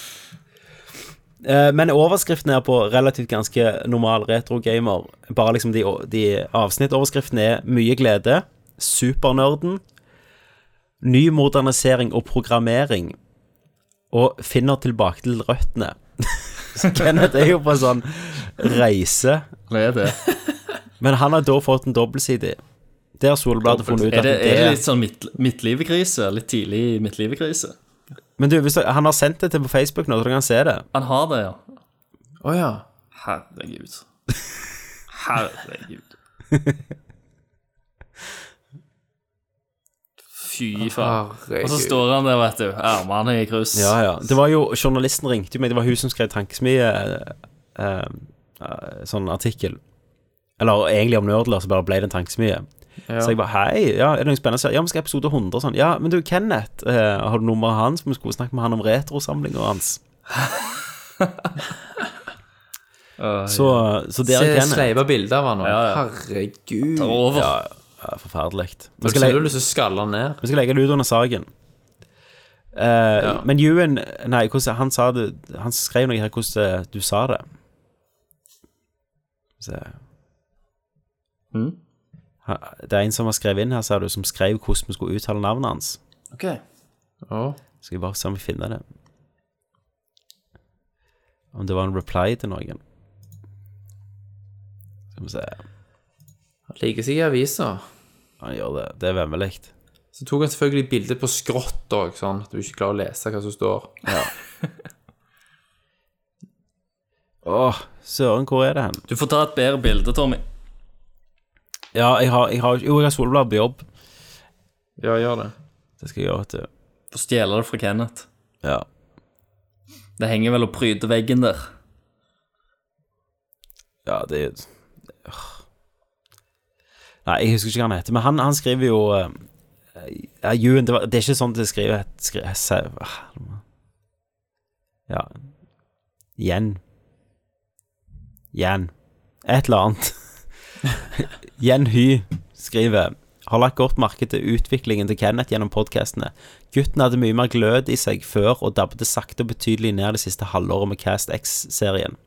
Eh, Men overskriften er på relativt ganske normal retro-gamer. Bare liksom de, de avsnittoverskriftene er mye glede, supernerden, ny modernisering og programmering, og finner tilbake til røttene. Så Kenneth er jo på en sånn reise. Det er det. Men han har da fått en dobbeltside. Det har Solbladet funnet ut Er at det, det, er det litt sånn midt, midtlivekrise? Litt tidlig midtlivekrise? Men du, hvis du, han har sendt det til på Facebook nå, så du kan se det. Han har det, ja. Å ja. Herregud. Herregud. Fy faen. Og så Herregud. står han der, vet du. Armene i kryss. Ja, ja. Det var jo, Journalisten ringte jo meg, det var hun som skrev Tankesmie, eh, eh, eh, sånn artikkel. Eller egentlig om nerdler, så bare ble det en tankesmie. Ja. Så jeg bare hei, ja, er det noe spennende? som skjer? Ja, vi skal ha episode 100 og sånn. Ja, men du, Kenneth, eh, har du nummeret hans? Vi skulle snakke med han om retrosamlinga hans. så, så der er Se Kenneth. sleiva bilder av han nå. Ja, ja. Herregud. Det er Over. Ja, Forferdelig. Vi Du skal ser legge- du har lyst til å skalle han ned. Vi skal legge det ut under saken. Eh, Men Ewan Nei, hvordan, han sa det Han skrev noe her hvordan du sa det. Skal vi se. Ha- Det er en som har skrevet inn her, sa du, som skrev hvordan vi skulle uttale navnet hans. Ok. Å. Skal vi bare se om vi finner det. Om det var en reply til noen. Skal vi se Han liker seg i aviser. Han gjør det. Det er vemmelig. Så tok han selvfølgelig bilde på skrått òg, sånn at du ikke klarer å lese hva som står. Åh, søren, hvor er det hen? Du får ta et bedre bilde, Tommy. Ja, jeg har, jeg har Jo, jeg har solblad på jobb. Ja, gjør det. Det skal jeg gjøre, vet du. Få stjele det fra Kenneth. Ja. Det henger vel og pryder veggen der. ja, det er Åh. Nei, jeg husker ikke hva han heter, men han, han skriver jo eh, ja, Ewan, det, var, det er ikke sånn det skriver skri, se- ah, Ja Igjen. Igjen. Et eller annet. Jen Hy skriver har lagt godt merke til utviklingen til Kenneth gjennom podkastene. Gutten hadde mye mer glød i seg før og dabbet sakte og betydelig ned det siste halvåret med Cast X-serien.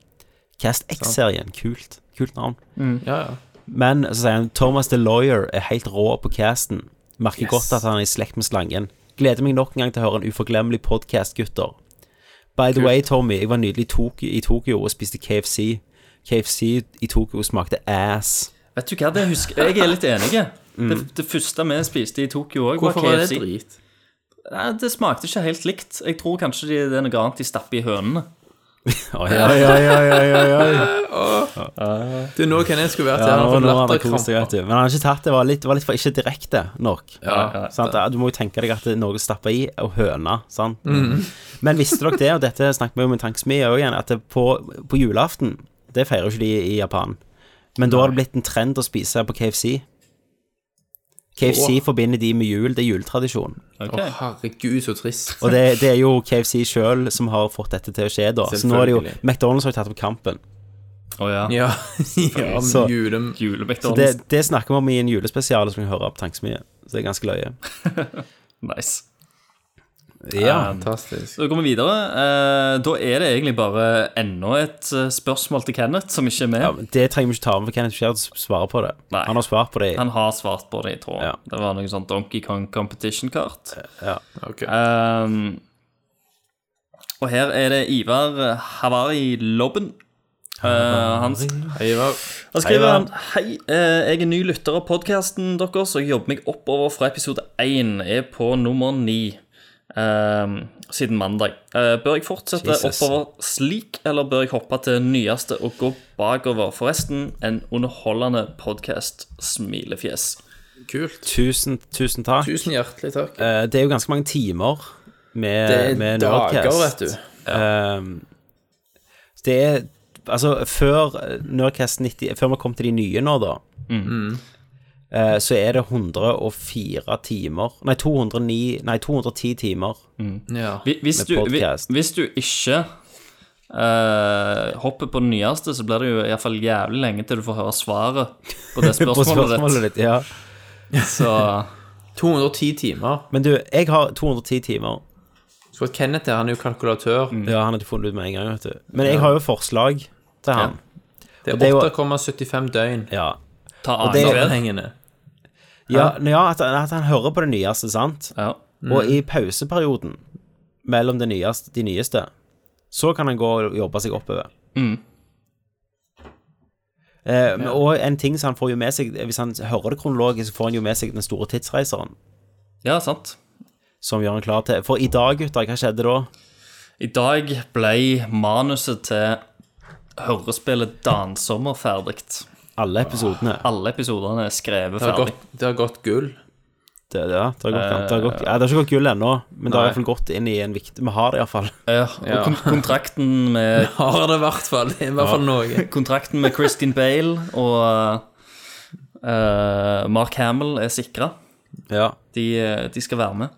Cast X-serien, kult. Kult navn. Mm. Ja, ja. Men så sier han Thomas the Lawyer er helt rå på casten. Merker godt at han er i slekt med slangen. Gleder meg nok en gang til å høre en uforglemmelig podkast, gutter. By the way, Tommy, jeg var nydelig i Tokyo, i Tokyo og spiste KFC. KFC i Tokyo smakte ass. Vet du hva, det husker jeg er litt enig. Det, det første vi spiste i Tokyo òg, var Hvorfor var det KFC. drit? Nei, det smakte ikke helt likt. Jeg tror kanskje de, det er noe annet de stapper i hønene. Å, ja. Oi, oi, oi, oi, oi, oi. Du, nå kan jeg skulle vært her. Ja, Han nå har fått nå har han kost latterkramper. seg, vet du. Men han har ikke tatt det. Det var litt, det var litt for ikke direkte nok. Ja. Sant? Du må jo tenke deg at det er noe å stappe i, og høne. Sant? Men visste dere det, og dette snakket vi om i Tankesmi òg igjen, at det på, på julaften Det feirer jo ikke de i Japan. Men da har det blitt en trend å spise på KFC. KFC forbinder de med jul, det er juletradisjon. Å, herregud, så trist. Og det, det er jo KFC sjøl som har fått dette til å skje, da. Så nå er det jo Selvfølgelig. McDonald's har jo tatt opp kampen. Å ja. Ja, ja Så- men jule... Så Jule-McDonald's. det, det snakker vi om i en julespesial som vi hører på Tankesmien. Så det er ganske løye. Nice. Um, Fantastisk. Så går vi videre. Eh, da er det egentlig bare enda et eh, spørsmål til Kenneth som ikke er med. Ja, men det trenger vi ikke ta med, for Kenneth Sherd svarer på det. Nei. Han har svart på det. i- Han har svart på det, jeg tror. Ja. Det var noe sånn Donkey Kong Competition-kart. Ja. Ok. Um, og her er det Ivar Havari Lobben. Uh, han, Hei, hva- han skriver han, Hei, eh, jeg er ny lytter av podkasten deres, og jeg jobber meg oppover fra episode 1, er på nummer 9 um, siden mandag. Eh, bør jeg fortsette Jesus. oppover slik, eller bør jeg hoppe til nyeste og gå bakover? Forresten, en underholdende podkast. Smilefjes. Kult. Tusen, tusen takk. Tusen hjertelig takk. Eh, det er jo ganske mange timer med, Det er med dager, Nerdcast. vet du. Ehm, det er Altså, før Nerdcast 90 Før vi kom til de nye nå, da, Mm. eh, så er det 104 timer Nei, 209 Nei, 210 timer. Ja. Hvi- Hvis Med du, hvi- podcast. hvis du ikke eh, hopper på den nyeste, så blir det jo iallfall jævlig lenge til du får høre svaret på det På spørsmålet ditt. ditt. Ja. Så 210 timer. Men du, jeg har 210 timer. Så at Kenneth er, han er jo kalkulatør. Ja, han hadde funnet ut med en gang, vet du. Men jeg har jo forslag til han. Det Og det er er jo- 8,75 døgn. Ja. ta det er- annen Sammenhengende. Ja, ja at, at han hører på det nyeste, sant? Ja. Og i pauseperioden mellom det nyeste, de nyeste, så kan han gå og jobbe seg oppover. Eh, men- Og en ting som han får jo med seg Hvis han hører det kronologisk, så får han jo med seg Den store tidsreiseren, ja, sant. som gjør han klar til For i dag, gutter, hva skjedde da? I dag ble manuset til hørespillet Dansommer ferdig. Alle episodene. Alle episodene er skrevet Det har ferdig. gått, det har gått gull. Det, det, det, har gått, det, har gått, ja, det har ikke gått gull ennå, men det har Nei. iallfall gått inn i en viktig Vi har det iallfall. Ja, og kon kontrakten med Har det i hvert fall. Det er i hvert fall noe. Kontrakten med Christine Bale og eh, Mark Hamill er sikra. Ja. De, eh, de skal være med.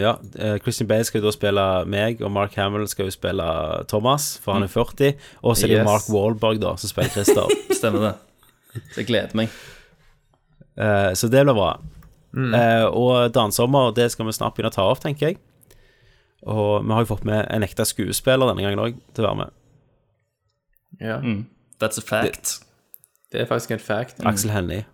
Ja, eh, Christian Bale skal jo da spille meg, og Mark Hamill skal jo spille Thomas, for han er 40. Og så er det jo Yes. Mark Wahlberg da, som spiller Christer. Stemmer det. Så jeg gleder meg. Eh, så det blir bra. Eh, og Dansommer, det skal vi snart begynne å ta opp, tenker jeg. Og vi har jo fått med en ekte skuespiller denne gangen òg til å være med. Ja. Mm. That's a fact. Det er faktisk en fact. Axel Hennie.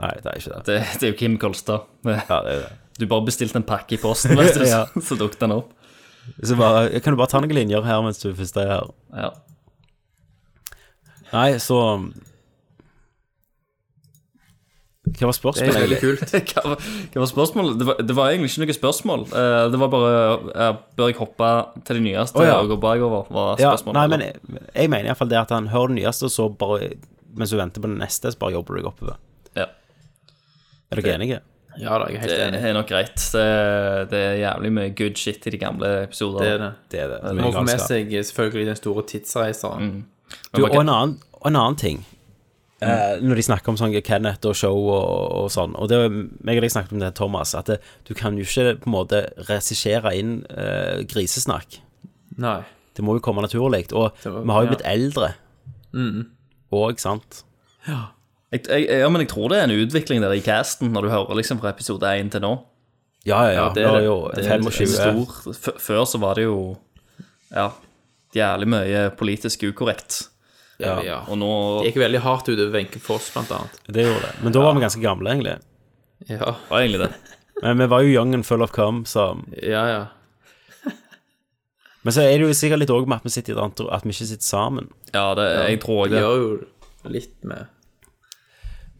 Nei, det er ikke Mm. det. Det, det er jo Kim Kolstad. Ja, det er det. Du bare bestilte en pakke i posten, vet du, så- så dukket den opp. Så bare, kan du bare ta noen linjer her mens du først er her? Ja. Nei, så Hva var Det er spørsmålet, veldig egentlig? kult. Hva, var- hva var spørsmålet? Det var, det var egentlig ikke noe spørsmål. Eh, Det var bare eh, Bør jeg hoppe til det nyeste Å, ja. og gå bakover? var Ja, spørsmålet. nei, men jeg, jeg mener iallfall det at han hører det nyeste, og så bare mens du venter på det neste, så bare jobber du deg oppover. Ja. Er dere enige? Ja da, jeg er Det helt enig. er nok greit. Det, det er jævlig mye good shit i de gamle episodene. Det er det. Det er det. Du må få med seg eh, selvfølgelig den store Mm. tidsreiseren. Du, og en annen, og en annen ting. Eh, Mm. når de snakker om sånn Kenneth og show og, og sånn, og det var meg og deg snakket om det, Thomas, at det, du kan jo ikke på en måte regissere inn eh, grisesnakk. Nei. Det må jo komme naturlig. Og må- vi har ja. Mm. jo blitt eldre. Og, sant. Jeg, jeg, ja, men jeg tror det er en utvikling der i casten, når du hører liksom fra episode 1 til nå. Ja, ja, ja. det det er er det. jo Det er 25. Stor. F før så var det jo ja, jævlig mye politisk ukorrekt. Ja, Ja. Og nå Det gikk veldig hardt ut over Wenche Foss, blant annet. det gjorde det. Men da var vi ganske gamle, egentlig. Ja, var egentlig det. Men vi var jo young and full of cum, så ja. ja. Men så er det jo sikkert litt òg med at vi, sitter, i et annet- at vi ikke sitter sammen. Ja, det, jeg tror jeg Det det. gjør jo litt med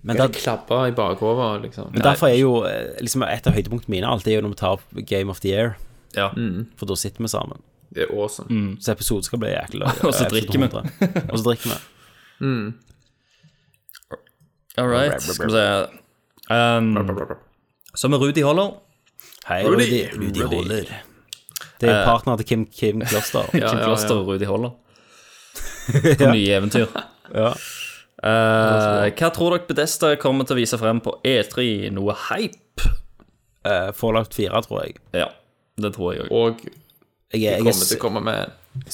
Men Det der, klabber i bakhodet, liksom. men derfor er jo eh, liksom et av høydepunktene mine alltid er jo når vi tar opp Game of the Year, Ja. for da sitter vi sammen. Det er awesome. Så episoden skal bli jæklig løye. Og så Episode drikker vi. 100. Og så drikker vi. All right, skal vi se. Um, så med Rudi Holler. Hei, Rudy. Rudy. Rudy Rudy. holder. Det er partner til Kim, Kim Kloster. Kim Eh. ja, Kloster og Rudi Holler. På nye eventyr. Ja. Eh, hva tror dere Bedesta kommer til å vise frem på E3? Noe hype? Eh, Fallout 4, tror jeg. Ja, det tror jeg òg. Og Jeg, er- jeg, kommer til å jeg, komme med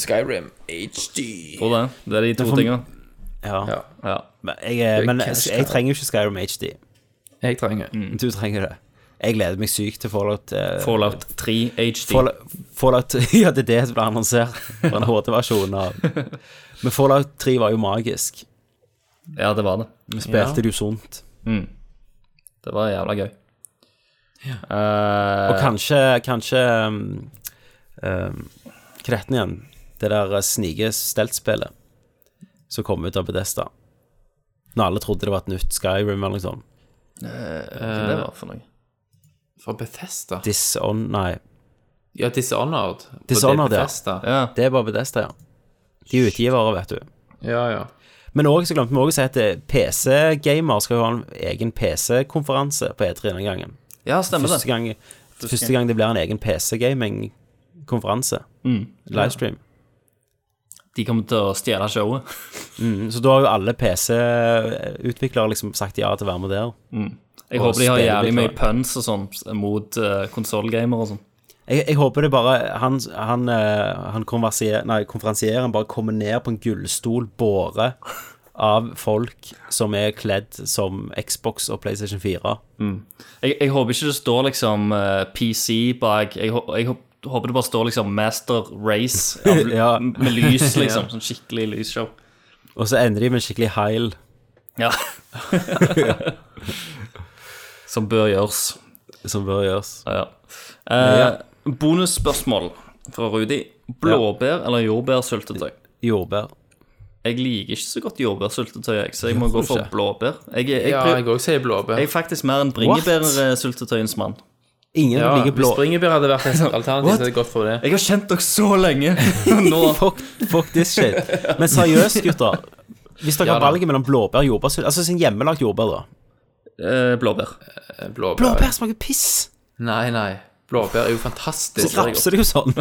Skyrim HD. Tror det. Det er de to tinga. ja. Ja. Ja. Men, jeg, er- men jeg, cash jeg trenger jo ikke Skyrim HD. Jeg trenger Men Du trenger det. Jeg gleder meg sykt til Fallout eh, Fallout 3 HD. Fallout, Fallout Ja, det er det som ble annonsert. Det var en HD-versjon av Men Fallout 3 var jo magisk. Ja, det var det. Vi spilte det jo sunt. Det var jævla gøy. Uh, Og Eh. kanskje, kanskje um, um, Kretten igjen. Det der eh, snike-steltspillet som kom ut av Bedesta. Når alle trodde det var et nytt Skyrim eller noe sånt. Hva det var for noe? For Bethesda? Dishon... oh, Nei. Ja, Dishonored. For Dishonored, ja. Bethesda. Ja. Det er bare Bedesta, ja. De er utgivere, vet du. Ja, ja. Men også, så glemte vi også å si at eh, PC-gamer skal jo ha en egen PC-konferanse på E3 denne gangen. Ja, stemmer Første det. gang, første gang det blir en egen PC-gaming-konferanse. Livestream. De kommer til å stjele showet. Så da har jo alle PC-utviklere liksom sagt ja til å være med der. Jeg Og håper de har spille jævlig litt, mye da. puns og sånn mot uh, konsollgamer og sånn. Jeg, jeg håper det bare han, han, eh, han konversier- nei, konferansieren bare kommer ned på en gullstol båret av folk som er kledd som Xbox og PlayStation 4. Jeg, jeg håper ikke det står liksom eh, PC bak. Jeg, hå- jeg hå- håper det bare står liksom Master Race ja, Ja. med lys, liksom. Sånn skikkelig lysshow. Og så ender de med en skikkelig heil. Ja. Som bør gjøres. Som bør gjøres. Ja. Eh, Bonusspørsmål fra Rudi. Blåbær eller jordbærsyltetøy? Jordbær. Jeg liker ikke så godt jordbærsyltetøy, jeg, så jeg må gå for ikke? blåbær. Jeg, jeg, Ja, jeg, jeg òg sier blåbær. jeg er faktisk mer en bringebærsyltetøyens mann. Ingen Ja, liker hvis blå. bringebær hadde vært et alternativ, så hadde jeg gått for det. Jeg har kjent dere så lenge! Nå Fuck, fuck this shit. Men seriøst, gutter. Hvis dere har da. valget mellom blåbær og jordbærsylt Altså sin hjemmelagt jordbær, da. eh, blåbær. Blåbær. Blåbær smaker piss! Nei, nei. Blåbær er jo fantastisk. Så rapser det jo sånn.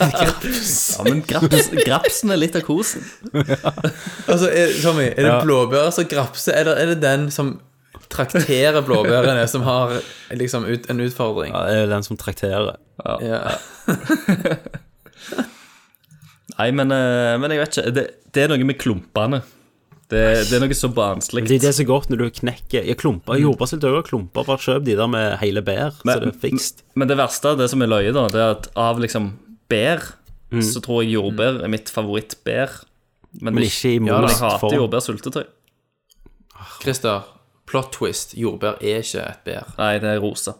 Ja, men graps, grapsen er litt av kosen. Altså, er, Tommy, er det blåbæret som grapser, eller er det den som trakterer blåbærene, som har liksom ut, en utfordring? Ja, det er jo den som trakterer. Ja. Nei, men, eh, men jeg vet ikke. Det, det er noe med klumpene. Det, det er noe så barnslig. Det er det som er godt når du knekker Ja, klumper. Jordbærsylt er jo klumper. Bare kjøp de der med hele bær, så det er fikst. Men det verste, det som er løye, da, det er at av liksom bær, Mm. så tror jeg jordbær er mitt favorittbær. Men ikke ja, i men jeg most hater form. jordbærsyltetøy. Christer, plot twist. Jordbær er ikke et bær. Nei, det er rosa.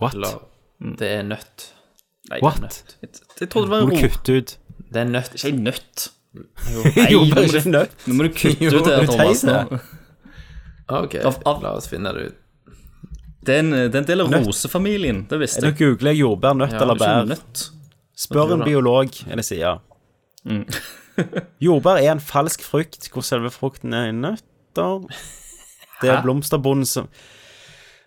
What? Eller, Mm. det er nøtt. Nei, What? Jeg, jeg trodde det var Må du en ro. kutte ut Det er nøtt. Ikke ei nøtt. Nei, Jo, jordbær men- er ikke nødt. Nå må du kutte ut det, er Thomas. teit, nå. Ok, Av- av- la oss finne det ut. Det er en, det er en del av rosefamilien, det visste Nå jeg. googler jeg jordbær, nøtt eller Det er ikke bær. nøtt. Spør en biolog, eller sier ja. Jordbær er en falsk frukt hvor selve frukten er i nøtter. Det er blomsterbonden som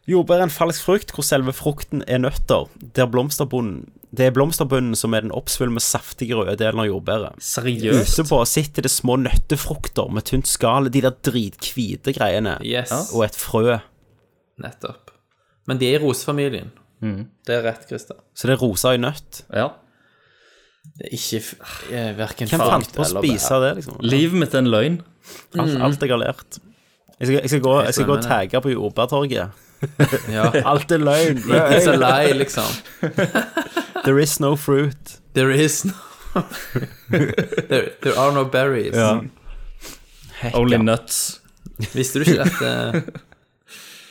Jordbær er en falsk frukt hvor selve frukten er nøtter. Det er blomsterbonden Det er blomsterbunnen som er den oppsvulmede, saftige røde delen av jordbæret. Seriøst? Utepå sitter det små nøttefrukter med tynt skall, de der drithvite greiene, Yes, og et frø. nettopp. Men de er i rosefamilien. Mm. Det er rett, Christer. Så det er rosa i nøtt. Ja. Det er ikke f- eh, hverken Hvem fant frukt på å eller spise det, liksom? Livet mitt er en løgn. Alt, alt er galert. Jeg skal, jeg skal gå, Mm. jeg skal gå skjønner og tagge på jordbærtorget. bær. Ja. Alt er løgn. It's a lie, liksom. There is no fruit. There is no there, there are no berries. Only nuts. Visste du ikke dette?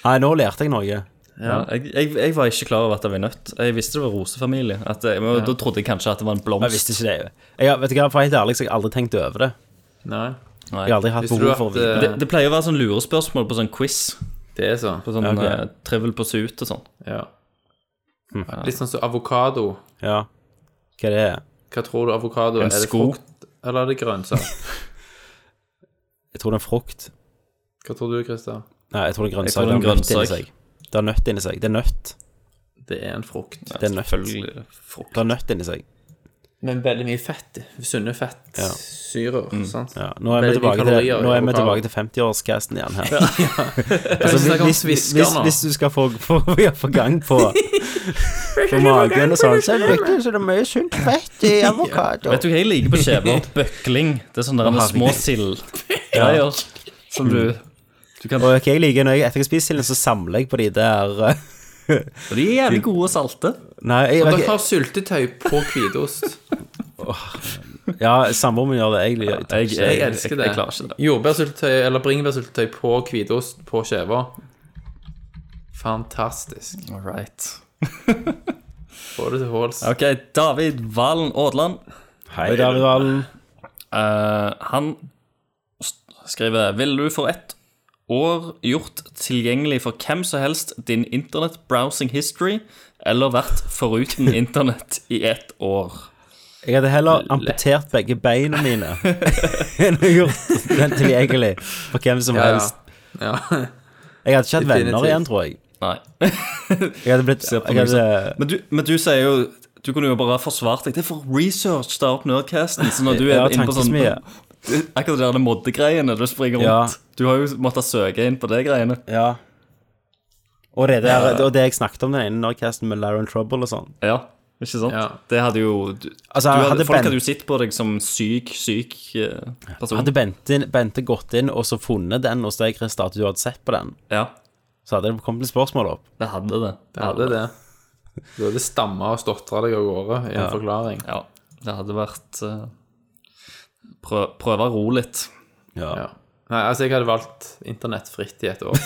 Nei, nå lærte jeg noe. Ja, jeg, jeg, jeg var ikke klar over at det var nøtt. Jeg visste det var rosefamilie. At det, men Da trodde jeg kanskje at det var en blomst. Jeg visste ikke det. Jeg, har- vet du hva, For å være helt ærlig så har jeg aldri tenkt over det. Nei. Jeg har aldri hatt Visste du behov for å at vite det. det, eh, det pleier å være sånn lurespørsmål på sånn quiz. det er sånn? På sånn Ok. eh, trivel på suit og sånn. eh, Ja. Litt sånn som avokado. Ja. Hva det er? Hva tror du? Avokado? En Er det sko? frukt, eller er det grønnsak? Jeg tror det er en frukt. Hva tror du, Christer? Nei, jeg tror det er Jeg grønnsak. tror det er en Det har nøtt inni grønnsak. seg. Det har nøtt inni seg. Det er nøtt. Det er en frukt. Det er nøtt. Det har nøtt inni seg. Men veldig mye fett. Sunne fettsyrer. sant? Ja, nå er Veldig vi mye tilbake til, kalorier i nå er vi avokado. tilbake til 50-årscasten igjen her. Vi altså, snakker om hvis, hvis, svisker hvis, nå. hvis du skal få, få, få gang på, på magen og sånn, så er det viktig så det er mye sunt fett i avokado. Vet du hva jeg liker på skjever? Bøkling. Det er sånne Å, der små herregud. sildgreier som du Og hva jeg liker når jeg etter jeg spiser silden, så samler jeg på de der eh, De er jævlig gode og salte. Nei, jeg Og vet dere ikke har syltetøy på hvitost. Ja, samboeren min gjør det. Jeg, jeg, jeg, Jeg elsker det. jeg klarer ikke det. Jordbærsyltetøy eller bringebærsyltetøy på hvitost på skiva. Fantastisk. All right. Få det til håls. Ok, David Valen Aadland. Hei, David Valen. Eh, han s- skriver Ville du for ett år gjort tilgjengelig for hvem som helst din internettbrowsing history, eller vært foruten internett i ett år? jeg hadde heller amputert begge beina mine enn å gjort den tilgjengelig for hvem som Ja, ja. helst. Ja. Jeg hadde ikke hatt venner Definitivt. igjen, tror jeg. Nei. Jeg hadde blitt Se på jeg meg hadde, Men du, men du sier jo Du kunne jo bare forsvart deg. Det er for research der opp Nerdcasten. Så når du er Ja, inne på sånn tankesmie. Akkurat de der moddegreiene du springer rundt. Ja. Du har jo måttet søke inn på de greiene. Ja. Og det, der, og det jeg snakket om den ene Nordcasten med Laron Trouble og sånn. Ja, ikke sant? Ja. Det hadde jo du, Altså, du hadde, hadde Folk Ben- hadde jo sett på deg som syk, syk eh, person. Hadde Bente, Bente gått inn og så funnet den hos deg, Christer, at du hadde sett på den, Ja, så hadde det kommet litt spørsmål opp. det hadde det. Det hadde det. Du hadde stamma og stotra deg av gårde i en forklaring. Ja, det hadde vært eh, prø Prøve å ro litt. Ja. Nei, altså, jeg hadde valgt internettfritt i et år.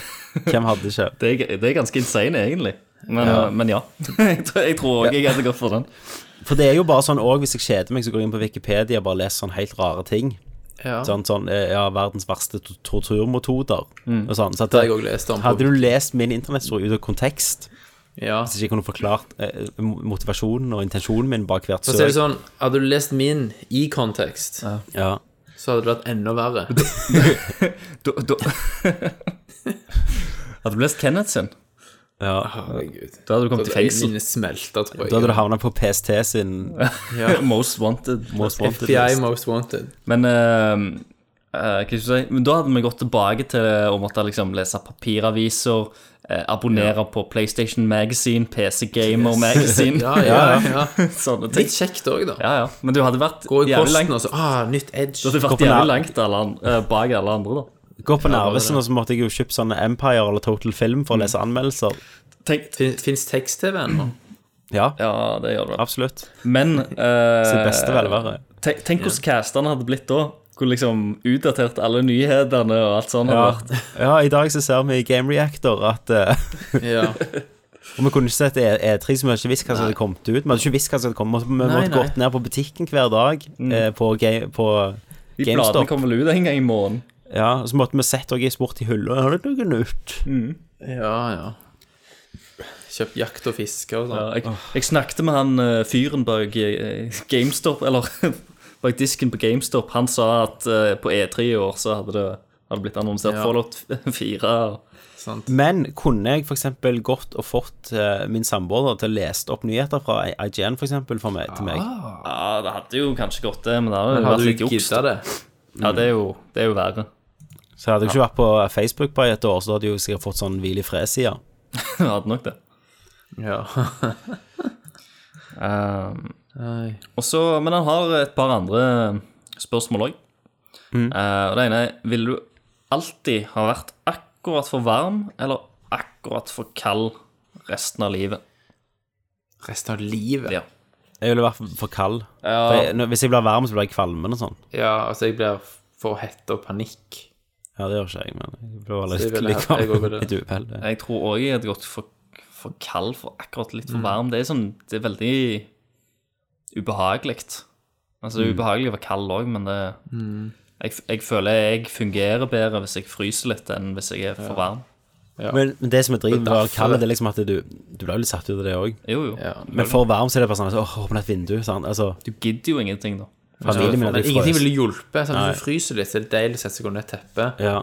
Hvem hadde ikke? Det er, det er ganske insane, egentlig. Men ja, men ja. jeg tror- jeg tror òg jeg hadde gått for den. For det er jo bare sånn òg, hvis jeg kjeder meg, så går jeg inn på Wikipedia og bare leser sånn helt rare ting. Ja. Sånn, sånn eh, ja, verdens verste to- torturmetoder og sånn. Så Mm. at, Det har jeg også lest om. hadde du lest min internetthistorie ut av kontekst, Ja. Altså, hvis ikke jeg kunne forklart eh, motivasjonen og intensjonen min bak hvert For å si det søk sånn, hadde du sånn- lest min i kontekst, ja. så hadde det vært enda verre. Da, da... Hadde du lest Kenneth sin, ja. Herregud. da hadde du kommet i fengsel. Mine smelter, tror jeg. Da hadde du havna på PST sin Most wanted. Most Wanted. FBI Most Wanted. Men eh, eh, hva skal jeg si? Men da hadde vi gått tilbake til å måtte liksom lese papiraviser, eh, abonnere på PlayStation Magazine, PC Gamer Magazine. Ja, ja, ja. Sånne ting. Litt kjekt òg, da. Ja, ja. Men du hadde vært Gå i jævlig posten, langt, og så Ah, nytt Edge. du hadde Gå på vært jævlig nær- langt alle, an- eh, bak alle andre, da. Gå på Narvesen, og så måtte jeg jo kjøpe sånne Empire eller Total Film for å lese anmeldelser. Tenk, Fins tekst-TV ennå? Mm. Ja, ja, det gjør du. absolutt. Men eh, Sitt beste velvære. Tenk, tenk hvordan castene hadde blitt da. Hvor liksom utdatert alle nyhetene og alt sånt hadde Ja. vært. ja, i dag så ser vi i Game Reactor at eh, Ja. Og vi kunne ikke sett E- E3, så vi hadde ikke visst hva som hadde kommet ut. Vi hadde ikke visst hva som hadde kommet ut. Vi måtte nei. gått ned på butikken hver dag eh, på, ga- på De bladene GameStop. kommer vel ut en gang i måneden. Ja, og så måtte vi sett også i sport i hylla. Har du noe nytt? ja, ja. Kjøpt jakt og fiske og Ja, sånn. jeg, jeg snakket med han eh, fyren bak eh, GameStop, eller bak disken på GameStop. Han sa at eh, på E3 i år så hadde det hadde blitt annonsert Ja. Fallout 4. Og, Sant. Men kunne jeg f.eks. gått og fått eh, min samboer da, til å lese opp nyheter fra IGN for eksempel, for meg, til meg? ja, det hadde jo kanskje gått, det, men det hadde Men jo Har vært du litt juks. gidda det? Ja, det er, jo, det er jo verre. Så hadde jeg ikke vært på Facebook på et år, så da hadde jeg jo sikkert fått sånn hvil i fred-side. Det hadde nok det. Ja. Um, Nei. Og så, men han har et par andre eh, spørsmål òg. Mm. og det ene er Vil du alltid ha vært akkurat for varm eller akkurat for kald resten av livet? Resten av livet? Ja. Jeg ville vært for kald. Ja. For jeg, når- hvis jeg blir varm, så blir jeg kvalmen og sånn. Ja, altså, jeg blir for hett og panikk. Ja, det gjør ikke jeg, men jeg blir Så jeg litt, ville litt hatt- kald. jeg også ville- Litt uhell. det. Jeg tror òg jeg hadde gått for, for kald, for akkurat litt for varm. Det er sånn, det er veldig ubehagelig. Altså, det er ubehagelig å være kald òg, men det Mm. jeg, jeg føler jeg fungerer bedre hvis jeg fryser litt, enn hvis jeg er for varm. Men, men det som er driven, Det er var å derfor kalle det. det liksom at du Du ble jo litt satt ut av det òg. Jo, jo. Men for varm så er det bare sånn altså, Åh, åpne et vindu. Sant? Altså, Du gidder jo ingenting, da. familien min Men hadde jo ingenting frøst. ville hjulpet. Sånn, Nei. hvis du fryser litt, så er det deilig å sette seg under et teppe. Ja.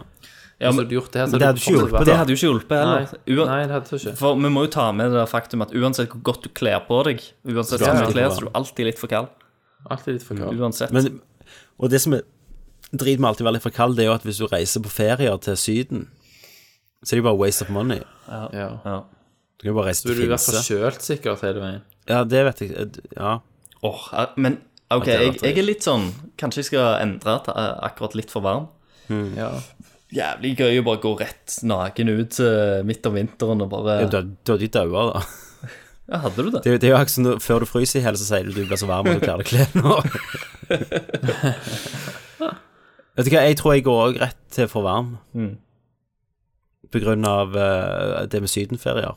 Ja, men, du gjort det her, så men det hadde ikke hjulpet, Det hadde jo ikke hjulpet heller. Nei, Uan- nei, det hadde ikke. For vi må jo ta med det der faktum at uansett hvor godt du kler på deg, uansett Så hvor er du det kler, bra. så er du alltid litt for kald. Alltid litt for kald. Uansett. Men, og det som er drit med alltid å være litt for kald, det er jo at hvis du reiser på ferier til Syden, så er det jo bare waste of money. Ja. ja. Du kan jo bare reise Så til ville du vært Finse. forkjølt sikkert hele veien. Ja, det vet jeg Ja. Åh, eh, men OK, Ja, det er jeg, rart, jeg er litt sånn Kanskje jeg skal endre til eh, akkurat litt for varm. Ja. Jævlig gøy å bare gå rett naken ut eh, midt om vinteren og bare Du hadde du hadde jo daua, da. Ja, hadde du det? Det, er jo- det er jo akkurat som når- før du fryser i hjel, så sier du du blir så varm at du klarer å kle nå. vet du hva, jeg tror jeg går òg rett til for varm. På grunn av eh, det med sydenferier.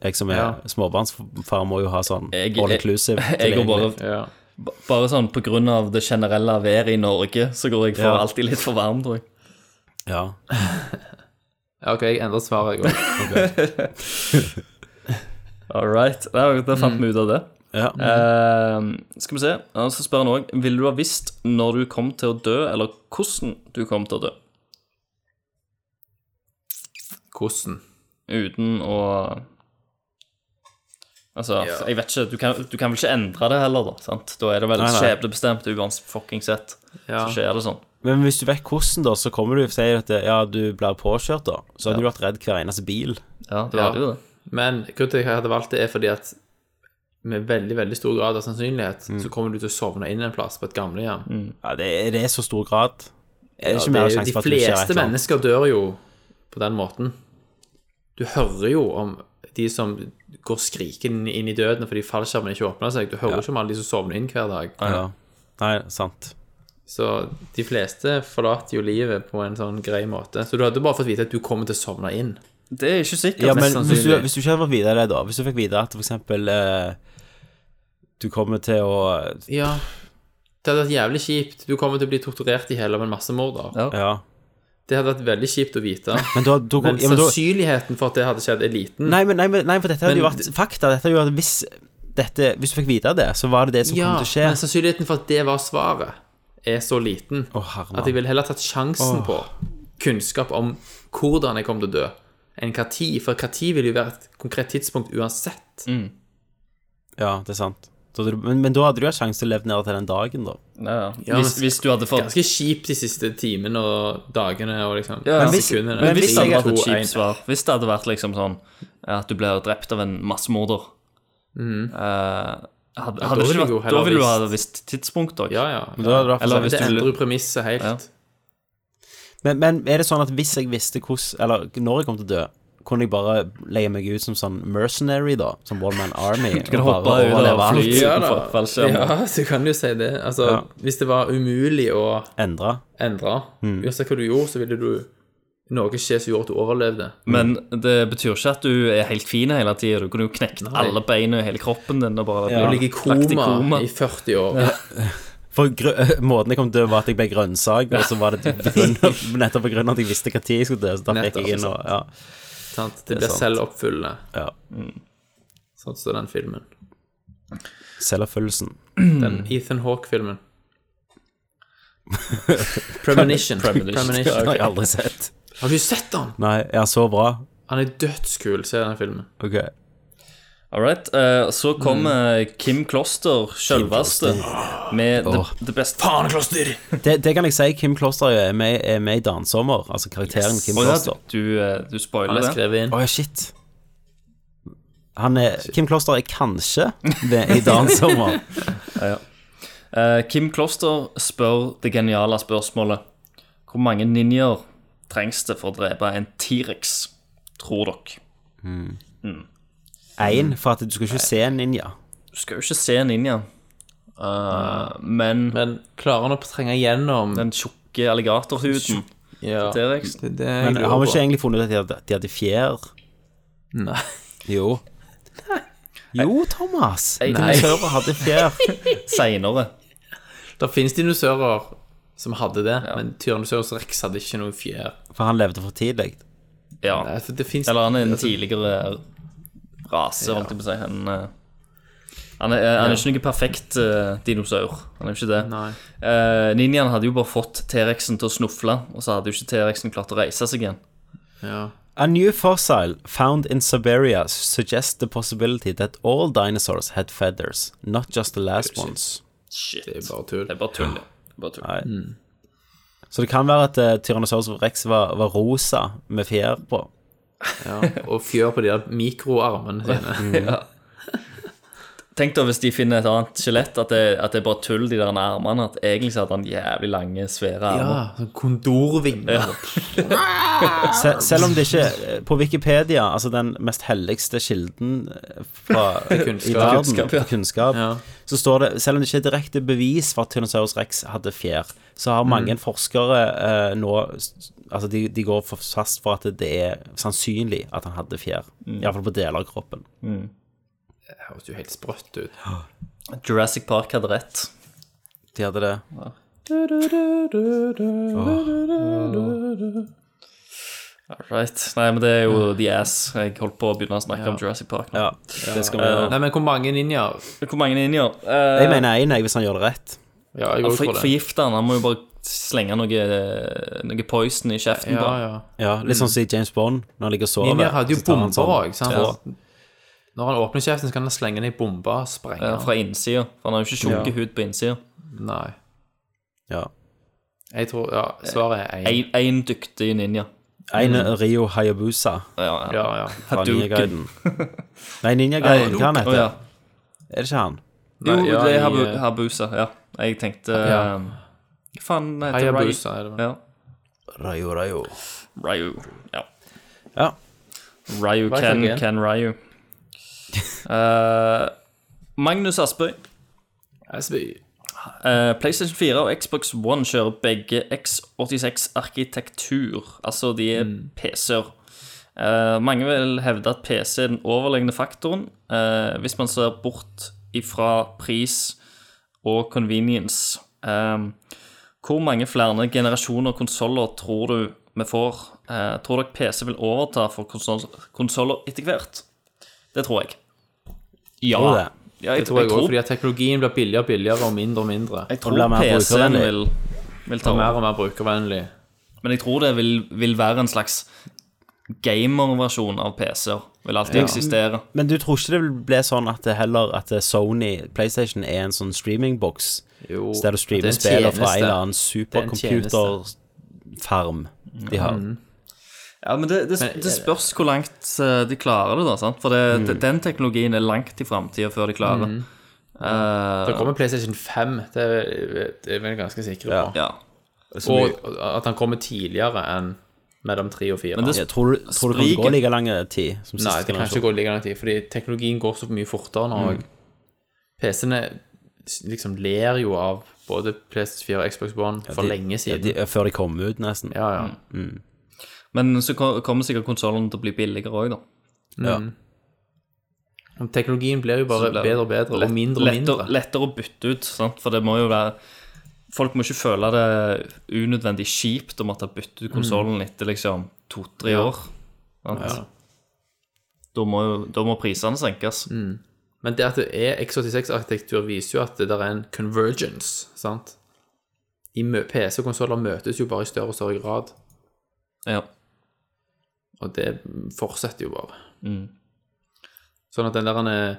Jeg som er Ja. småbarnsfar, må jo ha sånn Jeg- all inclusive. Jeg går bare, tilgjengelig. Ja. ba- bare sånn på grunn av det generelle været i Norge, så går jeg for Ja. alltid litt for varm, tror jeg. Ja. ja, OK, jeg endrer svaret, jeg òg. All right. Da, da fant Mm. vi ut av det. ja. Eh, skal vi se. Ja, Så spør han òg Ville du ha visst når du kom til å dø, eller hvordan du kom til å dø? Hvordan? Uten å Altså, jeg vet ikke du kan, du kan vel ikke endre det heller, da? sant? Da er det vel Nei, nei. skjebnebestemt uansett fucking sett. Ja. Så skjer det sånn. Men hvis du vet hvordan, da, så kommer du og sier at det- ja, du blir påkjørt, da. Så hadde du vært redd hver eneste bil. Ja, du Ja. hadde jo det. Men grunnen til at jeg hadde valgt det, er fordi at med veldig veldig stor grad av sannsynlighet så kommer du til å sovne inn en plass på et gamlehjem. Ja, det, er- det er så stor grad. Er det Ja, ikke mer det er jo- sjanse for at de du ikke fleste er mennesker dør jo på den måten. Du hører jo om de som går skrikende inn i døden fordi fallskjermen ikke åpner seg. Du hører ikke om alle de som sovner inn hver dag. Ja. Nei, sant. Så de fleste forlater jo livet på en sånn grei måte. Så du hadde bare fått vite at du kommer til å sovne inn. Det er ikke sikkert. Ja, mest men hvis du, sannsynlig. hvis du ikke hadde fått vite det, da Hvis du fikk vite at for eksempel eh, Du kommer til å Ja. Det hadde vært jævlig kjipt. Du kommer til å bli torturert i hjel av en massemorder. Ja. Det hadde vært veldig kjipt å vite. Men da, da, Men ja, men da sannsynligheten for at det hadde skjedd, er liten. nei, men, nei, men, nei, for dette hadde jo Men- vært fakta. Dette hadde jo vært hvis dette, Hvis du fikk vite det, så var det det som Ja, kom til å men skje. sannsynligheten for at det var svaret, er så liten Å, herre at jeg mann. ville heller tatt sjansen på kunnskap om hvordan jeg kom til å dø, enn hva tid. For hva tid vil jo være et konkret tidspunkt uansett. Ja, det er sant. Da hadde du- Men, men da hadde du hatt sjanse til å leve ned til den dagen, da. Ja, ja. Ja, men- hvis, hvis du hadde fått Ganske kjipt de siste timene og dagene og liksom Ja, ja. Men hvis- sekundene. Men hvis det Tre, hadde vært et to, en. kjipt svar Hvis det hadde vært liksom sånn At du ble drept av en massemorder eh, hadde, hadde Mm. da det ville ikke jeg jo vært, heller Da ville du visst. ha visst tidspunkt òg. Ja, ja. Men da hadde det vært for Eller sent. hvis det du ville- endrer jo premisset helt. Ja. Men, men er det sånn at hvis jeg visste hvordan Eller når jeg kom til å dø, kunne jeg bare leie meg ut som sånn mercenary, da? Som One Man Army? Du kan hoppe ut av overleve flyet alt? Ja, utenfor da. fallskjermen. Ja, så kan du jo si det. Altså, Ja. hvis det var umulig å Endre? endre. Uansett hva du gjorde, så ville du noe skje som gjorde at du overlevde. Men det betyr ikke at du er helt fin hele tida. Du kunne jo knekt Nei. alle beina i hele kroppen din og bare Du ja. ligger i koma, i 40 år. For grø måten jeg kom til å dø, var at jeg ble grønnsak, og så var det på grunn av, nettopp på grunn av at jeg visste hva tid jeg skulle dø, så da fikk jeg inn og ja, Sant? Det er blir sant. selvoppfyllende, ja. sånn som den filmen. Selvoppfyllelsen. Den Ethan Hawke-filmen. Premonition. Det har Premonition. jeg aldri sett. Har du sett den? Nei, ja, så bra. Han er dødskul, se den filmen. Ok. All right. eh, så Mm. kommer Kim Kloster, sjølveste, med det, Åh. det beste Faen, Det, det kan jeg si, Kim Kloster er med, er med i Dansommer, altså karakteren Kim Kloster. Du, eh, du Han spoiler er det. skrevet inn. Å ja, shit. Han er, Kim Kloster er kanskje ved, i Dansommer. Eh, Kim Kloster spør det geniale spørsmålet Hvor mange ninjaer trengs det for å drepe en T-rex, tror dere? Én, for at du skal ikke se en ninja. Du skal jo ikke se en ninja, eh, men Men klarer han å trenge gjennom den tjukke alligatorhuden ja. Det T-rex er det jeg Men har vi lurer ikke på. egentlig funnet ut at de hadde, de hadde fjær? Nei. Jo. Jo, Thomas. Jeg- Dinosaurer hadde fjær. seinere. Det finnes dinosaurer som hadde det, men Tyrannosaurus rex hadde ikke noe fjær. For han levde for tidlig. Ja. Nei, for det finnes- Eller han er en altså- tidligere rase, holdt jeg på å si. Han, eh, han, er, eh, han er ikke noe perfekt eh, dinosaur. Han er jo ikke det. Nei. Eh, Ninjaen hadde jo bare fått T-rexen til å snufle, og så hadde jo ikke T-rexen klart å reise seg igjen. A new fossil found in Siberia suggests the possibility that all dinosaurs had feathers, not just the last ones. Shit. Det er bare tull. Det er bare tull. ja. Det er bare tull. Nei. Så det kan være at eh, Tyrannosaurus rex var, var rosa med fjær på. Ja, og fjør på de der mikroarmene sine. Ja. Tenk da hvis de finner et annet skjelett, at det, at det er bare tull, de der armene. At egentlig så hadde han jævlig lange, svære Ja, armer. sånn kondorvinger. Se, selv om det ikke eh, På Wikipedia, altså den mest helligste kilden eh, fra, kunnskap. i verden, Kunnskap, ja. til kunnskap Ja. så står det Selv om det ikke er direkte bevis for at Tyrannosaurus rex hadde fjær, så har mange forskere eh, nå s- Altså, de, de går for fast for at det er sannsynlig at han hadde fjær. Iallfall på deler av kroppen. Det høres jo helt sprøtt ut. Jurassic Park hadde rett. De hadde det. Right. Nei, men det er jo The Ass. Jeg holdt på å begynne å snakke om Jurassic Park. nå. Ja, det skal vi gjøre. Nei, men hvor mange ninjaer? Hvor mange ninjaer? Eh, Jeg mener én, jeg, hvis han gjør det rett. Ja, jeg Eh, Han går for, for det. forgifter han. Han må jo bare slenge noe, eh, noe poison i kjeften. Ja, på han. ja. Ja, Litt sånn som i James Bond, når han ligger og sover. Ninjaer hadde jo så tar han bomber sånn òg, sant? tråd. Når han åpner kjeften, så kan han slenge ned bomba og sprenge. Eh, Fra innsida. For han har jo ikke tjukk hud på innsida. Nei. Ja. Jeg tror Ja, svaret er én. Én dyktig ninja. En er Rio Hayabusa Ja, ja. Ja, ja. fra Hadouken. Ninja Gaiden. Nei, Ninja Gaiden, hva han Å, heter ja. Er det ikke han? Jo, Nei, ja, det er i, Habu eh, Habusa. Ja. Jeg tenkte Ja. eh, Hva faen heter det? Hayabusa, er det vel. Ja. Rayo, Rayo. Ryu. Ja. Ja. Ryu Hva er Ken, tanken? Ken Ryu. Eh, Magnus Aspøy. SBY. Eh, PlayStation 4 og Xbox One kjører begge X86-arkitektur. Altså, de er Mm. PC-er. Eh, mange vil hevde at PC er den overlegne faktoren, eh, hvis man ser bort ifra pris og convenience. Eh, hvor mange flere generasjoner konsoller tror du vi får? Eh, tror dere PC vil overta for konsoller etter hvert? Det tror jeg. Ja. Tror du det? Ja, jeg, Det tror jeg òg, fordi at teknologien blir billigere og billigere og mindre og mindre. jeg blir tror mer PC-en brukervennlig. vil, vil ta Og mer over. og mer brukervennlig. Men jeg tror det vil, vil være en slags gamerversjon av PC-er. Vil alltid eksistere. Men du tror ikke det vil bli sånn at det heller at Sony PlayStation er en sånn streamingboks? Jo, Så der du streamer det er en spiller fra en tjeneste. eller annen er en Mm. tjeneste. supercomputerfarm de har. Ja, men det, det, det spørs hvor langt eh, de klarer det, da. sant? For det, Mm. det- den teknologien er langt i framtida før de klarer Eh, det. Det kommer PlayStation 5, det er, det er vi ganske sikre Ja. på. ja. Og at han kommer tidligere enn mellom 3 og 4. Men det- Ja, tror du, tror du det kan gå Spriken. like lang tid som siste Nei, det kan ikke generasjon? gå like lang tid, fordi teknologien går så mye fortere Mm. nå. og PC-ene liksom ler jo av både PS4 og Xbox One for lenge siden. De, før de kom ut, nesten. ja, Mm. ja. Men så ko- kommer sikkert konsollene til å bli billigere òg, da. Mm. Men Teknologien blir jo Så bare blir det bedre og bedre, lett- og mindre og lettere, mindre. Lettere å bytte ut, sant? for det må jo være Folk må ikke føle det unødvendig kjipt å måtte bytte ut Mm. konsollen etter liksom to-tre år. Sant? Da må, jo- da må prisene senkes. Mm. Men det at det er X86-arkitektur, viser jo at det der er en convergence, sant? De mø- PC-konsoller møtes jo bare i større og større grad, Ja. og det fortsetter jo bare. Sånn at den der eh,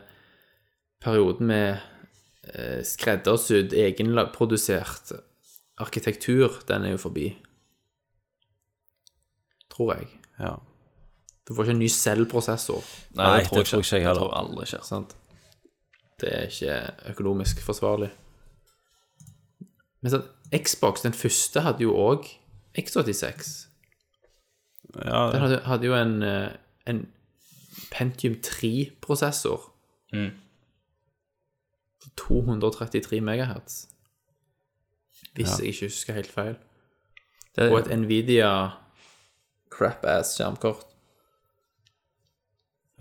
perioden med eh, skreddersydd, egenprodusert arkitektur, den er jo forbi. Tror jeg. Ja. Du får ikke en ny selvprosessor, Nei, det tror ikke jeg heller. tror aldri skjer. sant? Det er ikke økonomisk forsvarlig. Men sånn, Xbox, den første, hadde jo òg X86. Ja, Den hadde, hadde jo en, eh, en Pentium 3-prosessor. Mm. 233 megahertz. Hvis jeg ikke husker helt feil. Det, Og et Nvidia crap-ass skjermkort.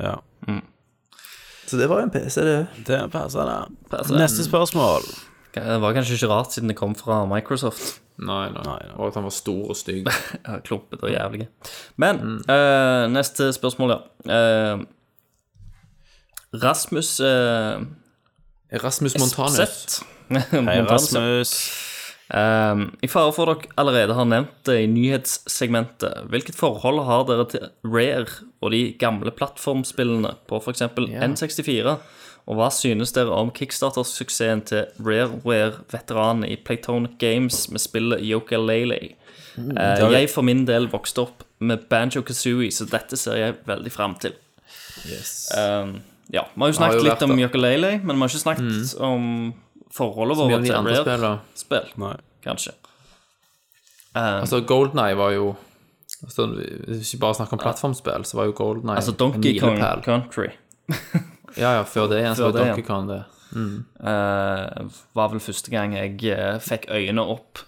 ja. Så det var jo en PC, det. Mm. Det passer, det. Neste spørsmål. Det var kanskje ikke rart siden det kom fra Microsoft. Nei, nei. Og at han var stor og stygg. Ja, Klumpete og jævlig. Men Mm. eh, neste spørsmål, ja. Eh, Rasmus eh, Rasmus Montanus. Espseth. Hei, Montanus, ja. Rasmus. Ehm, I fare for dere allerede har nevnt det i nyhetssegmentet. Hvilket forhold har dere til Rare og de gamle plattformspillene på f.eks. N64? Og hva synes dere om kickstartersuksessen til Rareware-veteranen i Playtonic Games med spillet Yoka-Laylay? Mm. jeg for min del vokste opp med Banjo Kazooie, så dette ser jeg veldig fram til. Eh, Ehm, ja, Vi har jo Har snakket jo vært litt om det. Yoka-Laylay, men vi har ikke snakket om forholdet Mye vårt av de til andre spillene. Rare-spill kanskje. Eh, Altså, GoldenEye var jo altså, Hvis vi bare snakker om plattformspill, så var jo GoldenEye altså en Donkey Kong milepæl. Country Ja, ja, før det igjen så Før var det Donkey igjen. Kong det. eh, var vel første gang jeg eh, fikk øynene opp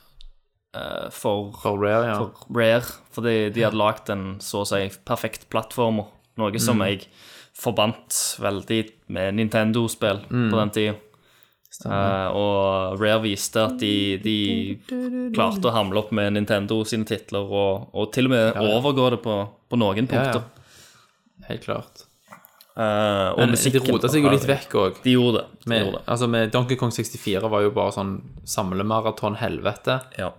eh, for, For Rare, ja. for Rare, fordi de hadde lagd en så å si perfekt plattformer, noe som Mm. jeg forbandt veldig med Nintendo-spill Mm. på den tida. og Rare viste at de, de klarte å hamle opp med Nintendo sine titler, og, og til og med overgå det på, på noen Ja, ja. punkter. Helt klart. Eh, og Men de musikken rota seg jo litt vekk òg. De gjorde det. De Med, gjorde det. altså med Donkey Kong 64 var jo bare sånn samlemaraton-helvete. Ja.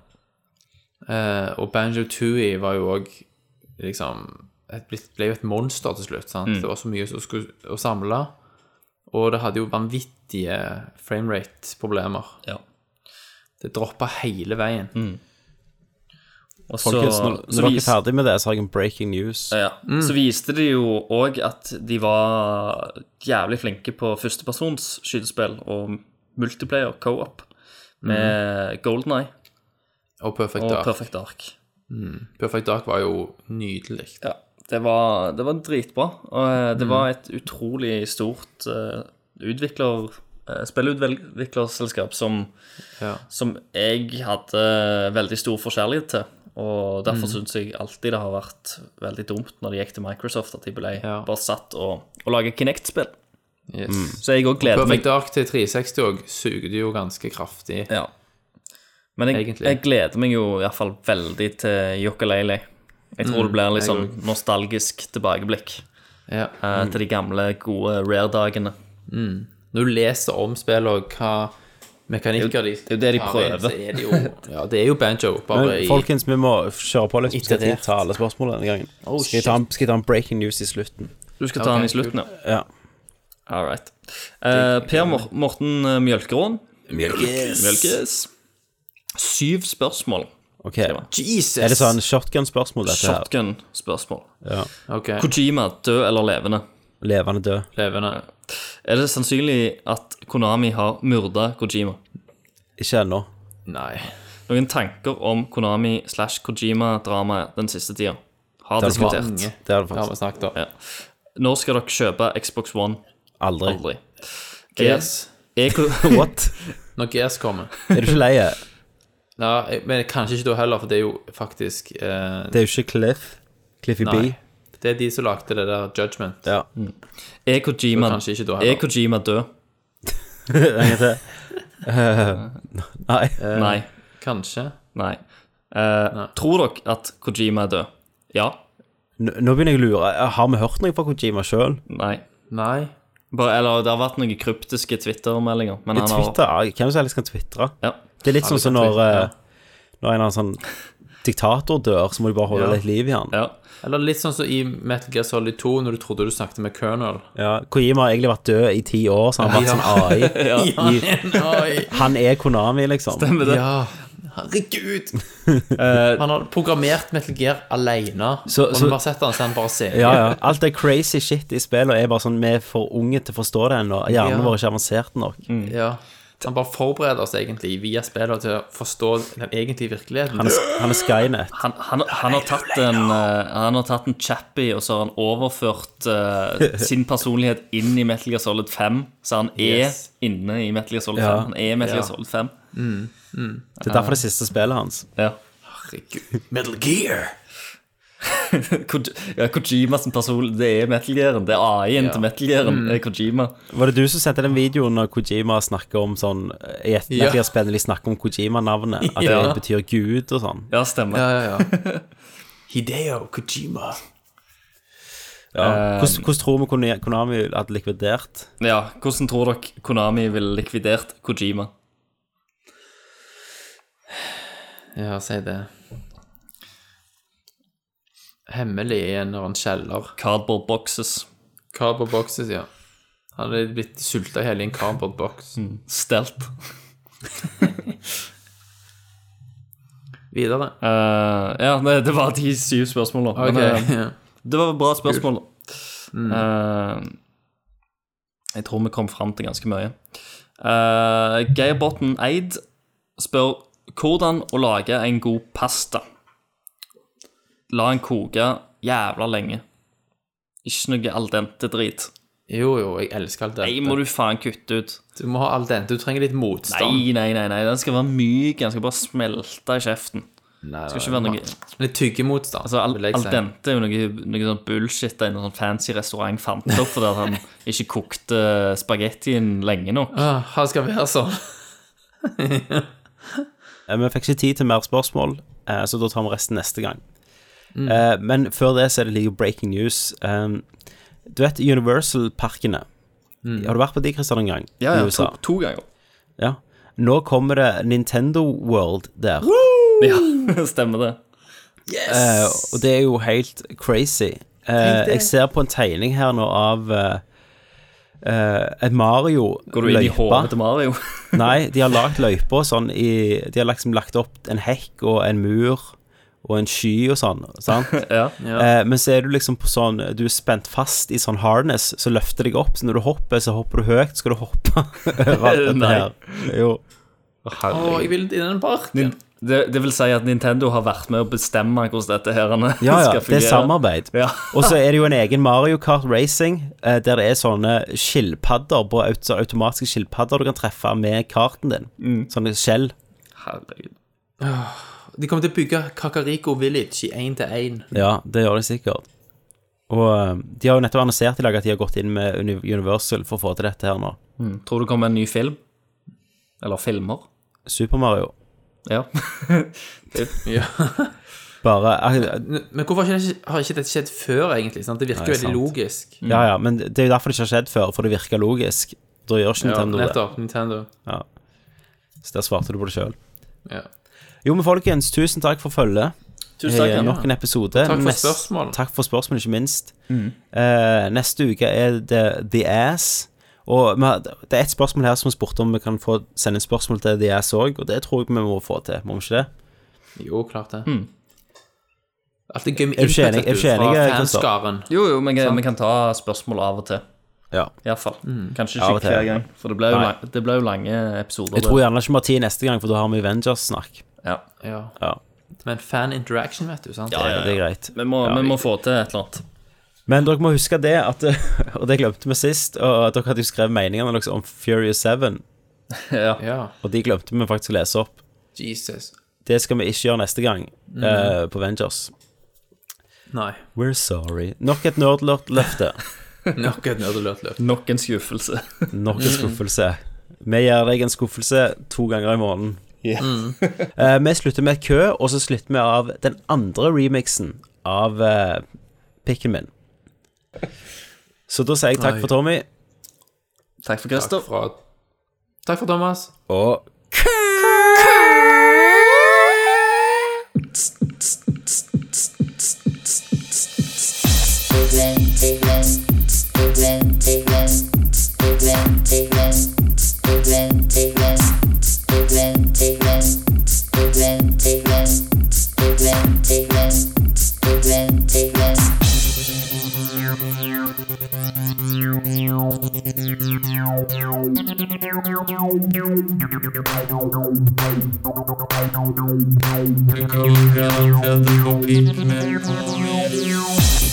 Eh, og Banjo Tooie var jo òg liksom et, blitt- ble jo et monster til Mm. slutt. sant? Det var så mye som skulle å samle. Og det hadde jo vanvittige framerate-problemer. Ja. Det droppa hele veien. Mm. Og så, Folkens, når, så, når dere er vis, ferdig med det, så har jeg en breaking news. ja. Mm. så viste de jo òg at de var jævlig flinke på førstepersons skytespill og multiplayer, co-op, Mm. med Golden Eye Og Perfect og Dark. Perfect. Perfect Dark. Dark var jo nydelig. Ja, det var, det var dritbra. Og eh, Mm. det var et utrolig stort eh, utvikler eh, spillutviklerselskap som, Ja. som jeg hadde eh, veldig stor forskjellighet til. Og derfor Mm. syns jeg alltid det har vært veldig dumt når det gikk til Microsoft, at de ble Ja. bare satt og, og lage Kinect-spill. Yes. Så jeg òg Mm. gleder meg. Perfect Dark til 360 òg sugde jo ganske kraftig. Ja. Men jeg, Egentlig. jeg gleder meg jo iallfall veldig til Yokalele. Jeg tror det blir en litt Mm. jeg sånn nostalgisk tilbakeblikk Ja. eh, til de gamle, gode rare-dagene. Når du leser om spillet og hva mekanikker de det er jo det de tar prøver. inn, så er det jo- Ja, det er jo banjo, bare Men i folkens, vi må kjøre på litt. Vi skal Iterert. ikke ta alle spørsmålene denne gangen. skal, jeg shit. ta en, skal jeg ta en breaking news i slutten? Du skal Ok, ta den i kult. slutten, ja. Ja. All right. Eh, per Mor Morten eh, Mjølkeråen. Mjølkes. Syv spørsmål. Ok. Jesus! Er det sånn shotgun-spørsmål, dette her? Shotgun-spørsmål. Ok, Kojima, død eller levende? Eh, Levende død? levende. Er det sannsynlig at Konami har myrda Kojima? Ikke ennå. Nei. Noen tanker om Konami slash Kojima-dramaet den siste tida? Har Det er diskutert. Mange. Det er det Det har vi faktisk snakket om. Ja. Når skal dere kjøpe Xbox One? aldri. Aldri. Gears. Er, er, Ko- What? Når Gears kommer. Er du ikke lei? Nei, jeg- men kanskje ikke da heller, for det er jo faktisk eh, Det er jo ikke Cliff. Cliffy B. Nei. Det er de som lagde det der Judgment. Ja. er, Kojima, Så kanskje ikke da heller. er Kojima død? En gang til. Eh, nei. Nei. Kanskje. Nei. Eh, Tror dere at Kojima er død? Ja? Nå nå begynner jeg å lure. Har vi hørt noe fra Kojima sjøl? Nei. Nei. Bare, eller det har vært noen kryptiske Twitter-meldinger. Men han har Twitter? ja, Hvem som helst kan twitre. ja. Det er litt sånn som kan når, twittre, eh, når en eller annen sånn diktator dør, så må de bare holde Ja. litt liv i han. ja. Eller litt sånn som i Metal Gear Solid 2, når du trodde du snakket med Colonel. Ja, Kojima har egentlig vært død i ti år, så han har vært sånn AI. I, Nei. han er Konami, liksom. Stemmer det. Ja. Herregud! Eh, han har programmert Metal Gear alene. Så- og så- når man setter han, så er han bare ser. Ja, ja. Alt det crazy shit i spillet er bare sånn vi er for unge til å forstå det ennå. Hjernen Ja. vår er ikke avansert nok. Mm. Ja. Han bare forbereder oss egentlig via spillet til å forstå den egentlige virkeligheten. Han, er, han er Skynet. Han, han, han, har tatt en, eh, han har tatt en chappie, og så har han overført eh, sin personlighet inn i Metal Gear Solid 5. Så han er Yes. inne i Metal Gear Solid 5. Ja. Han er Metal Ja. Gear Solid 5. Det er derfor det siste spillet hans. Ja. Herregud. Metal Gear! Ko- ja, Kojima som person, det er Metal Gearen. Det er AI-en til Metal Gearen. Mm. er Kojima. Var det du som sendte den videoen når Kojima snakker om sånn I et Ja. Metal de snakker om Kojima-navnet, at Ja. det betyr gud og sånn. Ja, stemmer. Ja, Hideo Kojima. Eh, Hvordan, hvordan tror vi Kon- Konami hadde likvidert? Ja, hvordan tror dere Konami ville likvidert Kojima? Ja, si det. Hemmelig i en eller annen kjeller. Cardboard boxes. Cardboard boxes, ja. Han hadde blitt sulta i hele en cardboard box. Mm. Stelt. Videre. Eh, ja, nei, det var de syv spørsmålene. eh, Ok, ja. det var bra spørsmål. Eh, jeg tror vi kom fram til ganske mye. Eh, Geir Botten Eid spør hvordan å lage en god pasta. La den koke jævla lenge. Ikke noe al dente drit. Jo, jo, jeg elsker al dente. Nei, må du faen kutte ut. Du må ha al dente. Du trenger litt motstand. Nei, nei, nei, nei. den skal være myk. Den skal bare smelte i kjeften. Nei, skal ikke være noe Litt tyggemotstand. Altså, al, vil jeg al si. dente er jo noe, noe sånn bullshit en sånn fancy restaurant fant opp fordi at han ikke kokte eh, spagettien lenge nok. Ah, han skal være sånn. Eh, Vi fikk ikke tid til mer spørsmål, eh, så da tar vi resten neste gang. Mm. Eh, Men før det så er det like breaking news. Eh, Du vet Universal-parkene. Mm. Har du vært på de, Kristian, en gang? Ja, i ja, USA? to, to ganger. Ja. Nå kommer det Nintendo World der. Ja, stemmer det. Eh, og det er jo helt crazy. Eh, Tenk det. jeg ser på en tegning her nå av eh, eh, et Mario Går du inn i hodet til Mario? Nei, de har lagt løypa sånn i De har liksom lagt opp en hekk og en mur og en sky og sånn, sant? Ja. Eh, men så er du liksom på sånn Du er spent fast i sånn harness, så løfter deg opp. Så når du hopper, så hopper du høyt. Skal du hoppe over alt dette Nei. her? Jo. Å, jeg vil i den parken. Nin- Det, det vil si at Nintendo har vært med å bestemme hvordan dette her skal Ja, ja, fungere. det er samarbeid. Ja. Og så er det jo en egen Mario Kart Racing, eh, der det er sånne skilpadder på aut- så automatiske skilpadder du kan treffe med karten din. Mm. Sånne skjell. Herregud. De kommer til å bygge Kakariko Village i én til én. Ja, det gjør de sikkert. Og eh, de har jo nettopp annonsert i dag at de har gått inn med Uni- Universal for å få til dette her nå. Mm. Tror du det kommer en ny film? Eller filmer? Super Mario. Ja. Bare eh, Men hvorfor har ikke, har ikke dette skjedd før, egentlig? Sant? Det virker Nei, veldig sant. logisk. Ja, ja, men det er jo derfor det ikke har skjedd før, for det virker logisk. Da gjør ikke Nintendo ja, det. nettopp. Nintendo. Så der svarte du på det sjøl. Ja. Jo, men folkens, tusen takk for følget. Tusen takk, Eh, ja. Nok en episode. Takk for Nest- spørsmål. Takk for spørsmål, ikke minst. Eh, neste uke er det The Ass. Og vi har, det er et spørsmål her som vi spurte om vi kan få sende inn spørsmål til The Ass òg, og det tror jeg vi må få til, må vi ikke det? Jo, klart det. Alt er gøy med Er du ikke enig- input, vet er du ikke du, fra enig, Gustav? fanskaren. Jo, jo, men vi kan ta spørsmål av og til. Ja. Iallfall. fall Kanskje Av og ikke til. hver gang, for det ble jo, Nei. lang, det ble jo lange episoder. Jeg tror gjerne ikke vi har tid neste gang, for da har vi Avengers-snakk. ja. Ja. Ja. Men fan interaction, vet du, sant? Ja, ja, ja. Det er greit. Vi må, Ja, vi må få til et eller annet. Men dere må huske det, at, og det glemte vi sist, og dere hadde jo skrevet meningene deres om Furious 7, Ja. Ja. og de glemte vi faktisk å lese opp. Jesus. Det skal vi ikke gjøre neste gang eh, på Vengers. Nei. We're sorry. Nok et nerdløfte. Nok et nerdelørt løp. Nok en skuffelse. Nok en skuffelse. Vi gir deg en skuffelse to ganger i måneden. Eh, vi slutter med et kø, og så slutter vi av den andre remixen av eh, pikken min. Så da sier jeg takk Nei. for Tommy, Takk for Takk Christer. for, takk for Thomas. og Thank you.